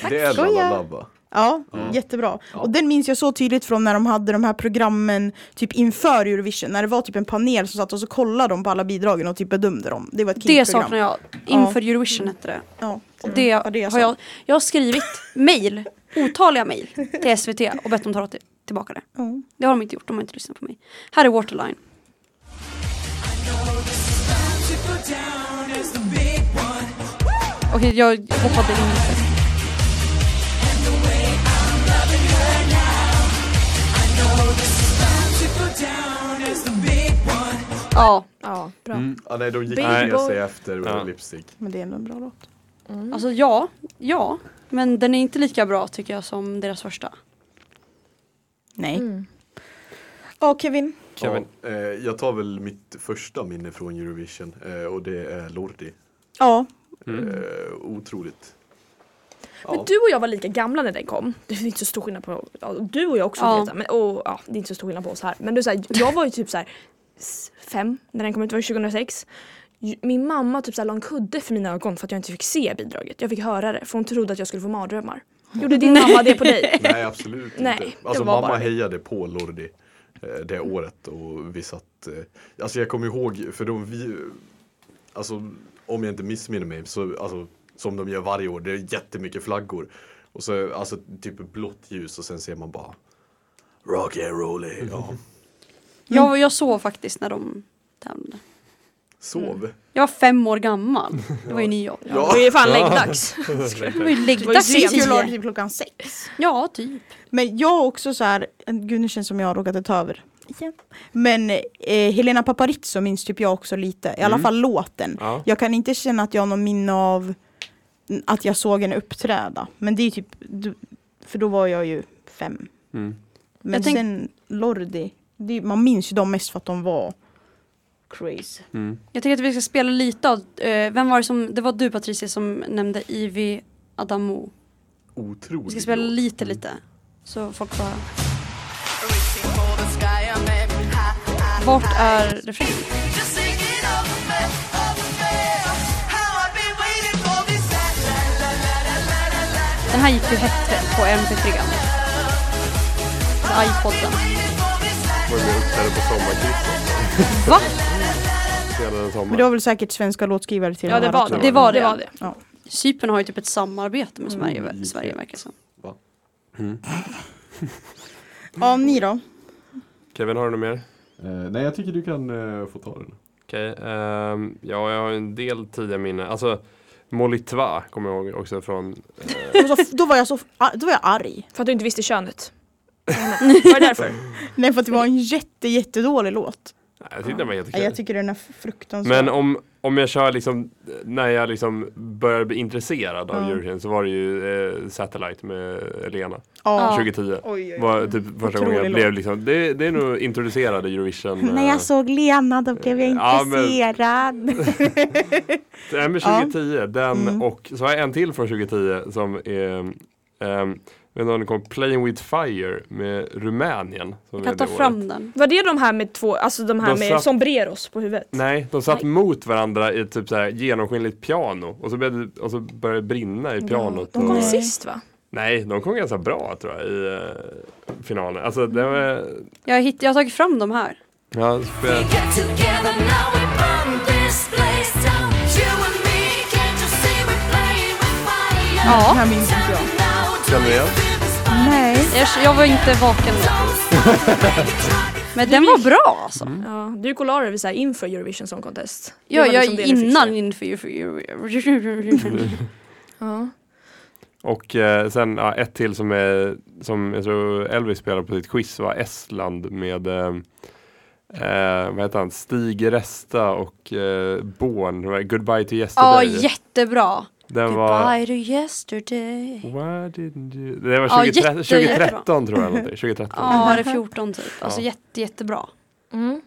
Speaker 4: Det är
Speaker 3: skoja.
Speaker 4: Lalla Labba.
Speaker 3: Ja, jättebra. Och den minns jag så tydligt från när de hade de här programmen typ inför Eurovision. När det var typ en panel som satt och så kollade de på alla bidragen och typ bedömde dem. Det var ett
Speaker 2: Det
Speaker 3: killprogram.
Speaker 2: saknar jag. Inför Eurovision hette det.
Speaker 3: Ja.
Speaker 2: Och det
Speaker 3: Ja, det är
Speaker 2: har jag,
Speaker 3: sant.
Speaker 2: jag har skrivit mejl, otaliga mejl till SVT och bett dem ta till- tillbaka det.
Speaker 3: Ja.
Speaker 2: Det har de inte gjort, de har inte lyssnat på mig. Här är Waterline. Okej, jag hoppade in lite. Ja,
Speaker 7: Ja, bra.
Speaker 4: Ja, nej, de gick
Speaker 7: Big
Speaker 4: ner
Speaker 7: boy.
Speaker 4: sig efter
Speaker 5: Ja.
Speaker 4: lipstick.
Speaker 3: Men det är ändå en bra låt.
Speaker 2: alltså ja, ja. Men den är inte lika bra tycker jag som deras första.
Speaker 3: Nej. Mm.
Speaker 7: Mm.
Speaker 3: Ja, Kevin.
Speaker 5: Kevin.
Speaker 4: Ja, eh, jag tar väl mitt första minne från Eurovision eh, och det är Lordi.
Speaker 3: Ja.
Speaker 5: Mm.
Speaker 4: Eh, otroligt.
Speaker 7: Men du och jag var lika gamla när den kom. Det är inte så stor skillnad på ja, du och jag också
Speaker 2: Ja.
Speaker 7: Greta. Men, och, ja, det är inte så stor skillnad på oss här. Men du, så här, jag var ju typ så här s- fem när den kom ut, det var ju 2006. Ju- Min mamma typ så här, la en kudde för mina ögon för att jag inte fick se bidraget. Jag fick höra det för hon trodde att jag skulle få mardrömmar. Gjorde din mamma det på dig?
Speaker 4: Nej, absolut
Speaker 7: Nej,
Speaker 4: inte.
Speaker 7: det
Speaker 4: Alltså
Speaker 7: var
Speaker 4: mamma
Speaker 7: bara det. Mm.
Speaker 4: hejade på Lordi eh, det året och vi satt, eh, alltså jag kommer ihåg, för de vi, alltså om jag inte missminner mig, så, alltså, som de gör varje år, det är jättemycket flaggor. Och så alltså typ blått ljus och sen ser man bara Rock and roll,
Speaker 7: Mm.
Speaker 4: ja.
Speaker 2: Jag, jag sov faktiskt när de tävlade.
Speaker 4: Sov.
Speaker 2: Jag var fem år gammal. Det var ju nio år.
Speaker 4: Ja.
Speaker 7: Det är fan läggdags.
Speaker 2: Det var ju
Speaker 3: Det var
Speaker 2: läggdags
Speaker 3: ju
Speaker 2: i
Speaker 3: kul att
Speaker 2: tio.
Speaker 3: typ klockan sex.
Speaker 2: Ja, typ.
Speaker 3: Men jag också så här, gud nu känns det som jag har råkat ta över. Igen. Men eh, Helena Paparizou minns typ jag också lite, i alla fall låten.
Speaker 5: Ja.
Speaker 3: Jag kan inte känna att jag har någon minne av att jag såg henne uppträda. Men det är typ, du- för då var jag ju fem.
Speaker 5: Mm.
Speaker 3: Men
Speaker 2: Jag tänk-
Speaker 3: sen Lordi, det, är- man minns ju dem mest för att de var crazy.
Speaker 5: Mm.
Speaker 2: Jag tänker att vi ska spela lite av, eh, vem var det som, det var du Patricia som nämnde Ivy Adamo. Vi ska
Speaker 4: Otroligt.
Speaker 2: spela lite
Speaker 5: Mm.
Speaker 2: lite. Så folk får höra. Vart är refrängen? Den här gick ju hett på mp3. På iPoden.
Speaker 5: Var ju med och uppträdde på sommarkrysset.
Speaker 2: Va?
Speaker 5: Hela den sommaren.
Speaker 3: Men det var väl säkert svenska låtskrivare till
Speaker 7: Ja
Speaker 3: de
Speaker 7: det
Speaker 3: här
Speaker 7: var
Speaker 3: också.
Speaker 7: det.
Speaker 2: Det var det.
Speaker 7: det, var det.
Speaker 3: Ja.
Speaker 2: Cypern har ju typ ett samarbete med Sverige,
Speaker 5: Mm,
Speaker 2: Sverige verkar det som.
Speaker 3: ja, ni då?
Speaker 5: Kevin, har du något mer?
Speaker 4: Eh, nej, jag tycker du kan eh, få ta den.
Speaker 5: Okej, ehm, ja, jag har en del tidiga minnen. Alltså, Molitva kommer jag ihåg också från eh,
Speaker 3: Och så, då var jag så, ah, då var jag arg.
Speaker 6: För att du inte visste könet. Var det därför?
Speaker 3: Nej för att det var en jätte jättedålig låt.
Speaker 5: Nej, jag tyckte den var
Speaker 3: Ja,
Speaker 5: jättekul.
Speaker 3: jag tycker den är fruktansvärd.
Speaker 5: Men om, om jag kör liksom när jag liksom började bli intresserad av
Speaker 3: Ja.
Speaker 5: Eurovision så var det ju eh, Satellite med Lena
Speaker 3: Ja.
Speaker 2: Ja.
Speaker 5: 2010.
Speaker 3: Oj, oj, oj.
Speaker 5: Var typ första gången jag
Speaker 3: Otrolig
Speaker 5: blev
Speaker 3: låt. alltså,
Speaker 5: liksom, det, det är nog introducerade Eurovision.
Speaker 3: När
Speaker 5: eh,
Speaker 3: jag såg Lena då blev jag
Speaker 5: Ja, men-
Speaker 3: intresserad.
Speaker 5: Nej men
Speaker 3: Ja.
Speaker 5: 2010, den
Speaker 3: Mm.
Speaker 5: och så har jag en till från 2010 som är um, vet inte om ni kommer Playing with fire med Rumänien. Som
Speaker 2: Jag
Speaker 5: är
Speaker 2: kan ta
Speaker 5: det året.
Speaker 2: fram den.
Speaker 6: Var det de här med två, alltså de här
Speaker 5: De
Speaker 6: med
Speaker 5: satt-
Speaker 6: sombreros på huvudet?
Speaker 5: Nej, de satt mot varandra i ett typ så här genomskinligt piano och så började, det- och så började det brinna i pianot.
Speaker 6: De
Speaker 5: och,
Speaker 6: kom
Speaker 3: Nej.
Speaker 6: sist va?
Speaker 5: Nej, de kom ganska bra tror jag i eh, finalen. Alltså det var...
Speaker 2: Jag, hitt, jag har tagit fram de här.
Speaker 5: Ja,
Speaker 7: We
Speaker 5: spe-
Speaker 7: got together, now we burn this place down. You and me, can't you see we're playing with fire?
Speaker 3: Ja. Den här minns inte jag.
Speaker 7: Tell me out.
Speaker 3: Nej.
Speaker 2: Jag, jag var inte vaken då. Men den var bra alltså.
Speaker 6: Ja, du gick och la dig vid så här inför Eurovision Song Contest. Mm. Det
Speaker 2: Ja,
Speaker 6: var
Speaker 2: jag
Speaker 6: liksom det du
Speaker 2: innan
Speaker 6: fixade.
Speaker 2: inför... inför- inför-
Speaker 6: Ja.
Speaker 5: och eh, sen ja, ett till som, är, som jag tror Elvis spelade på sitt quiz var Estland med eh, eh, vad heter han? Stig Resta och eh, Born. Right? Goodbye to yesterday.
Speaker 2: Ja, jättebra.
Speaker 5: Den var...
Speaker 2: Goodbye to yesterday.
Speaker 5: Why didn't you... Det var
Speaker 2: Ja,
Speaker 5: 2013,
Speaker 2: jätte-
Speaker 5: 2013 tror jag. eller någonting. 2013.
Speaker 2: Ja, det är 14 typ. Alltså
Speaker 5: Ja.
Speaker 2: jätte, jättebra.
Speaker 6: Mm.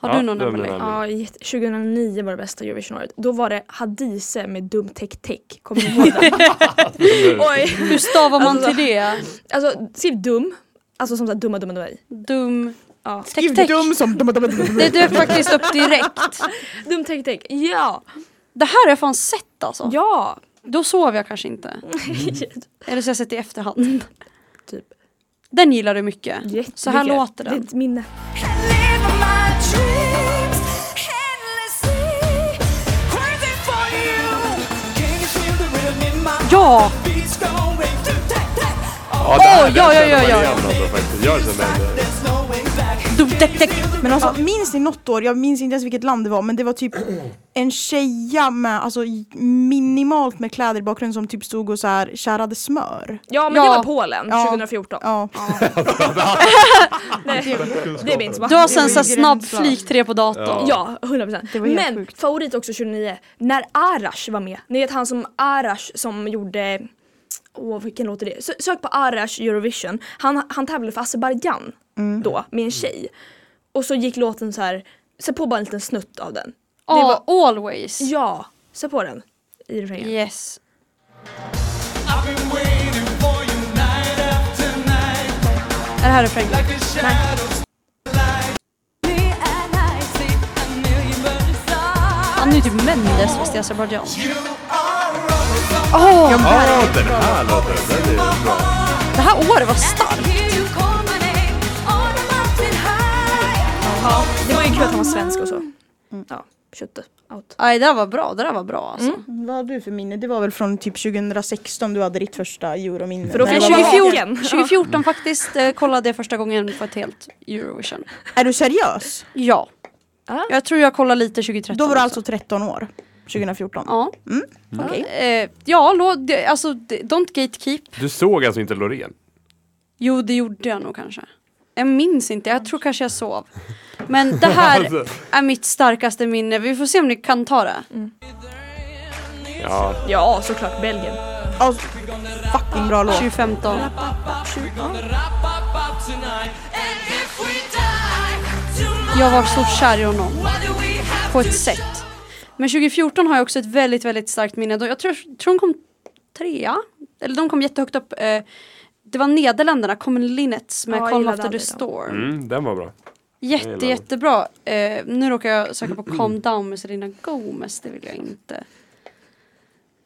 Speaker 2: Har
Speaker 5: Ja,
Speaker 2: du någon
Speaker 5: det var min
Speaker 2: Emelie?
Speaker 5: enda.
Speaker 6: Ja, jätte- 2009 var det bästa Eurovision-året. Då var det Hadise med Dum Tek Tek. Kommer ni ihåg det? Oj!
Speaker 2: Hur stavar man
Speaker 6: Alltså-
Speaker 2: till det?
Speaker 6: Alltså skriv dum. Alltså som såhär dumma dumma dumma.
Speaker 2: Dum...
Speaker 6: Ja.
Speaker 2: Teck,
Speaker 3: Skriv
Speaker 2: teck.
Speaker 3: dum som...
Speaker 2: Det dök faktiskt upp direkt.
Speaker 6: Dum Tek Tek. Ja!
Speaker 2: Det här har jag fan sett alltså.
Speaker 6: Ja!
Speaker 2: Då sov jag kanske inte. Eller så har jag sett i efterhand.
Speaker 6: Typ.
Speaker 2: Den gillar du mycket. Så här
Speaker 6: Jättemycket.
Speaker 2: låter
Speaker 6: Det är
Speaker 2: den.
Speaker 6: ett minne.
Speaker 2: Ja!
Speaker 5: Ja, det här-
Speaker 2: Åh, ja,
Speaker 5: den
Speaker 2: ja, ja,
Speaker 5: känner man
Speaker 2: ja.
Speaker 5: igen ändå faktiskt. Jag känner igen den.
Speaker 2: Dum, teck, teck.
Speaker 3: Men alltså minns ni något år, jag minns inte ens vilket land det var, men det var typ en tjeja med, alltså minimalt med kläder i bakgrunden som typ stod och så här kärade smör.
Speaker 6: Ja men
Speaker 2: Ja.
Speaker 6: det var Polen
Speaker 3: Ja.
Speaker 6: 2014.
Speaker 3: Ja.
Speaker 6: Nej, det minns man.
Speaker 2: Du har sen så här
Speaker 3: Det är
Speaker 2: snabb
Speaker 3: gränslöst.
Speaker 2: flik tre på datorn.
Speaker 6: Ja, 100%.
Speaker 3: Det var helt
Speaker 6: Men
Speaker 3: sjukt.
Speaker 6: favorit också 2009, när Arash var med. Ni vet han som Arash som gjorde, åh vilken låt är det? Sö- Sök på Arash Eurovision. Han, han tävlade för Azerbaijan
Speaker 3: Mm.
Speaker 6: då med en tjej. Och så gick låten så här, sätt på bara en liten snutt av den.
Speaker 2: Ja, always.
Speaker 6: Ja, sätt på den. I refrängen.
Speaker 2: Yes. Är det här refrängen? Han är ju typ Mendes fast i Azerbajdzjan. Åh,
Speaker 5: Ja, den här låten. Den är bra.
Speaker 2: det här året var starkt!
Speaker 6: Ja, det var ju kul att han var svensk och så. Ja, shut out.
Speaker 2: Aj, det där var bra, det där var bra alltså.
Speaker 3: Vad hade du för minne? Det var väl från typ 2016 du hade ditt första eurominne?
Speaker 6: För då
Speaker 2: Nej,
Speaker 6: kan jag vara
Speaker 2: 2014,
Speaker 6: vaken.
Speaker 2: 2014 faktiskt eh, kollade jag första gången på ett helt Eurovision.
Speaker 3: Är du seriös?
Speaker 2: Ja.
Speaker 6: Ah.
Speaker 2: Jag tror jag kollade lite 2013
Speaker 3: Då var du
Speaker 2: också.
Speaker 3: alltså 13 år? 2014?
Speaker 2: Ja.
Speaker 3: Mm,
Speaker 2: Eh, ja, lå- det- alltså det- don't gatekeep.
Speaker 5: Du såg alltså inte Loreen?
Speaker 2: Jo, det gjorde jag nog kanske. Jag minns inte, jag tror kanske jag sov. Men det här är mitt starkaste minne. Vi får se om ni kan ta det.
Speaker 3: Mm.
Speaker 5: Ja,
Speaker 6: Ja, såklart Belgien.
Speaker 3: Alltså, fucking bra låt.
Speaker 2: 2015. Jag var så kär i honom. På ett sätt. Men 2014 har jag också ett väldigt, väldigt starkt minne. Då Jag tror, tror de kom trea. Eller de kom jättehögt upp. Eh, Det var Nederländerna, Common Linnets med
Speaker 6: Ja, jag
Speaker 2: Calm
Speaker 6: gillade
Speaker 2: After the
Speaker 6: aldrig dem.
Speaker 2: Storm.
Speaker 5: mm, den var bra. gillar
Speaker 2: Jätte,
Speaker 5: den.
Speaker 2: jättebra. Eh, nu råkar jag söka på Calm Down med Selena Gomez. Det vill jag inte.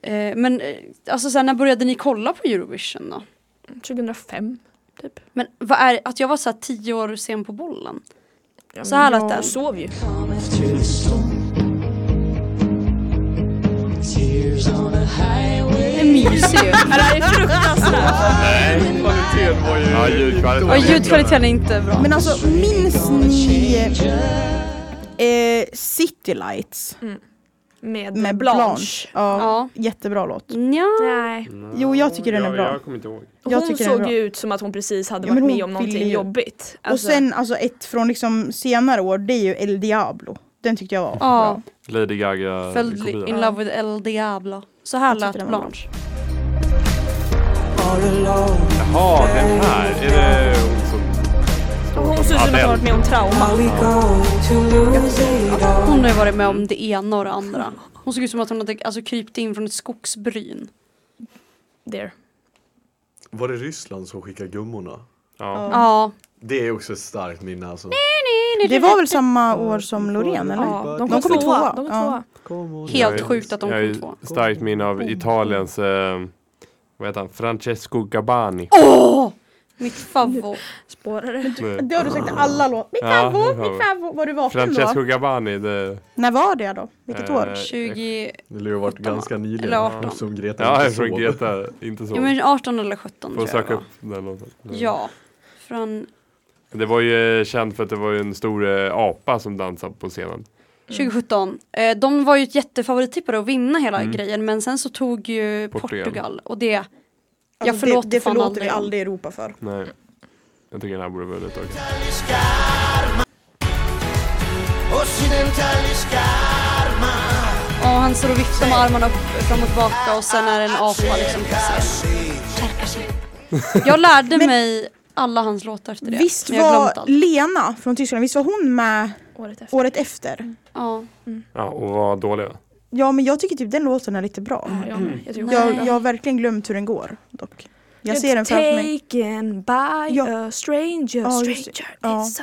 Speaker 2: Eh, men eh, alltså sen när började ni kolla på Eurovision då?
Speaker 6: 2005.
Speaker 2: Men vad är att jag var så här tio år sen på bollen? Så här lät den.
Speaker 6: Jag sov ju.
Speaker 2: Det är mysigt ju.
Speaker 8: Kvaliteten var ju...
Speaker 5: Ja, ljudkvaliteten.
Speaker 2: Och ljudkvaliteten är inte bra.
Speaker 3: Men alltså minns ni eh, City Lights?
Speaker 7: Med,
Speaker 3: med Blanche.
Speaker 2: Typ
Speaker 3: Ja,
Speaker 2: Ja.
Speaker 3: Jättebra låt.
Speaker 2: Nja.
Speaker 7: Nej.
Speaker 3: Jo, jag tycker den är
Speaker 5: jag,
Speaker 3: bra.
Speaker 5: Jag kommer inte ihåg.
Speaker 7: Hon
Speaker 3: Jag tycker den är
Speaker 7: såg
Speaker 3: bra.
Speaker 7: ju ut som att hon precis hade
Speaker 3: Ja, men
Speaker 7: varit
Speaker 3: hon
Speaker 7: med om någonting
Speaker 3: ville ju-
Speaker 7: jobbigt. Alltså,
Speaker 3: Och sen alltså ett från liksom senare år, det är ju El Diablo. Den tyckte jag var
Speaker 2: Ja.
Speaker 3: bra.
Speaker 5: Lady Gaga.
Speaker 2: Fell
Speaker 5: kopia.
Speaker 2: in love with El Diablo. Så här
Speaker 3: tyckte
Speaker 2: lät
Speaker 3: den var bra.
Speaker 2: Blanche.
Speaker 5: Jaha, den här. Är det hon som står
Speaker 7: hon ser ut som att hon har varit med om trauma.
Speaker 2: Hon har ju varit med om det ena och det andra. Hon såg ut som att hon hade alltså, krypt in från ett skogsbryn.
Speaker 7: There.
Speaker 4: Var det Ryssland som skickade gummorna?
Speaker 5: Ja.
Speaker 2: Ja.
Speaker 4: Det är också ett starkt minne alltså.
Speaker 3: Det var väl samma år som Loreen eller?
Speaker 7: Ja,
Speaker 3: De
Speaker 7: de kom
Speaker 3: kom i tvåa.
Speaker 7: tvåa. De kom
Speaker 3: Ja.
Speaker 7: tvåa.
Speaker 2: Helt
Speaker 5: Jag är-
Speaker 2: sjukt att de
Speaker 5: jag
Speaker 2: kom
Speaker 5: är
Speaker 2: två.
Speaker 5: starkt minne av Italiens, eh, vad heter han, Francesco Gabbani.
Speaker 2: Åh! Mitt favvo.
Speaker 7: Spårare.
Speaker 5: Nu.
Speaker 3: Det har du sagt i alla låtar. Mitt
Speaker 5: Ja,
Speaker 3: favvo,
Speaker 5: mitt
Speaker 3: mitt favvo. Var du vaken
Speaker 5: Francesco
Speaker 3: då?
Speaker 5: Gabbani, det...
Speaker 3: När var det då? Vilket
Speaker 5: Eh,
Speaker 3: år? Alltså,
Speaker 2: 20...
Speaker 4: Det lär ju ha varit ganska nyligen.
Speaker 2: Eller 18.
Speaker 4: Som Greta
Speaker 5: Ja, jag är
Speaker 4: inte
Speaker 5: från
Speaker 4: såg.
Speaker 5: Greta, inte så.
Speaker 2: Ja men 18 eller 17
Speaker 5: Får
Speaker 2: tror jag det
Speaker 5: söka upp
Speaker 2: var.
Speaker 5: den låten.
Speaker 2: Ja. Från
Speaker 5: Det var ju eh, känt för att det var ju en stor eh, apa som dansade på scenen.
Speaker 2: 2017. Eh, de var ju ett jättefavorittippare att vinna hela
Speaker 5: Mm.
Speaker 2: grejen men sen så tog ju Portugal,
Speaker 5: Portugal.
Speaker 2: och det,
Speaker 3: Alltså,
Speaker 2: jag förlåter
Speaker 3: det, det
Speaker 2: fan
Speaker 3: förlåter
Speaker 2: aldrig
Speaker 3: vi
Speaker 2: dem.
Speaker 3: aldrig Europa för.
Speaker 5: Nej. Jag tycker den här borde vunnit också.
Speaker 2: och han står och viftar med armarna upp, fram och tillbaka och sen är det en apa liksom på scenen. Jag lärde mig alla hans låtar efter det.
Speaker 3: Visst
Speaker 2: men jag har glömt
Speaker 3: var
Speaker 2: allt.
Speaker 3: Lena från Tyskland, visst var hon med
Speaker 7: Året efter.
Speaker 3: året efter?
Speaker 2: Ja.
Speaker 5: Ja, och vad dåliga.
Speaker 3: Ja men jag tycker typ den låten är lite bra.
Speaker 2: Mm.
Speaker 7: Ja, jag med. Jag tycker
Speaker 3: Jag,
Speaker 7: hon-
Speaker 3: jag har verkligen glömt hur den går dock. Jag
Speaker 7: It's
Speaker 3: ser den framför mig.
Speaker 7: Taken by
Speaker 3: Ja.
Speaker 7: a stranger.
Speaker 3: Ja, just det.
Speaker 7: stranger.
Speaker 3: Ja.
Speaker 7: It's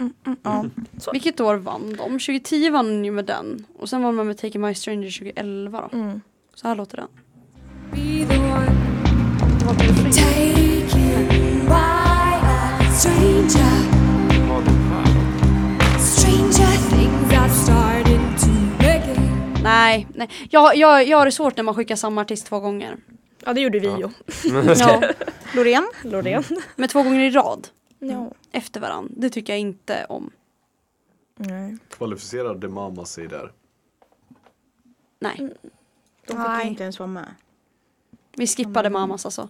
Speaker 7: a...
Speaker 3: Ja.
Speaker 2: Vilket år vann de? 2010 vann hon ju med den och sen var man med Taking My Stranger 2011 då.
Speaker 7: Mm.
Speaker 2: Så här låter den.
Speaker 9: Taken by a stranger. Stranger things are starting to begin.
Speaker 2: Nej, nej. Jag, jag, jag har det svårt när man skickar samma artist två gånger.
Speaker 7: Ja det gjorde vi ju.
Speaker 2: Ja.
Speaker 3: Loreen?
Speaker 7: Loreen.
Speaker 3: Mm.
Speaker 2: Men två gånger i rad
Speaker 7: Ja.
Speaker 2: efter varandra, det tycker jag inte om.
Speaker 7: Nej.
Speaker 4: Kvalificerade The mamma sig där.
Speaker 2: Nej.
Speaker 3: De fick
Speaker 7: Nej.
Speaker 3: inte ens vara med.
Speaker 2: Vi
Speaker 7: Mm.
Speaker 2: skippade mammas alltså.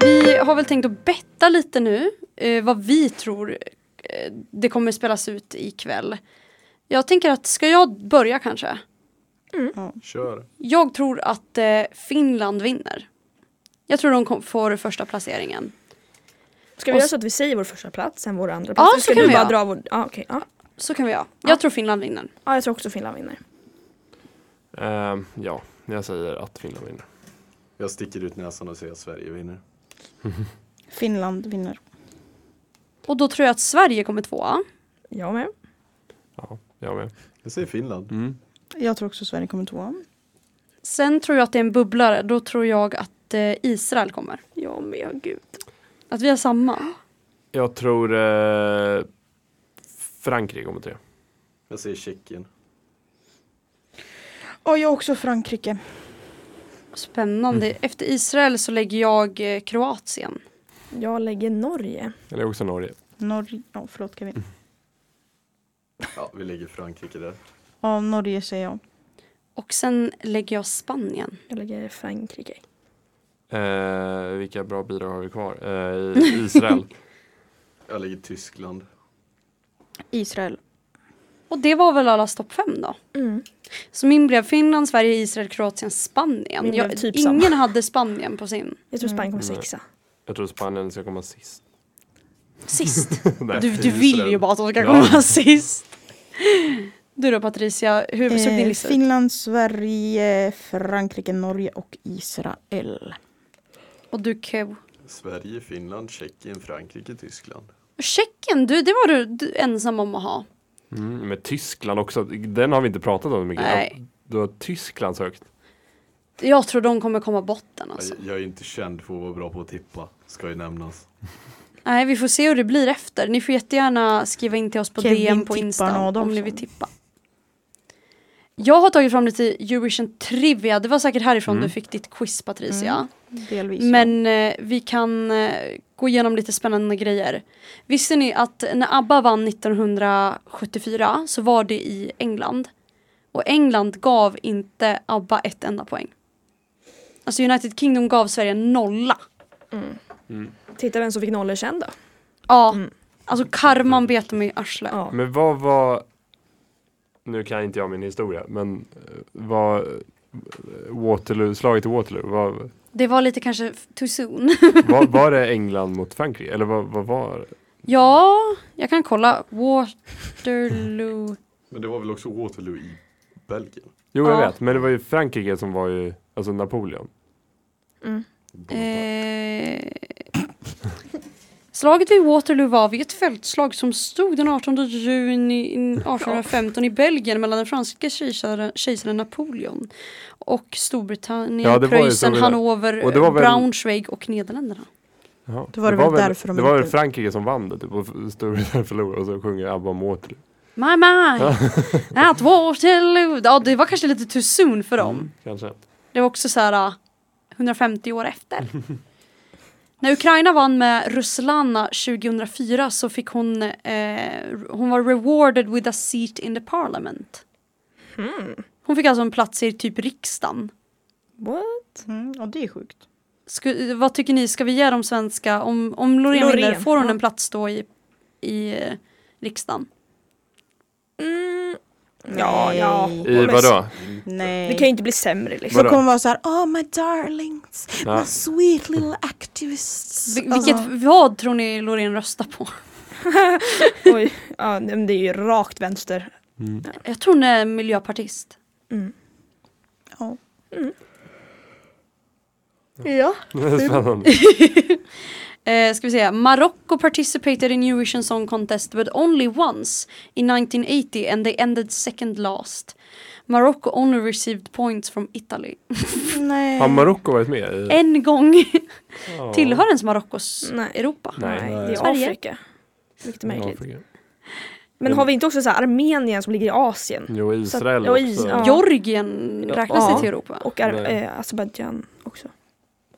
Speaker 2: Vi har väl tänkt att betta lite nu eh, vad vi tror eh, det kommer spelas ut ikväll. Jag tänker att, ska jag börja kanske?
Speaker 4: Kör.
Speaker 2: Jag tror att eh, Finland vinner. Jag tror de kom, får första placeringen.
Speaker 7: Ska
Speaker 2: Och
Speaker 7: vi
Speaker 2: s-
Speaker 7: göra så att vi säger vår första plats, sen vår andra
Speaker 2: Ja,
Speaker 7: plats?
Speaker 2: så
Speaker 7: Eller ska
Speaker 2: kan
Speaker 7: du
Speaker 2: vi
Speaker 7: bara
Speaker 2: göra.
Speaker 7: dra vår... Ja okej. Ja.
Speaker 2: Så kan vi göra.
Speaker 7: Ja.
Speaker 2: Jag tror Finland vinner.
Speaker 7: ja jag tror också Finland vinner.
Speaker 5: Ehm, ja, jag säger att Finland vinner.
Speaker 4: Jag sticker ut näsan och säger att Sverige vinner.
Speaker 3: Finland vinner.
Speaker 2: Och då tror jag att Sverige kommer tvåa.
Speaker 7: Jag med.
Speaker 5: Ja, jag med.
Speaker 4: Jag säger Finland.
Speaker 5: Mm.
Speaker 3: Jag tror också Sverige kommer tvåa.
Speaker 2: Sen tror jag att det är en bubblare. Då tror jag att eh, Israel kommer.
Speaker 7: Jag med, gud.
Speaker 2: Att vi har samma.
Speaker 5: Jag tror eh, Frankrike kommer tre.
Speaker 4: Jag säger Tjeckien.
Speaker 3: Och jag också Frankrike.
Speaker 2: Spännande. Efter Israel så lägger jag eh, Kroatien.
Speaker 7: Jag lägger Norge.
Speaker 5: Eller också Norge.
Speaker 3: Norge, ja förlåt Kevin.
Speaker 4: Ja, vi lägger Frankrike där.
Speaker 3: Ja Norge säger jag.
Speaker 2: Och sen lägger jag Spanien.
Speaker 7: Jag lägger Frankrike.
Speaker 5: Eh, vilka bra bidrag har vi kvar? Eh, i- Israel.
Speaker 4: Jag lägger Tyskland.
Speaker 3: Israel.
Speaker 2: Och det var väl allas topp fem då.
Speaker 7: Mm.
Speaker 2: Så min blev Finland, Sverige, Israel, Kroatien, Spanien.
Speaker 7: Min
Speaker 2: Jag,
Speaker 7: blev typ
Speaker 2: ingen
Speaker 7: samma.
Speaker 2: hade Spanien på sin.
Speaker 7: Jag tror Spanien kommer
Speaker 5: Mm.
Speaker 7: sexa.
Speaker 5: jag tror Spanien ska komma sist.
Speaker 2: Sist.
Speaker 5: Nej,
Speaker 2: Du, du
Speaker 4: Israel.
Speaker 2: vill ju bara att de ska
Speaker 5: Ja.
Speaker 2: komma sist. Du då Patricia, hur såg din
Speaker 3: Eh,
Speaker 2: lista ut?
Speaker 3: Finland, Sverige, Frankrike, Norge och Israel.
Speaker 2: Och du Kev?
Speaker 4: Sverige, Finland, Tjeckien, Frankrike, Tyskland.
Speaker 2: Tjeckien, du, det var du, du ensam om att ha.
Speaker 5: Mm, men Tyskland också, den har vi inte pratat om så mycket.
Speaker 2: Nej.
Speaker 5: Du har Tysklands högst.
Speaker 2: Jag tror de kommer komma botten alltså.
Speaker 4: Jag, jag är inte känd för att vara bra på att tippa. Ska ju nämnas.
Speaker 2: Nej, vi får se hur det blir efter. Ni får jättegärna skriva in till oss på
Speaker 3: Kevin
Speaker 2: DM på
Speaker 3: tippar
Speaker 2: Insta
Speaker 3: Adolfsson.
Speaker 2: om ni vill tippa. Jag har tagit fram lite Eurovision Trivia. Det var säkert härifrån
Speaker 5: Mm.
Speaker 2: du fick ditt quiz Patricia.
Speaker 3: Mm, Delvis.
Speaker 2: Men eh, vi kan eh, gå igenom lite spännande grejer. Visste ni att när ABBA vann 1974 så var det i England. Och England gav inte ABBA ett enda poäng. Alltså United Kingdom gav Sverige en nolla.
Speaker 7: Titta vem som fick nollor sen då.
Speaker 2: Ja,
Speaker 6: Mm.
Speaker 2: alltså karman bet mig i arslet.
Speaker 6: Ja.
Speaker 5: Men vad var, nu kan inte jag min historia, men eh, vad Waterloo, slaget i Waterloo, var,
Speaker 2: Det var lite kanske f- too soon.
Speaker 5: var, var det England mot Frankrike? Eller vad, vad var
Speaker 2: ja, jag kan kolla. Waterloo.
Speaker 4: Men det var väl också Waterloo i Belgien?
Speaker 5: Jo
Speaker 2: Ja.
Speaker 5: jag vet, men det var ju Frankrike som var ju, alltså Napoleon.
Speaker 2: Eh, slaget vid Waterloo var vid ett fältslag som stod den 18 juni 1815 i Belgien mellan den franska kejsaren, kejsaren Napoleon och Storbritannien,
Speaker 5: Ja, det var ju
Speaker 2: Preussen,
Speaker 5: som vi-
Speaker 2: Hannover,
Speaker 5: och det var väl-
Speaker 2: Braunschweig och Nederländerna.
Speaker 5: Jaha.
Speaker 3: Då var det väl därför de
Speaker 5: Det var väl
Speaker 3: inte-
Speaker 5: Frankrike som vann det typ, och f- Storbritannien förlorade och så sjunger ABBA om Waterloo.
Speaker 2: My my, at Waterloo. Ja, det var kanske lite too soon för dem.
Speaker 5: Mm, Kanske.
Speaker 2: Det var också så här äh, 150 år efter. När Ukraina vann med Ruslana 2004 så fick hon, eh, hon var rewarded with a seat in the parliament. Hon fick alltså en plats i typ riksdagen.
Speaker 6: What?
Speaker 3: Mm, ja, det är sjukt.
Speaker 2: Sku, vad tycker ni, ska vi ge de svenska, om, om Loreen
Speaker 6: Loreen,
Speaker 2: vinner, får hon
Speaker 6: ja.
Speaker 2: en plats då i, i eh, riksdagen?
Speaker 6: Mm. Ja, ja.
Speaker 5: I vadå?
Speaker 3: Nej.
Speaker 6: Det kan ju inte bli sämre liksom.
Speaker 3: Så
Speaker 5: Vadå?
Speaker 3: kommer vara så här, oh my darlings,
Speaker 5: Ja.
Speaker 3: my sweet little activists.
Speaker 2: Vil- vilket, vad tror ni Loreen röstar på?
Speaker 6: Oj. Ja, nej, men det är ju rakt vänster.
Speaker 5: Mm.
Speaker 2: Jag tror hon är miljöpartist.
Speaker 6: Mm.
Speaker 3: Ja.
Speaker 6: Ja.
Speaker 5: Spännande.
Speaker 2: Eh, ska vi se. Marocko participated in Eurovision Song Contest but only once in 1980 and they ended second last. Marocco only received points from Italy.
Speaker 3: Nej.
Speaker 5: Har Marocko varit med i?
Speaker 2: En gång
Speaker 5: Ja.
Speaker 2: tillhör ens Marokkos
Speaker 6: Nej.
Speaker 2: Europa.
Speaker 5: Nej.
Speaker 6: Nej, det är
Speaker 2: Sverige.
Speaker 6: Afrika. Vilket är märkligt.
Speaker 5: Afrika.
Speaker 6: Men har vi inte också så här Armenien som ligger i Asien?
Speaker 5: Jo, Israel
Speaker 6: ja,
Speaker 5: också.
Speaker 6: is- ja.
Speaker 2: Georgien
Speaker 6: Ja.
Speaker 2: räknas det
Speaker 6: Ja.
Speaker 2: till Europa?
Speaker 6: Och Ar-
Speaker 5: Nej.
Speaker 6: eh, Azerbajdzjan också.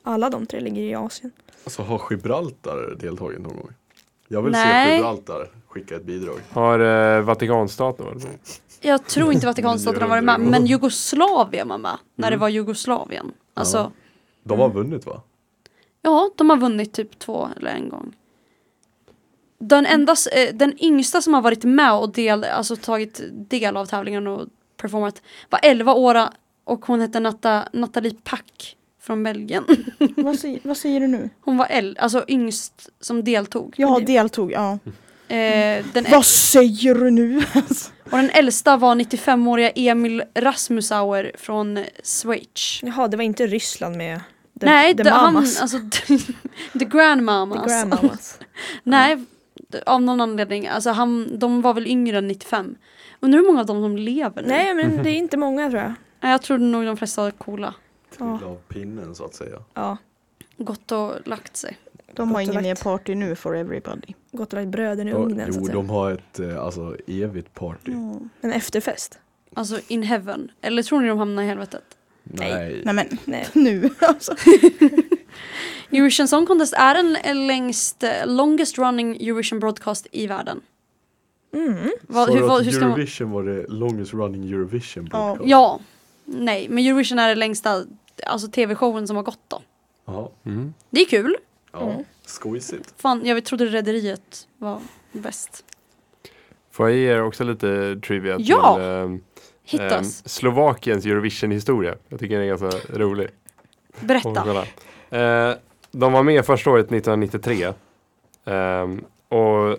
Speaker 6: Alla de tre ligger i Asien.
Speaker 4: Alltså har Gibraltar deltagit någon gång? Jag vill se
Speaker 2: Nej.
Speaker 4: Gibraltar skicka ett bidrag.
Speaker 5: Har eh, Vatikanstaten varit med?
Speaker 2: Jag tror inte Vatikanstaten har varit med men Jugoslavien var med när
Speaker 5: Mm.
Speaker 2: det var Jugoslavien. Alltså, ja.
Speaker 4: De har vunnit va?
Speaker 2: de har vunnit typ två eller en gång. Den,
Speaker 6: Mm.
Speaker 2: enda, s- eh, den yngsta som har varit med och del, alltså tagit del av tävlingen och performat var 11 år och hon hette Natta, Nathalie Pack från Belgien.
Speaker 3: vad, säger, vad säger du nu?
Speaker 2: Hon var el, alltså yngst som deltog.
Speaker 3: Jag deltog, ja.
Speaker 2: Eh, den,
Speaker 3: Vad säger du nu? Alltså,
Speaker 2: och den äldsta var 95-åriga Emil Rasmussauer från Schweiz.
Speaker 6: Jaha, det var inte Ryssland med the,
Speaker 2: Nej,
Speaker 6: the
Speaker 2: the, han,
Speaker 6: mamas.
Speaker 2: alltså the grandmamas.
Speaker 6: the grandmamas.
Speaker 2: Nej, d- av någon anledning. Alltså han, de var väl yngre än 95. Undrar hur många av dem som lever nu?
Speaker 6: Nej,
Speaker 4: Mm.
Speaker 6: men det är inte många tror jag.
Speaker 2: Nej, Jag tror nog de flesta är coola.
Speaker 6: Ja.
Speaker 4: Till av pinnen så att säga.
Speaker 6: Ja,
Speaker 2: Gått och lagt sig.
Speaker 3: de har
Speaker 6: Gott och
Speaker 3: ingen mer
Speaker 6: lätt.
Speaker 3: party nu for everybody.
Speaker 6: gått och lagt bröden i
Speaker 4: Ja,
Speaker 6: ugnen så
Speaker 4: jo,
Speaker 6: att säga. Mm.
Speaker 4: de har ett eh, alltså, evigt party.
Speaker 6: En efterfest.
Speaker 2: Alltså in heaven. Eller tror ni de hamnar i helvetet?
Speaker 4: Nej.
Speaker 3: Nej men,
Speaker 6: Nej.
Speaker 3: nu alltså.
Speaker 2: Eurovision Song Contest är en en längst, eh, longest running Eurovision broadcast i världen.
Speaker 6: Mm.
Speaker 2: Vad-
Speaker 4: Sa du
Speaker 2: hur- vad-
Speaker 4: att
Speaker 2: hur ska man-
Speaker 4: Eurovision var det longest running Eurovision
Speaker 3: Ja.
Speaker 4: podcast?
Speaker 2: Ja, nej, men Eurovision är den längsta alltså, tv-showen som har gått då.
Speaker 4: Ja.
Speaker 5: Mm.
Speaker 2: Det är kul.
Speaker 4: ja. Skojsigt.
Speaker 2: Fan, jag trodde Rederiet var bäst.
Speaker 5: Får jag ge er också lite trivia till
Speaker 2: Ja!
Speaker 5: ehm, ehm,
Speaker 2: Hittas.
Speaker 5: Slovakiens Eurovision-historia? Jag tycker den är ganska rolig. Och
Speaker 2: Berätta.
Speaker 5: kolla. Eh, de var med första året 1993 ehm, och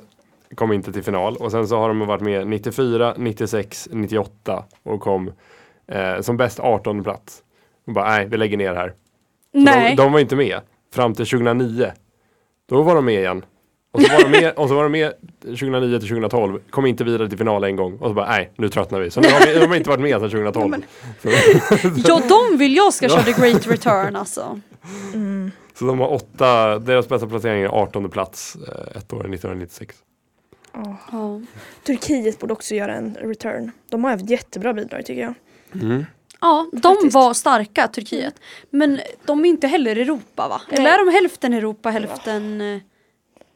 Speaker 5: kom inte till final. Och sen så har de varit med 94, 96, 98 och kom eh, som bäst 18 plats. Och bara, nej, vi lägger ner här. Så
Speaker 2: Nej.
Speaker 5: De, de var inte med fram till 2009. Då var de med igen. Och så var de med, och så var de med 2009 till 2012, kom inte vidare till final en gång och så bara nej, nu tröttnar vi. Så nu har vi, de har inte varit med sedan 2012. Så,
Speaker 2: Ja, de vill jag ska köra The Great Return alltså.
Speaker 5: så de har åtta, deras bästa placering är 18 plats eh, ett år 1996.
Speaker 6: Ja.
Speaker 2: Ja.
Speaker 6: Turkiet borde också göra en return. De har haft jättebra bidrag tycker jag.
Speaker 2: Ja, de var starka, Turkiet. Men de är inte heller Europa va? Eller
Speaker 6: Nej.
Speaker 2: är de hälften Europa, hälften eh,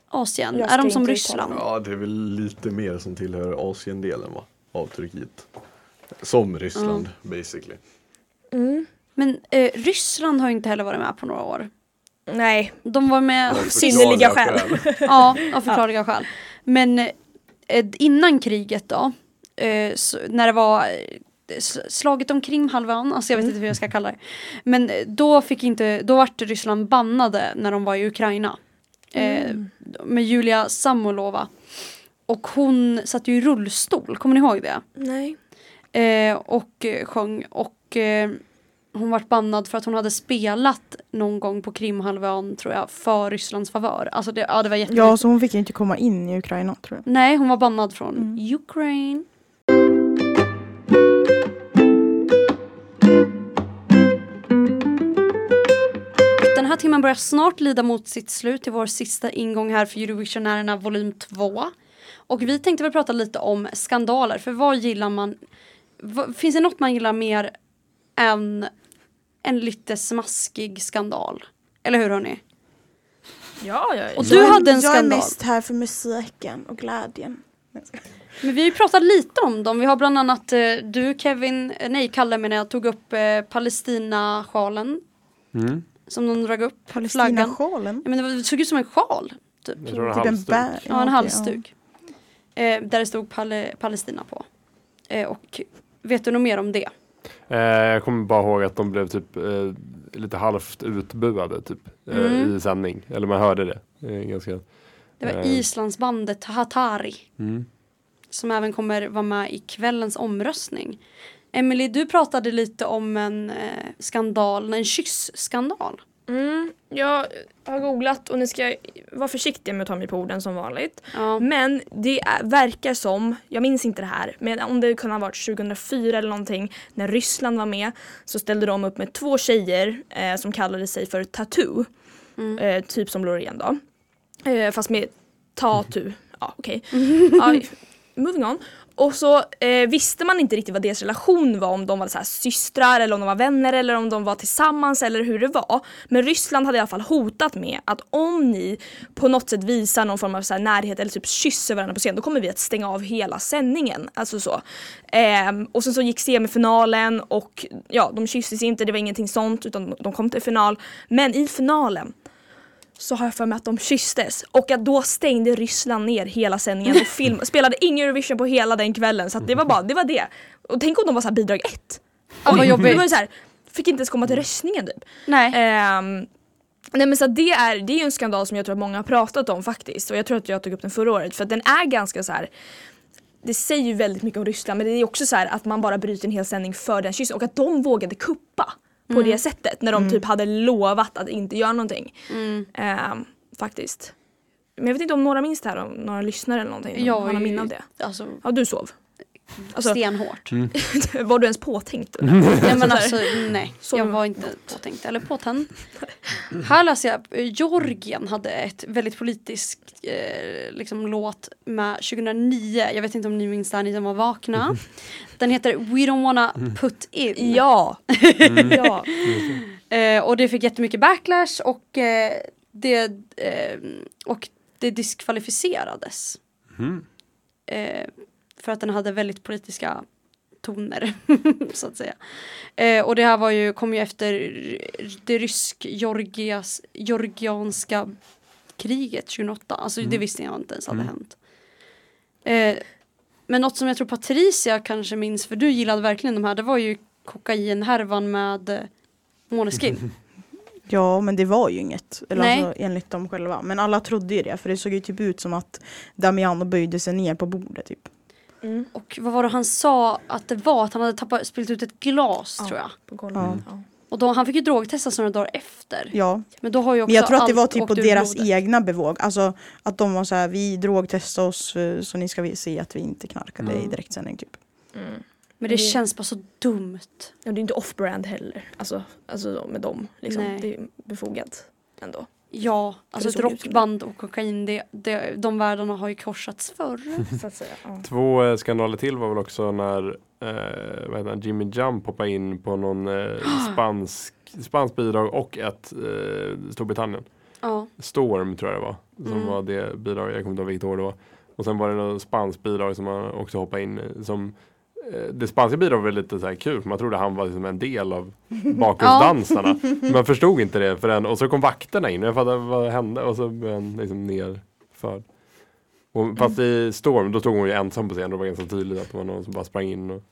Speaker 2: Asien?
Speaker 6: Jag
Speaker 2: Är de
Speaker 6: ska
Speaker 2: som
Speaker 6: inte
Speaker 2: Ryssland?
Speaker 6: uttala
Speaker 4: Ja, det är väl lite mer som tillhör Asiendelen va? Av Turkiet. Som Ryssland basically.
Speaker 6: Mm,
Speaker 2: Men eh, Ryssland har ju inte heller varit med på några år.
Speaker 6: Nej,
Speaker 2: De var med,
Speaker 6: synnerliga
Speaker 4: Förklarliga
Speaker 6: skäl.
Speaker 2: ja, av förklarliga skäl. Men eh, innan kriget då, eh, så, när det var eh, sl- slaget om Krimhalvön, alltså jag vet inte hur jag ska kalla det. Men eh, då fick inte, då vart Ryssland bannade när de var i Ukraina. Eh, Med Julia Samolova. Och hon satt ju i rullstol, kommer ni ihåg det?
Speaker 6: nej.
Speaker 2: Eh, och eh, sjöng och eh, hon vart bannad för att hon hade spelat någon gång på Krimhalvön tror jag för Rysslands favör. Alltså det, ja, det var jättemycket.
Speaker 3: Ja, så hon fick inte komma in i Ukraina tror jag. Mm.
Speaker 2: Nej, hon var bannad från Ukraine. Den här timmen börjar snart lida mot sitt slut. Det är vår sista ingång här för Eurovisionärerna volym 2. Och vi tänkte väl prata lite om skandaler. För vad gillar man? vad- finns det något man gillar mer än en lite smaskig skandal? Eller hur hörni?
Speaker 6: Ja, ja, ja.
Speaker 2: Och du hade en
Speaker 3: Jag är
Speaker 2: skandal.
Speaker 3: mest här för musiken och glädjen.
Speaker 2: Men vi har ju pratat lite om dem. Vi har bland annat eh, du Kevin, eh, nej Kalle menar jag, tog upp eh, Palestina-sjalen
Speaker 5: Mm.
Speaker 2: som de drog upp. Flaggan.
Speaker 3: Palestinasjalen.
Speaker 2: Ja, men det, var, det såg ut som en sjal. Typ.
Speaker 5: Jag tror det var
Speaker 3: Typ en
Speaker 5: halsduk.
Speaker 3: bär.
Speaker 2: Ja, en
Speaker 3: okej,
Speaker 2: halsduk. Eh, där det stod Pale- Palestina på. Eh, och vet du något mer om det?
Speaker 5: Eh, jag kommer bara ihåg att de blev typ eh, lite halvt utbuade typ eh,
Speaker 2: Mm.
Speaker 5: i sändning. Eller man hörde det. Eh, ganska.
Speaker 2: Det var
Speaker 5: Eh.
Speaker 2: Islandsbandet Hatari
Speaker 5: Mm.
Speaker 2: som även kommer vara med i kvällens omröstning. Emily, du pratade lite om en eh, skandal, en kyssskandal.
Speaker 6: Mm, jag har googlat och ni ska vara försiktiga med att ta mig på orden som vanligt.
Speaker 2: Ja.
Speaker 6: Men det är, verkar som, jag minns inte det här, men om det kunde ha varit 2004 eller någonting när Ryssland var med så ställde de upp med två tjejer eh, som kallade sig för Tattoo. Eh, typ som Loreen då. Eh, fast med Tatu. Ja okej. Ja, moving on. Och så eh, visste man inte riktigt vad deras relation var, om de var så här systrar eller om de var vänner eller om de var tillsammans eller hur det var. Men Ryssland hade i alla fall hotat med att om ni på något sätt visar någon form av så här närhet eller typ kysser varandra på scen då kommer vi att stänga av hela sändningen. Alltså så. Ehm, och sen så gick semifinalen och ja, de kysstes inte, det var ingenting sånt utan de kom till final. Men i finalen så har jag för mig att de kysstes och att då stängde Ryssland ner hela sändningen och film, spelade ingen Eurovision på hela den kvällen så att det var bara det. Var det. Och tänk om de var så här bidrag ett.
Speaker 2: Ja, vad
Speaker 6: Det
Speaker 2: jobbigt.
Speaker 6: var ju så här, fick inte ens komma till röstningen typ.
Speaker 2: Nej.
Speaker 6: Ehm, nej men så att det är, det är ju en skandal som jag tror att många har pratat om faktiskt och jag tror att jag tog upp den förra året för att den är ganska så här. Det säger ju väldigt mycket om Ryssland men det är också så här att man bara bryter en hel sändning för den kyssen och att de vågade kuppa på det sättet när de typ hade lovat att inte göra någonting.
Speaker 2: Eh, mm,
Speaker 6: Ehm, faktiskt. Men jag vet inte om några minns det här, om några lyssnar eller någonting. om
Speaker 2: Jag
Speaker 6: man har
Speaker 2: är ju-
Speaker 6: minne av det.
Speaker 2: Alltså,
Speaker 6: Ja du sov. Alltså,
Speaker 2: stenhårt.
Speaker 6: var du ens påtänkt?
Speaker 2: Ja, Mm. men alltså, nej,
Speaker 6: Så-
Speaker 2: jag var inte påtänkt eller påtänd. Här läser jag, eh, Georgien hade ett väldigt politiskt eh, liksom, låt med 2009, jag vet inte om ni minns det här, ni som var vakna. Den heter We don't wanna put in.
Speaker 6: Ja! ja.
Speaker 2: Eh, och det fick jättemycket backlash och, eh, det, eh, och det diskvalificerades.
Speaker 5: Mm.
Speaker 2: Eh, för att den hade väldigt politiska toner, så att säga. Eh, och det här var ju, kom ju efter det rysk-georgianska kriget 2008. Alltså det visste jag inte ens hade hänt. Eh, men något som jag tror Patricia kanske minns, för du gillade verkligen de här, det var ju kokainhärvan med eh, Måneskin.
Speaker 3: Ja, men det var ju inget. Eller
Speaker 2: Nej.
Speaker 3: alltså, enligt dem själva. Men alla trodde ju det, för det såg ju typ ut som att Damiano böjde sig ner på bordet. Typ.
Speaker 6: Mm,
Speaker 2: Och vad var det han sa att det var? Att han hade tappat, spilt ut ett glas
Speaker 6: Ja.
Speaker 2: tror jag.
Speaker 6: På golvet.
Speaker 3: Ja.
Speaker 6: Ja.
Speaker 2: Och då, han fick ju drogtestas några dagar efter.
Speaker 3: Ja,
Speaker 2: Men då har ju också
Speaker 3: men jag tror att det var
Speaker 2: allt
Speaker 3: typ på
Speaker 2: åkt ur
Speaker 3: deras
Speaker 2: blodet.
Speaker 3: egna bevåg. Alltså att de var så här, vi drogtestade oss eh, så ni ska vi- se att vi inte knarkade
Speaker 2: Mm.
Speaker 3: i direktsändning typ.
Speaker 2: Men
Speaker 3: Mm.
Speaker 2: det känns bara så dumt.
Speaker 6: Mm. Ja, det är inte off-brand heller, alltså, alltså med dem. Liksom.
Speaker 2: Nej.
Speaker 6: Det är befogat ändå.
Speaker 2: Ja, alltså
Speaker 6: det
Speaker 2: ett
Speaker 6: såg ut som
Speaker 2: rockband och kokain, det, det, de världarna har ju korsats förr.
Speaker 6: Så att säga. Ja.
Speaker 5: Två eh, skandaler till var väl också när eh, vad heter han, Jimmy Jump hoppa in på någon eh, spansk, spansk bidrag och ett eh, Storbritannien.
Speaker 2: Ja.
Speaker 5: Storm tror jag det var. Som
Speaker 2: Mm.
Speaker 5: var det bidrag, jag kommer inte ihåg vilket år det var. Och sen var det något spanskt bidrag som han också hoppade in i, som eh, det spanska bidraget var lite så här kul, för man trodde han var liksom en del av bakgrundsdansarna. Man förstod inte det förrän, och så kom vakterna in och jag fattade vad hände och så blev han liksom nerförd. Och, fast i Storm, då stod hon ju ensam på scenen, då var det ganska tydligt att det var någon som bara sprang in. Och,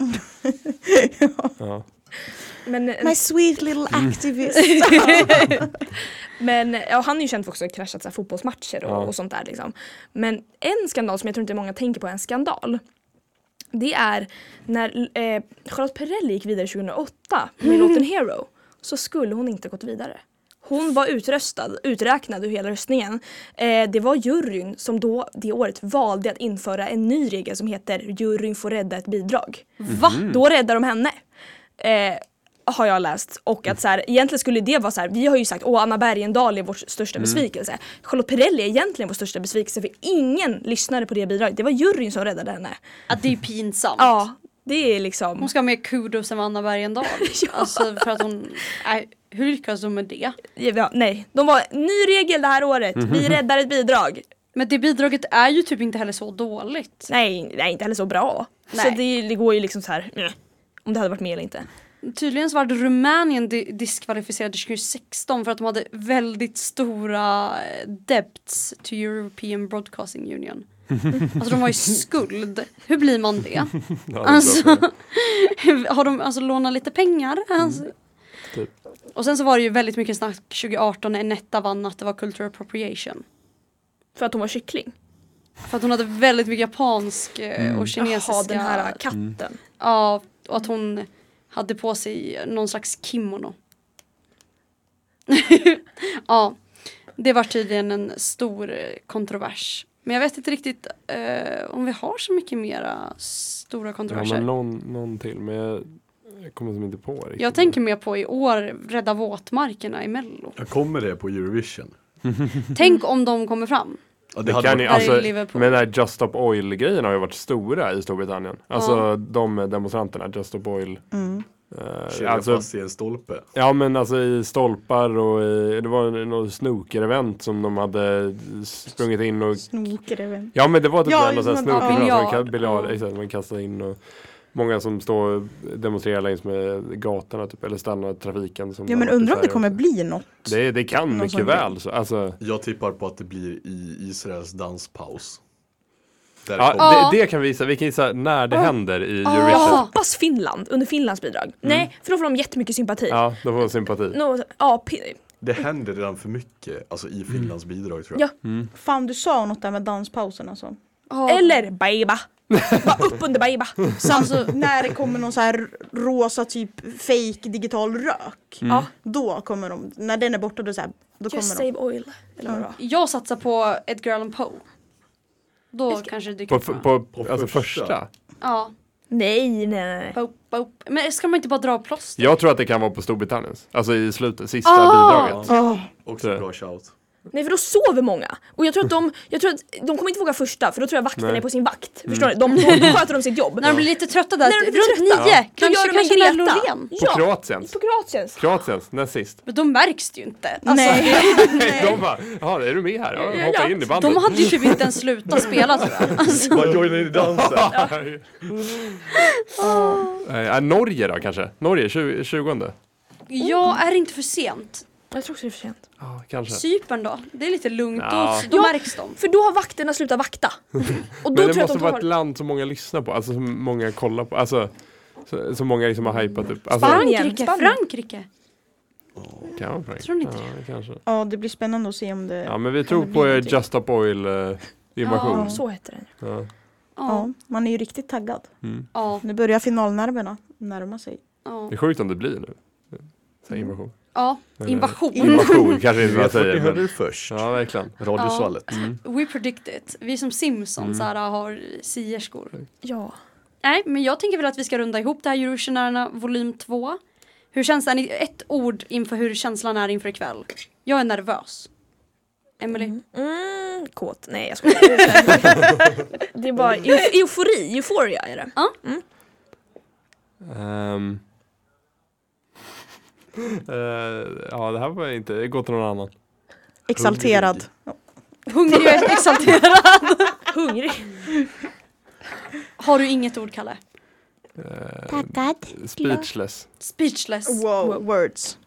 Speaker 5: ja.
Speaker 6: Men, eh,
Speaker 2: Mm.
Speaker 3: My sweet little activist.
Speaker 6: men ja, han är ju känd för också att ha kraschat så här, fotbollsmatcher och,
Speaker 5: Ja.
Speaker 6: och sånt där. Liksom. Men en skandal som jag tror inte många tänker på är en skandal. Det är när eh, Charlotte Perrelli gick vidare 2008 med låten Hero så skulle hon inte gått vidare. Hon var utröstad, uträknad ur hela röstningen. Eh, det var juryn som då det året valde att införa en ny regel som heter juryn får rädda ett bidrag. Mm-hmm.
Speaker 2: Va?
Speaker 6: Då räddar de henne. Eh, har jag läst. Och att så här, egentligen skulle det vara så här, vi har ju sagt åh Anna Bergendahl är vår största
Speaker 2: Mm.
Speaker 6: besvikelse. Charlotte Perrelli är egentligen vår största besvikelse för ingen lyssnade på det bidraget. Det var juryn som räddade henne.
Speaker 2: Att det är pinsamt.
Speaker 6: Ja, det är liksom.
Speaker 2: Hon ska ha mer kudos än vad Anna Bergendahl.
Speaker 6: Ja.
Speaker 2: Alltså för att hon... Nej, hur lyckas hon med det?
Speaker 6: Ja, nej, de var ny regel det här året. Vi
Speaker 5: Mhm.
Speaker 6: räddar ett bidrag.
Speaker 2: Men det bidraget är ju typ inte heller så dåligt.
Speaker 6: Nej, nej inte heller så bra. Så
Speaker 2: Nej.
Speaker 6: det, det går ju liksom så här. eh, Om det hade varit med eller inte.
Speaker 2: Tydligen så var det Rumänien di- diskvalificerade 2016 för att de hade väldigt stora eh, debts to European Broadcasting Union. Alltså de var i skuld. Hur blir man det?
Speaker 5: Ja, det är
Speaker 2: Alltså,
Speaker 5: bra för det.
Speaker 2: har de alltså lånat lite pengar? Alltså.
Speaker 5: Mm. Typ.
Speaker 2: Och sen så var det ju väldigt mycket snack 2018 när Netta vann att det var cultural appropriation.
Speaker 6: För att hon var kyckling.
Speaker 2: För att hon hade väldigt mycket japansk eh,
Speaker 5: Mm.
Speaker 2: och kinesiska.
Speaker 6: Jaha, den här äh, katten.
Speaker 2: Ja, och att hon hade på sig någon slags kimono. ja, det var tydligen en stor eh, kontrovers. Men jag vet inte riktigt eh, om vi har så mycket mera stora
Speaker 5: ja,
Speaker 2: kontroverser.
Speaker 5: men någon, någon till, men jag, jag kommer som inte på riktigt.
Speaker 2: jag tänker mer på i år, Rädda våtmarkerna i Mello.
Speaker 4: Jag kommer det på Eurovision.
Speaker 2: Tänk om de kommer fram.
Speaker 4: Ja,
Speaker 5: Det
Speaker 4: hade
Speaker 5: kan ju,
Speaker 4: varit-
Speaker 2: Där i
Speaker 5: alltså,
Speaker 2: Liverpool.
Speaker 5: men den här Just Stop Oil-grejen har ju varit stora i Storbritannien. Alltså
Speaker 2: Ja.
Speaker 5: de demonstranterna, Just Stop Oil.
Speaker 3: Mm.
Speaker 5: Eh,
Speaker 4: kedja
Speaker 5: alltså,
Speaker 4: fast i en stolpe.
Speaker 5: ja men alltså i stolpar och i, det var en- något snooker-event som de hade sprungit in och
Speaker 3: Snokare vem?
Speaker 5: Ja men det var typ
Speaker 3: Ja,
Speaker 5: en sån här
Speaker 3: men- ja,
Speaker 5: snooker
Speaker 2: biljard.
Speaker 5: ja, biljard,
Speaker 2: Ja.
Speaker 5: exakt, man kastar in och Många som står och demonstrerar längs med gatorna typ, eller stannar trafiken. Som
Speaker 3: Ja
Speaker 5: har
Speaker 3: men
Speaker 5: varit i
Speaker 3: undrar om det
Speaker 5: Sverige.
Speaker 3: kommer bli något.
Speaker 5: Det, det kan mycket
Speaker 3: sån
Speaker 5: väl. Så, alltså,
Speaker 4: Jag tippar på att det blir i Israels danspaus. Där
Speaker 5: ja,
Speaker 4: kommer-
Speaker 5: det, det kan vi gissa. Vi kan gissa när det händer i
Speaker 6: Jag
Speaker 5: Eurovision.
Speaker 6: hoppas Finland under Finlands bidrag. Nej, för då får de jättemycket sympati.
Speaker 5: Mm. Ja, då får man sympati.
Speaker 6: Nå, ja, p-
Speaker 4: Det händer redan för mycket alltså,
Speaker 5: Mm.
Speaker 4: i Finlands bidrag tror jag.
Speaker 6: Ja.
Speaker 3: Fan du sa något där med danspausen alltså.
Speaker 6: Eller Baiba. Bara upp under Baiba.
Speaker 3: alltså när det kommer någon så här rosa typ fake digital rök.
Speaker 6: Ja.
Speaker 3: Då kommer de, när den är borta då, så här, då
Speaker 6: Just
Speaker 3: kommer de.
Speaker 6: save oil. Eller vad det var.
Speaker 2: Jag satsar på Edgar Allan Poe. Då kanske det dyker
Speaker 5: På,
Speaker 2: upp.
Speaker 5: på,
Speaker 2: några.
Speaker 5: på,
Speaker 4: På
Speaker 5: alltså
Speaker 4: första.
Speaker 5: första.
Speaker 2: Ja,
Speaker 6: Nej, nej, nej.
Speaker 2: Poe, Poe. Men ska man inte bara dra av plåster?
Speaker 5: Jag tror att det kan vara på Storbritanniens. Alltså i slutet, sista
Speaker 2: Ah!
Speaker 5: bidraget.
Speaker 3: Åh,
Speaker 4: Också
Speaker 5: Det.
Speaker 4: bra shout.
Speaker 6: Nej, för då sover många. Och jag tror att de, jag tror att de kommer inte våga första för då tror jag vakten
Speaker 5: Nej. Mm.
Speaker 6: är på sin vakt. Förstår ni? De, då, då sköter de sitt jobb.
Speaker 2: När de blir lite trötta där,
Speaker 6: När de blir
Speaker 2: runt
Speaker 6: trötta.
Speaker 2: nio,
Speaker 6: Ja. Då gör
Speaker 2: kanske,
Speaker 6: de en
Speaker 2: kanske
Speaker 6: Greta.
Speaker 2: Greta. Löfven.
Speaker 5: På
Speaker 6: Ja,
Speaker 5: Kroatiens.
Speaker 6: på Kroatiens.
Speaker 5: Kroatiens, näst sist.
Speaker 2: Men de märks det ju inte. Alltså,
Speaker 3: Nej.
Speaker 5: De bara, "Jaha, är du med här? Ja, hoppa in i bandet.
Speaker 2: De hade ju typ inte ens slutat spela tror jag. Alltså,
Speaker 4: Bara joina in i dansen.
Speaker 5: Eh, eh, Norge då kanske? Norge, 20, 20.
Speaker 2: jag är inte för sent.
Speaker 6: Jag tror också det är för sent.
Speaker 5: Ja, kanske.
Speaker 2: Cypern då? Det är lite lugnt,
Speaker 5: Ja.
Speaker 2: då, då märks de.
Speaker 6: För då har vakterna slutat vakta. Och då
Speaker 5: Men
Speaker 6: tror
Speaker 5: det
Speaker 6: jag att
Speaker 5: måste
Speaker 6: de
Speaker 5: vara ett
Speaker 6: tar...
Speaker 5: land som många lyssnar på, alltså som många kollar på, alltså så- som många liksom har hypat upp. Alltså,
Speaker 6: Spanien.
Speaker 2: Frankrike,
Speaker 6: Spanien.
Speaker 2: Frankrike.
Speaker 5: Kan vara Frankrike.
Speaker 2: Tror ni inte
Speaker 5: ja, kanske.
Speaker 3: Ja det blir spännande att se om det
Speaker 5: Ja men vi
Speaker 3: Kan
Speaker 5: tror
Speaker 3: det
Speaker 5: på
Speaker 3: bli
Speaker 5: er
Speaker 3: någonting?
Speaker 5: Just Stop Oil eh, invasion.
Speaker 6: Ja, så heter den.
Speaker 5: Ja.
Speaker 2: Ja,
Speaker 5: Mm.
Speaker 3: Ja, man är ju riktigt taggad.
Speaker 2: ja,
Speaker 3: Nu börjar finalnerverna närma sig.
Speaker 2: ja,
Speaker 5: Det är sjukt om det blir nu. Säg invasion.
Speaker 2: ja.
Speaker 5: Men, eh,
Speaker 2: Mm. Invasion.
Speaker 5: Invasion kanske
Speaker 4: Ni
Speaker 5: inte man
Speaker 4: vet vart ni
Speaker 5: säger.
Speaker 4: hörde
Speaker 5: Men,
Speaker 4: det först.
Speaker 5: ja verkligen.
Speaker 4: Radiosvallet.
Speaker 2: We predict it. Vi som Simpsons
Speaker 5: Mm.
Speaker 2: här har sierskor.
Speaker 6: Ja.
Speaker 2: Nej, men jag tänker väl att vi ska runda ihop det här Eurovisionärerna volym 2. Hur känns den? Ett ord inför hur känslan är inför ikväll. Jag är nervös. Emily.
Speaker 6: Mm, kåt. Nej jag skojar. det är bara eu- eufori, euphoria är det.
Speaker 5: Ehm. Eh, ja, det här var inte... Gå till någon annan.
Speaker 3: Exalterad.
Speaker 2: Hungrig och exalterad.
Speaker 7: Hungrig.
Speaker 2: Har du inget ord, Kalle?
Speaker 5: Eh,
Speaker 1: Tackad.
Speaker 5: speechless.
Speaker 2: Speechless.
Speaker 3: Wow, words.